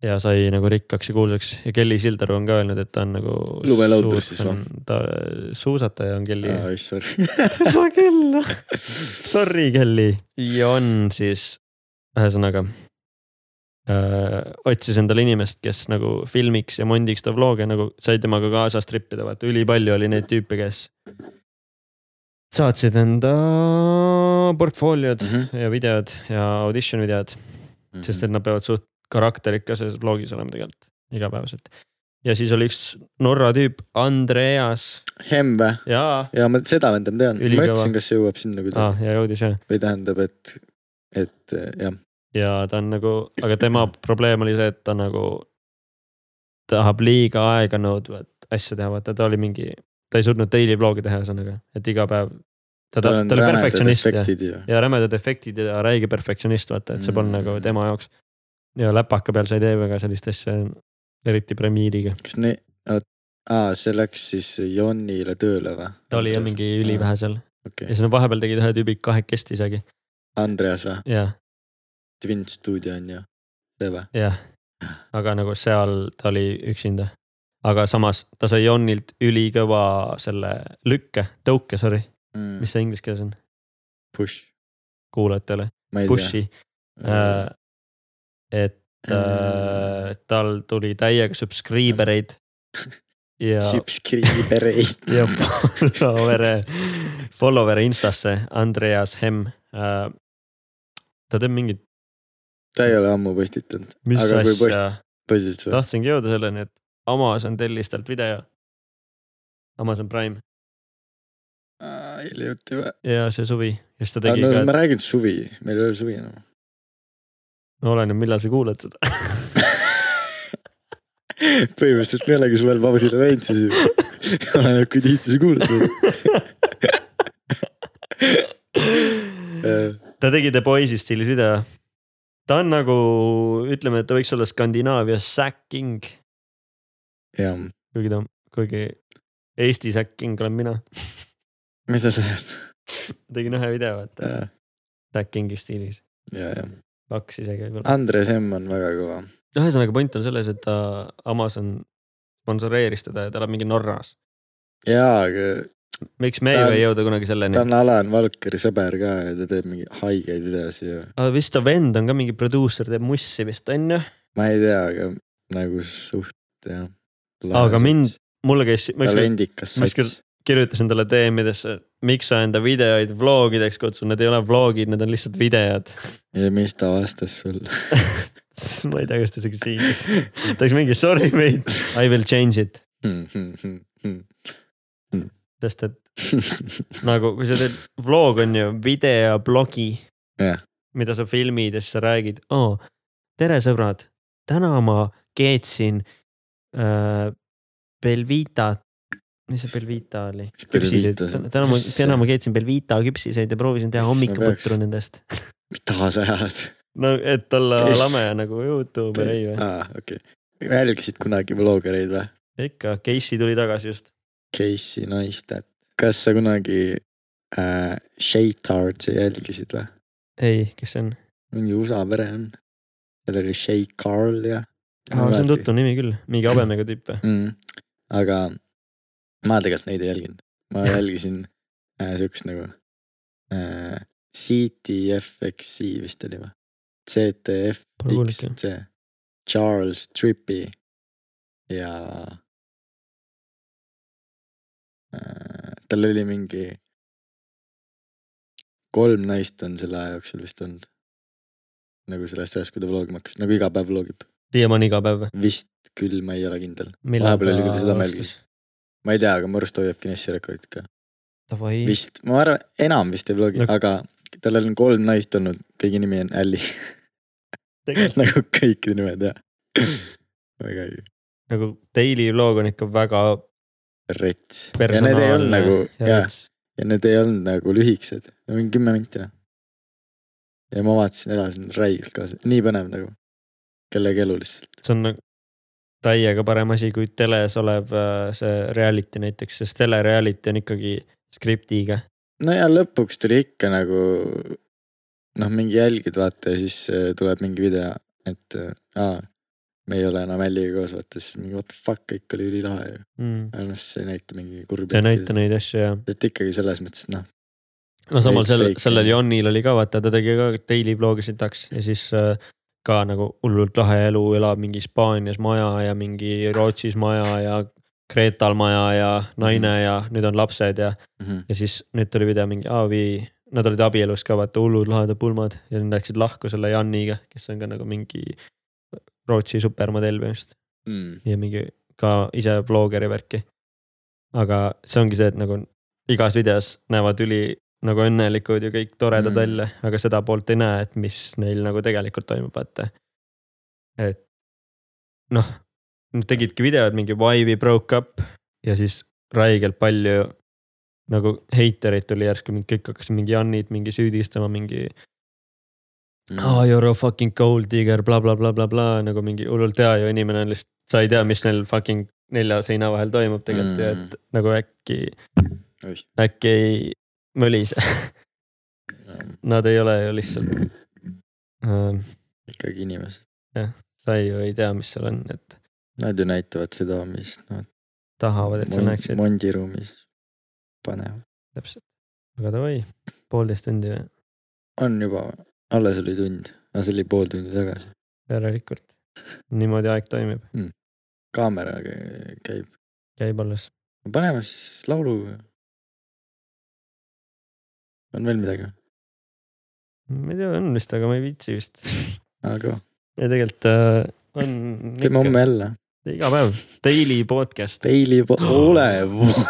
[SPEAKER 1] ja sai nagu rikkaks ja kuulsaks ja Kelly Sildaru on ka öelnud , et ta on nagu .
[SPEAKER 3] Lumelaudur siis või? ?
[SPEAKER 1] ta suusataja on Kelly .
[SPEAKER 3] aa , ei sorry .
[SPEAKER 1] tema küll . Sorry , Kelly . ja on siis , ühesõnaga äh, . otsis endale inimest , kes nagu filmiks ja mondiks ta vlog'e nagu sai temaga kaasas trip ida , vaata ülipalju oli neid tüüpe , kes saatsid enda portfooliod
[SPEAKER 3] Mhm,
[SPEAKER 1] mm -hmm. ja videod ja audition videod mm , -hmm. sest et nad peavad suht karakterikas selles vlogis olema tegelikult igapäevaselt . ja siis oli üks Norra tüüp , Andreas
[SPEAKER 3] Hem vä ?
[SPEAKER 1] jaa
[SPEAKER 3] ja ma seda vend ma tean , ma
[SPEAKER 1] Ülikõva.
[SPEAKER 3] mõtlesin , kas see jõuab sinna kuidagi
[SPEAKER 1] ah, , ja jõudis jah ,
[SPEAKER 3] või tähendab , et , et eh, jah ,
[SPEAKER 1] ja ta on nagu , aga tema probleem oli see , et ta nagu tahab liiga aeganõudvat asja teha , vaata ta oli mingi , ta ei suutnud daily vlogi teha , ühesõnaga , et iga päev . ta, ta,
[SPEAKER 3] tal on
[SPEAKER 1] ta oli
[SPEAKER 3] rämedad
[SPEAKER 1] perfektsionist ja ,
[SPEAKER 3] efektid ja .
[SPEAKER 1] ja rämedad efektid ja räige perfektsionist , vaata , et see polnud
[SPEAKER 3] Mm.
[SPEAKER 1] mm. nagu tema jaoks . ja läpaka peal sa ei tee väga sellist asja , eriti premiiriga .
[SPEAKER 3] kas ne- , aa , see läks siis Jonile tööle vä ?
[SPEAKER 1] ta oli jah mingi ülivähe seal ja
[SPEAKER 3] okei ,
[SPEAKER 1] siis nad vahepeal tegid ühe tüübi kahekesti isegi
[SPEAKER 3] Andreas vä ?
[SPEAKER 1] ja ,
[SPEAKER 3] Twin stuudio on ju , see vä ?
[SPEAKER 1] jah , aga nagu seal ta oli üksinda . aga samas ta sai Jonilt ülikõva selle lükke , tõuke , sorry , mis see inglise keeles on
[SPEAKER 3] Mm. Push ,
[SPEAKER 1] kuulajatele ,
[SPEAKER 3] ma ei
[SPEAKER 1] push'i . Äh,
[SPEAKER 3] tea .
[SPEAKER 1] et
[SPEAKER 3] Mm.
[SPEAKER 1] äh, tal tuli täiega subscriber eid ja ,
[SPEAKER 3] Subscriber ei .
[SPEAKER 1] ja follower'e , follower'e Instasse , Andreas Hem äh, . ta teeb mingit ,
[SPEAKER 3] ta ei ole ammu postitanud ,
[SPEAKER 1] mis
[SPEAKER 3] Aga kui post-
[SPEAKER 1] asja
[SPEAKER 3] postis või ?
[SPEAKER 1] tahtsingi jõuda selleni , et Amazon tellis talt video . Amazon Prime
[SPEAKER 3] hiljuti vä ?
[SPEAKER 1] ja see suvi ja siis ta tegi
[SPEAKER 3] no
[SPEAKER 1] ka
[SPEAKER 3] ma , räägin suvi , meil ei ole suvi enam .
[SPEAKER 1] no oleneb , millal sa kuulad seda .
[SPEAKER 3] põhimõtteliselt me olemegi suvel pausile läinud siis ju . oleneb kui tihti sa kuulad . Äh.
[SPEAKER 1] ta tegi The Boys'i stiilis video . ta on nagu , ütleme , et ta võiks olla Skandinaavia Zack King ,
[SPEAKER 3] jah ,
[SPEAKER 1] kuigi ta , kuigi Eesti Zack King olen mina .
[SPEAKER 3] mida sa tead ?
[SPEAKER 1] tegin ühe video , vaata ,
[SPEAKER 3] ja ,
[SPEAKER 1] Zack Kingi stiilis ,
[SPEAKER 3] ja
[SPEAKER 1] kaks isegi võib-olla .
[SPEAKER 3] Andres M on väga kõva .
[SPEAKER 1] ühesõnaga point on selles , et ta , Amazon sponsoreeris teda ja ta elab mingi Norras .
[SPEAKER 3] jaa , aga
[SPEAKER 1] miks me
[SPEAKER 3] Ta on-
[SPEAKER 1] ju ei jõuda kunagi selleni
[SPEAKER 3] ta ? on Alan Valkeri sõber ka ja ta teeb mingeid haigeid videosid ja
[SPEAKER 1] aga Ah, vist ta vend on ka mingi produusser , teeb mussi vist on ju .
[SPEAKER 3] ma ei tea , aga nagu suht jah .
[SPEAKER 1] Aga mind- mulle käis , ma ükskord
[SPEAKER 3] talendikas
[SPEAKER 1] ma ükskord-
[SPEAKER 3] sats .
[SPEAKER 1] kirjutasin talle DM-idesse , miks sa enda videoid vlogideks kutsud , need ei ole vlogid , need on lihtsalt videod .
[SPEAKER 3] ja mis ta vastas sulle ?
[SPEAKER 1] siis ma ei tea , kas ta siukest hiigis , ta oleks mingi sorry mate , I will change it , sest et nagu kui sa teed , vlog on ju videoblogi
[SPEAKER 3] Jah.
[SPEAKER 1] mida sa filmid ja siis sa räägid , oo , tere sõbrad , täna ma keetsin äh, Belvitat , mis see Belvita oli ?
[SPEAKER 3] Mis
[SPEAKER 1] küpsiseid
[SPEAKER 3] Belvita see on? ,
[SPEAKER 1] täna ma ,
[SPEAKER 3] Mis see-
[SPEAKER 1] täna ma keetsin Belvita küpsiseid ja proovisin teha
[SPEAKER 3] Mis ma
[SPEAKER 1] hommikuputru
[SPEAKER 3] peaks-
[SPEAKER 1] nendest .
[SPEAKER 3] mida sa ajad ?
[SPEAKER 1] no et olla
[SPEAKER 3] Kes-
[SPEAKER 1] lame nagu Youtuber , ei või ?
[SPEAKER 3] aa , okei . jälgisid kunagi vlogereid või ?
[SPEAKER 1] ikka , Casey tuli tagasi just .
[SPEAKER 3] Casey Neistat . kas sa kunagi äh, Shaytartsi jälgisid või ?
[SPEAKER 1] ei , kes see on ?
[SPEAKER 3] mingi USA pere on . seal oli Shay Carl ja . Ah,
[SPEAKER 1] Ah, see on tuttav nimi küll , mingi habemega tüüp või ?
[SPEAKER 3] mm, . aga ma tegelikult neid ei jälginud , ma jälgisin äh, siukest nagu äh, CTFXC vist oli või ?
[SPEAKER 1] Pole kuulnudki.
[SPEAKER 3] CTFXC , Charles Trippi ja äh, tal oli mingi kolm naist on selle aja jooksul vist olnud . nagu sellest ajast , kui ta vlogima hakkas , nagu iga päev vlogib
[SPEAKER 1] siiamaani iga päev või ?
[SPEAKER 3] vist küll , ma ei ole kindel . Vahepeal oli küll seda mälgi. . ma ei tea , aga mu arust hoiab Guinessi rekordit ka .
[SPEAKER 1] Davai ,
[SPEAKER 3] vist , ma arvan , enam vist ei blogi
[SPEAKER 1] No-
[SPEAKER 3] no. , aga tal on kolm naist olnud , kõigi nimi on Alli
[SPEAKER 1] tegelikult
[SPEAKER 3] nagu kõikide nimed ja . väga õige ,
[SPEAKER 1] nagu Daily vlog on ikka väga
[SPEAKER 3] rets . ja need ei olnud
[SPEAKER 1] personaalne
[SPEAKER 3] nagu , jaa ,
[SPEAKER 1] veits.
[SPEAKER 3] ja need ei olnud nagu lühikesed , mingi kümme minti noh . ja ma vaatasin , elasin räigelt kaasa , nii põnev nagu , kellegi elu lihtsalt .
[SPEAKER 1] see on nagu täiega parem asi kui teles olev äh, see reality näiteks , sest telereality on ikkagi skriptiga .
[SPEAKER 3] no ja lõpuks tuli ikka nagu noh , mingi jälgid vaata ja siis äh, tuleb mingi video , et äh, aa , me ei ole enam Alliga koos , vaata siis mingi what the fuck , kõik oli ülilahe ju .
[SPEAKER 1] see
[SPEAKER 3] aga noh , see ei näita mingi kurbi .
[SPEAKER 1] ei näita . neid asju ja
[SPEAKER 3] et ikkagi selles mõttes , et noh ,
[SPEAKER 1] no samal
[SPEAKER 3] Veits
[SPEAKER 1] sel ,
[SPEAKER 3] fake
[SPEAKER 1] sellel
[SPEAKER 3] on.
[SPEAKER 1] Jonil oli ka vaata , ta tegi ka daily blog'i sitaks ja siis äh, ka nagu hullult lahe elu , elab mingi Hispaanias maja ja mingi Rootsis maja ja Kreetal maja ja naine ja nüüd on lapsed ja ,
[SPEAKER 3] Mhm.
[SPEAKER 1] ja siis nüüd tuli video mingi Aavi , nad olid abielus ka vaata hullud lahedad pulmad ja nad läksid lahku selle Janiga , kes on ka nagu mingi Rootsi supermodell põhimõtteliselt
[SPEAKER 3] mm,
[SPEAKER 1] ja mingi ka ise vloggeri värki . aga see ongi see , et nagu igas videos näevad üli nagu õnnelikud ja kõik toredad
[SPEAKER 3] Mm.
[SPEAKER 1] mm. välja , aga seda poolt ei näe , et mis neil nagu tegelikult toimub , vaata . et noh , nad tegidki videod mingi Why we broke up ja siis räigelt palju nagu heitereid tuli järsku , kõik hakkasid mingi Janit mingi süüdistama , mingi
[SPEAKER 3] mm.
[SPEAKER 1] oh, . you are a fucking gold digger bla, , blablabla , nagu mingi hullult hea ju inimene on lihtsalt , sa ei tea , mis neil fucking nelja seina vahel toimub tegelikult mm. ja et nagu äkki ,
[SPEAKER 3] Oih.
[SPEAKER 1] äkki ei mölise . Nad ei ole ju lihtsalt ähm, ,
[SPEAKER 3] Mm. ikkagi inimesed ,
[SPEAKER 1] sa ju ei tea , mis seal on , et
[SPEAKER 3] nad ju näitavad seda , mis nad
[SPEAKER 1] tahavad , et sa
[SPEAKER 3] mon-
[SPEAKER 1] näeksid
[SPEAKER 3] Mondi ruumis panevad .
[SPEAKER 1] täpselt . aga davai , poolteist tundi või?
[SPEAKER 3] on juba , alles oli tund , aga see oli pool tundi tagasi .
[SPEAKER 1] järelikult , niimoodi aeg toimib ,
[SPEAKER 3] kaamera kä- käib ,
[SPEAKER 1] käib alles .
[SPEAKER 3] paneme siis laulu . on veel midagi ?
[SPEAKER 1] ma ei tea , on vist , aga ma ei viitsi vist .
[SPEAKER 3] aga
[SPEAKER 1] ja tegelikult äh, on .
[SPEAKER 3] teeme homme jälle .
[SPEAKER 1] iga päev , daily podcast .
[SPEAKER 3] Daily , ole vo- .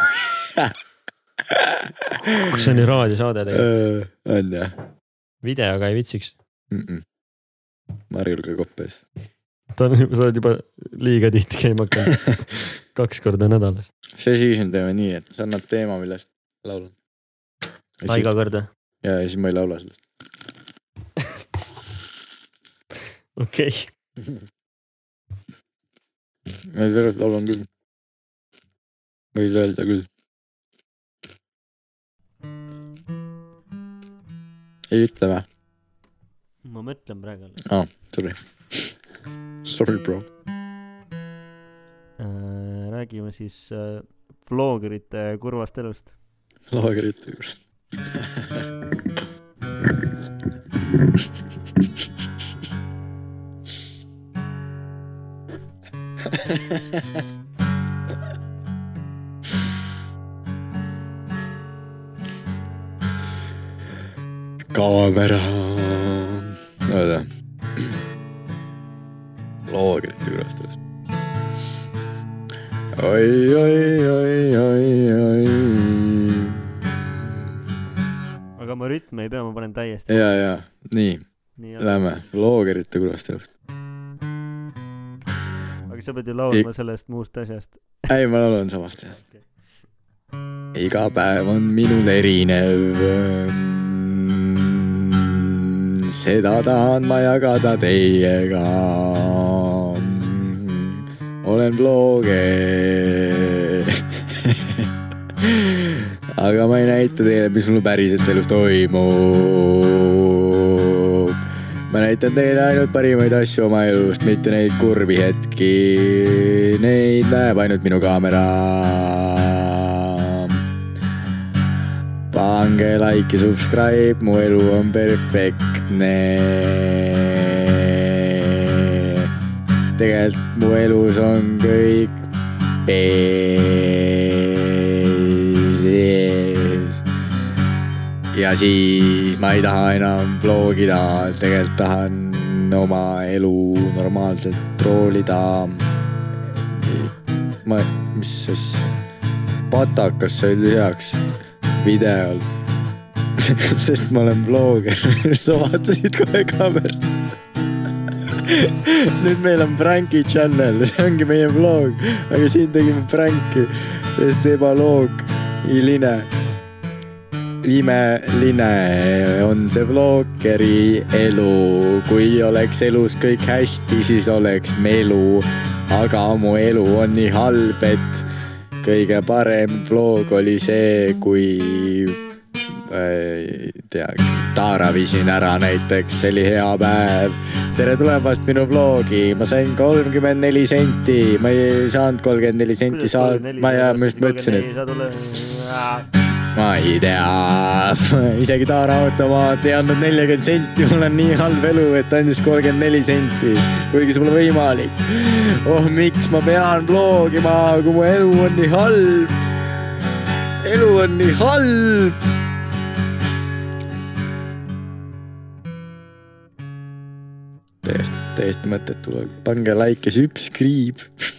[SPEAKER 1] kas see on ju raadiosaade tegelikult ,
[SPEAKER 3] on jah ?
[SPEAKER 1] videoga ei vitsiks .
[SPEAKER 3] Marjul ka koppes .
[SPEAKER 1] ta on , sa oled juba liiga tihti käima hakanud , kaks korda nädalas .
[SPEAKER 3] see siis me teeme nii , et sa annad teema , millest laulad .
[SPEAKER 1] iga kord või ?
[SPEAKER 3] ja siis ma ei laula sellest .
[SPEAKER 1] okei okay. ,
[SPEAKER 3] ma tegelikult laulan küll . võid öelda küll . ei ütle vä ?
[SPEAKER 1] ma mõtlen praegu alles
[SPEAKER 3] Sorry . Sorry bro .
[SPEAKER 1] äh, . räägime siis äh, vloggerite kurvast elust .
[SPEAKER 3] laagrit juures . kaamera . oota . laagrite juures tuleb . oi , oi , oi , oi , oi .
[SPEAKER 1] aga ma rütme ei pea , ma panen täiesti .
[SPEAKER 3] ja , ja nii ,
[SPEAKER 1] nii ,
[SPEAKER 3] lähme loogerite külast õhtul .
[SPEAKER 1] aga sa pead ju
[SPEAKER 3] laulma
[SPEAKER 1] sellest muust asjast .
[SPEAKER 3] ei , ma laulan samast jah . iga päev on minul erinev . seda tahan ma jagada teiega . olen blogger aga ma ei näita teile , mis mul päriselt elus toimub . ma näitan teile ainult parimaid asju oma elust , mitte neid kurbi hetki . Neid näeb ainult minu kaamera . pange like ja subscribe , mu elu on perfektne . tegelikult mu elus on kõik pees . ja siis ma ei taha enam vlogida , tegelikult tahan on oma elu normaalselt troolida . ma , mis asja , patakas sai lisaks videol . sest ma olen blogger , sa vaatasid kohe kaamerast . nüüd meil on pranki channel , see ongi meie vlog , aga siin tegime pranki , sest ebaloogiline . imeline on see vloggeri elu , kui oleks elus kõik hästi , siis oleks melu . aga mu elu on nii halb , et kõige parem vlog oli see , kui ei tea , Taara viisin ära näiteks , see oli hea päev . tere tulemast minu vlogi , ma sain kolmkümmend neli senti , ma ei saanud kolmkümmend neli senti saada , ma ei , ma just mõtlesin , et
[SPEAKER 1] et .
[SPEAKER 3] ma ei tea , isegi Taara automaat ei andnud neljakümmend senti , mul on nii halb elu , et andis kolmkümmend neli senti , kuigi see pole võimalik . oh , miks ma pean blogima , kui mu elu on nii halb . elu on nii halb . täiesti , täiesti mõttetu , pange like ja subscribe .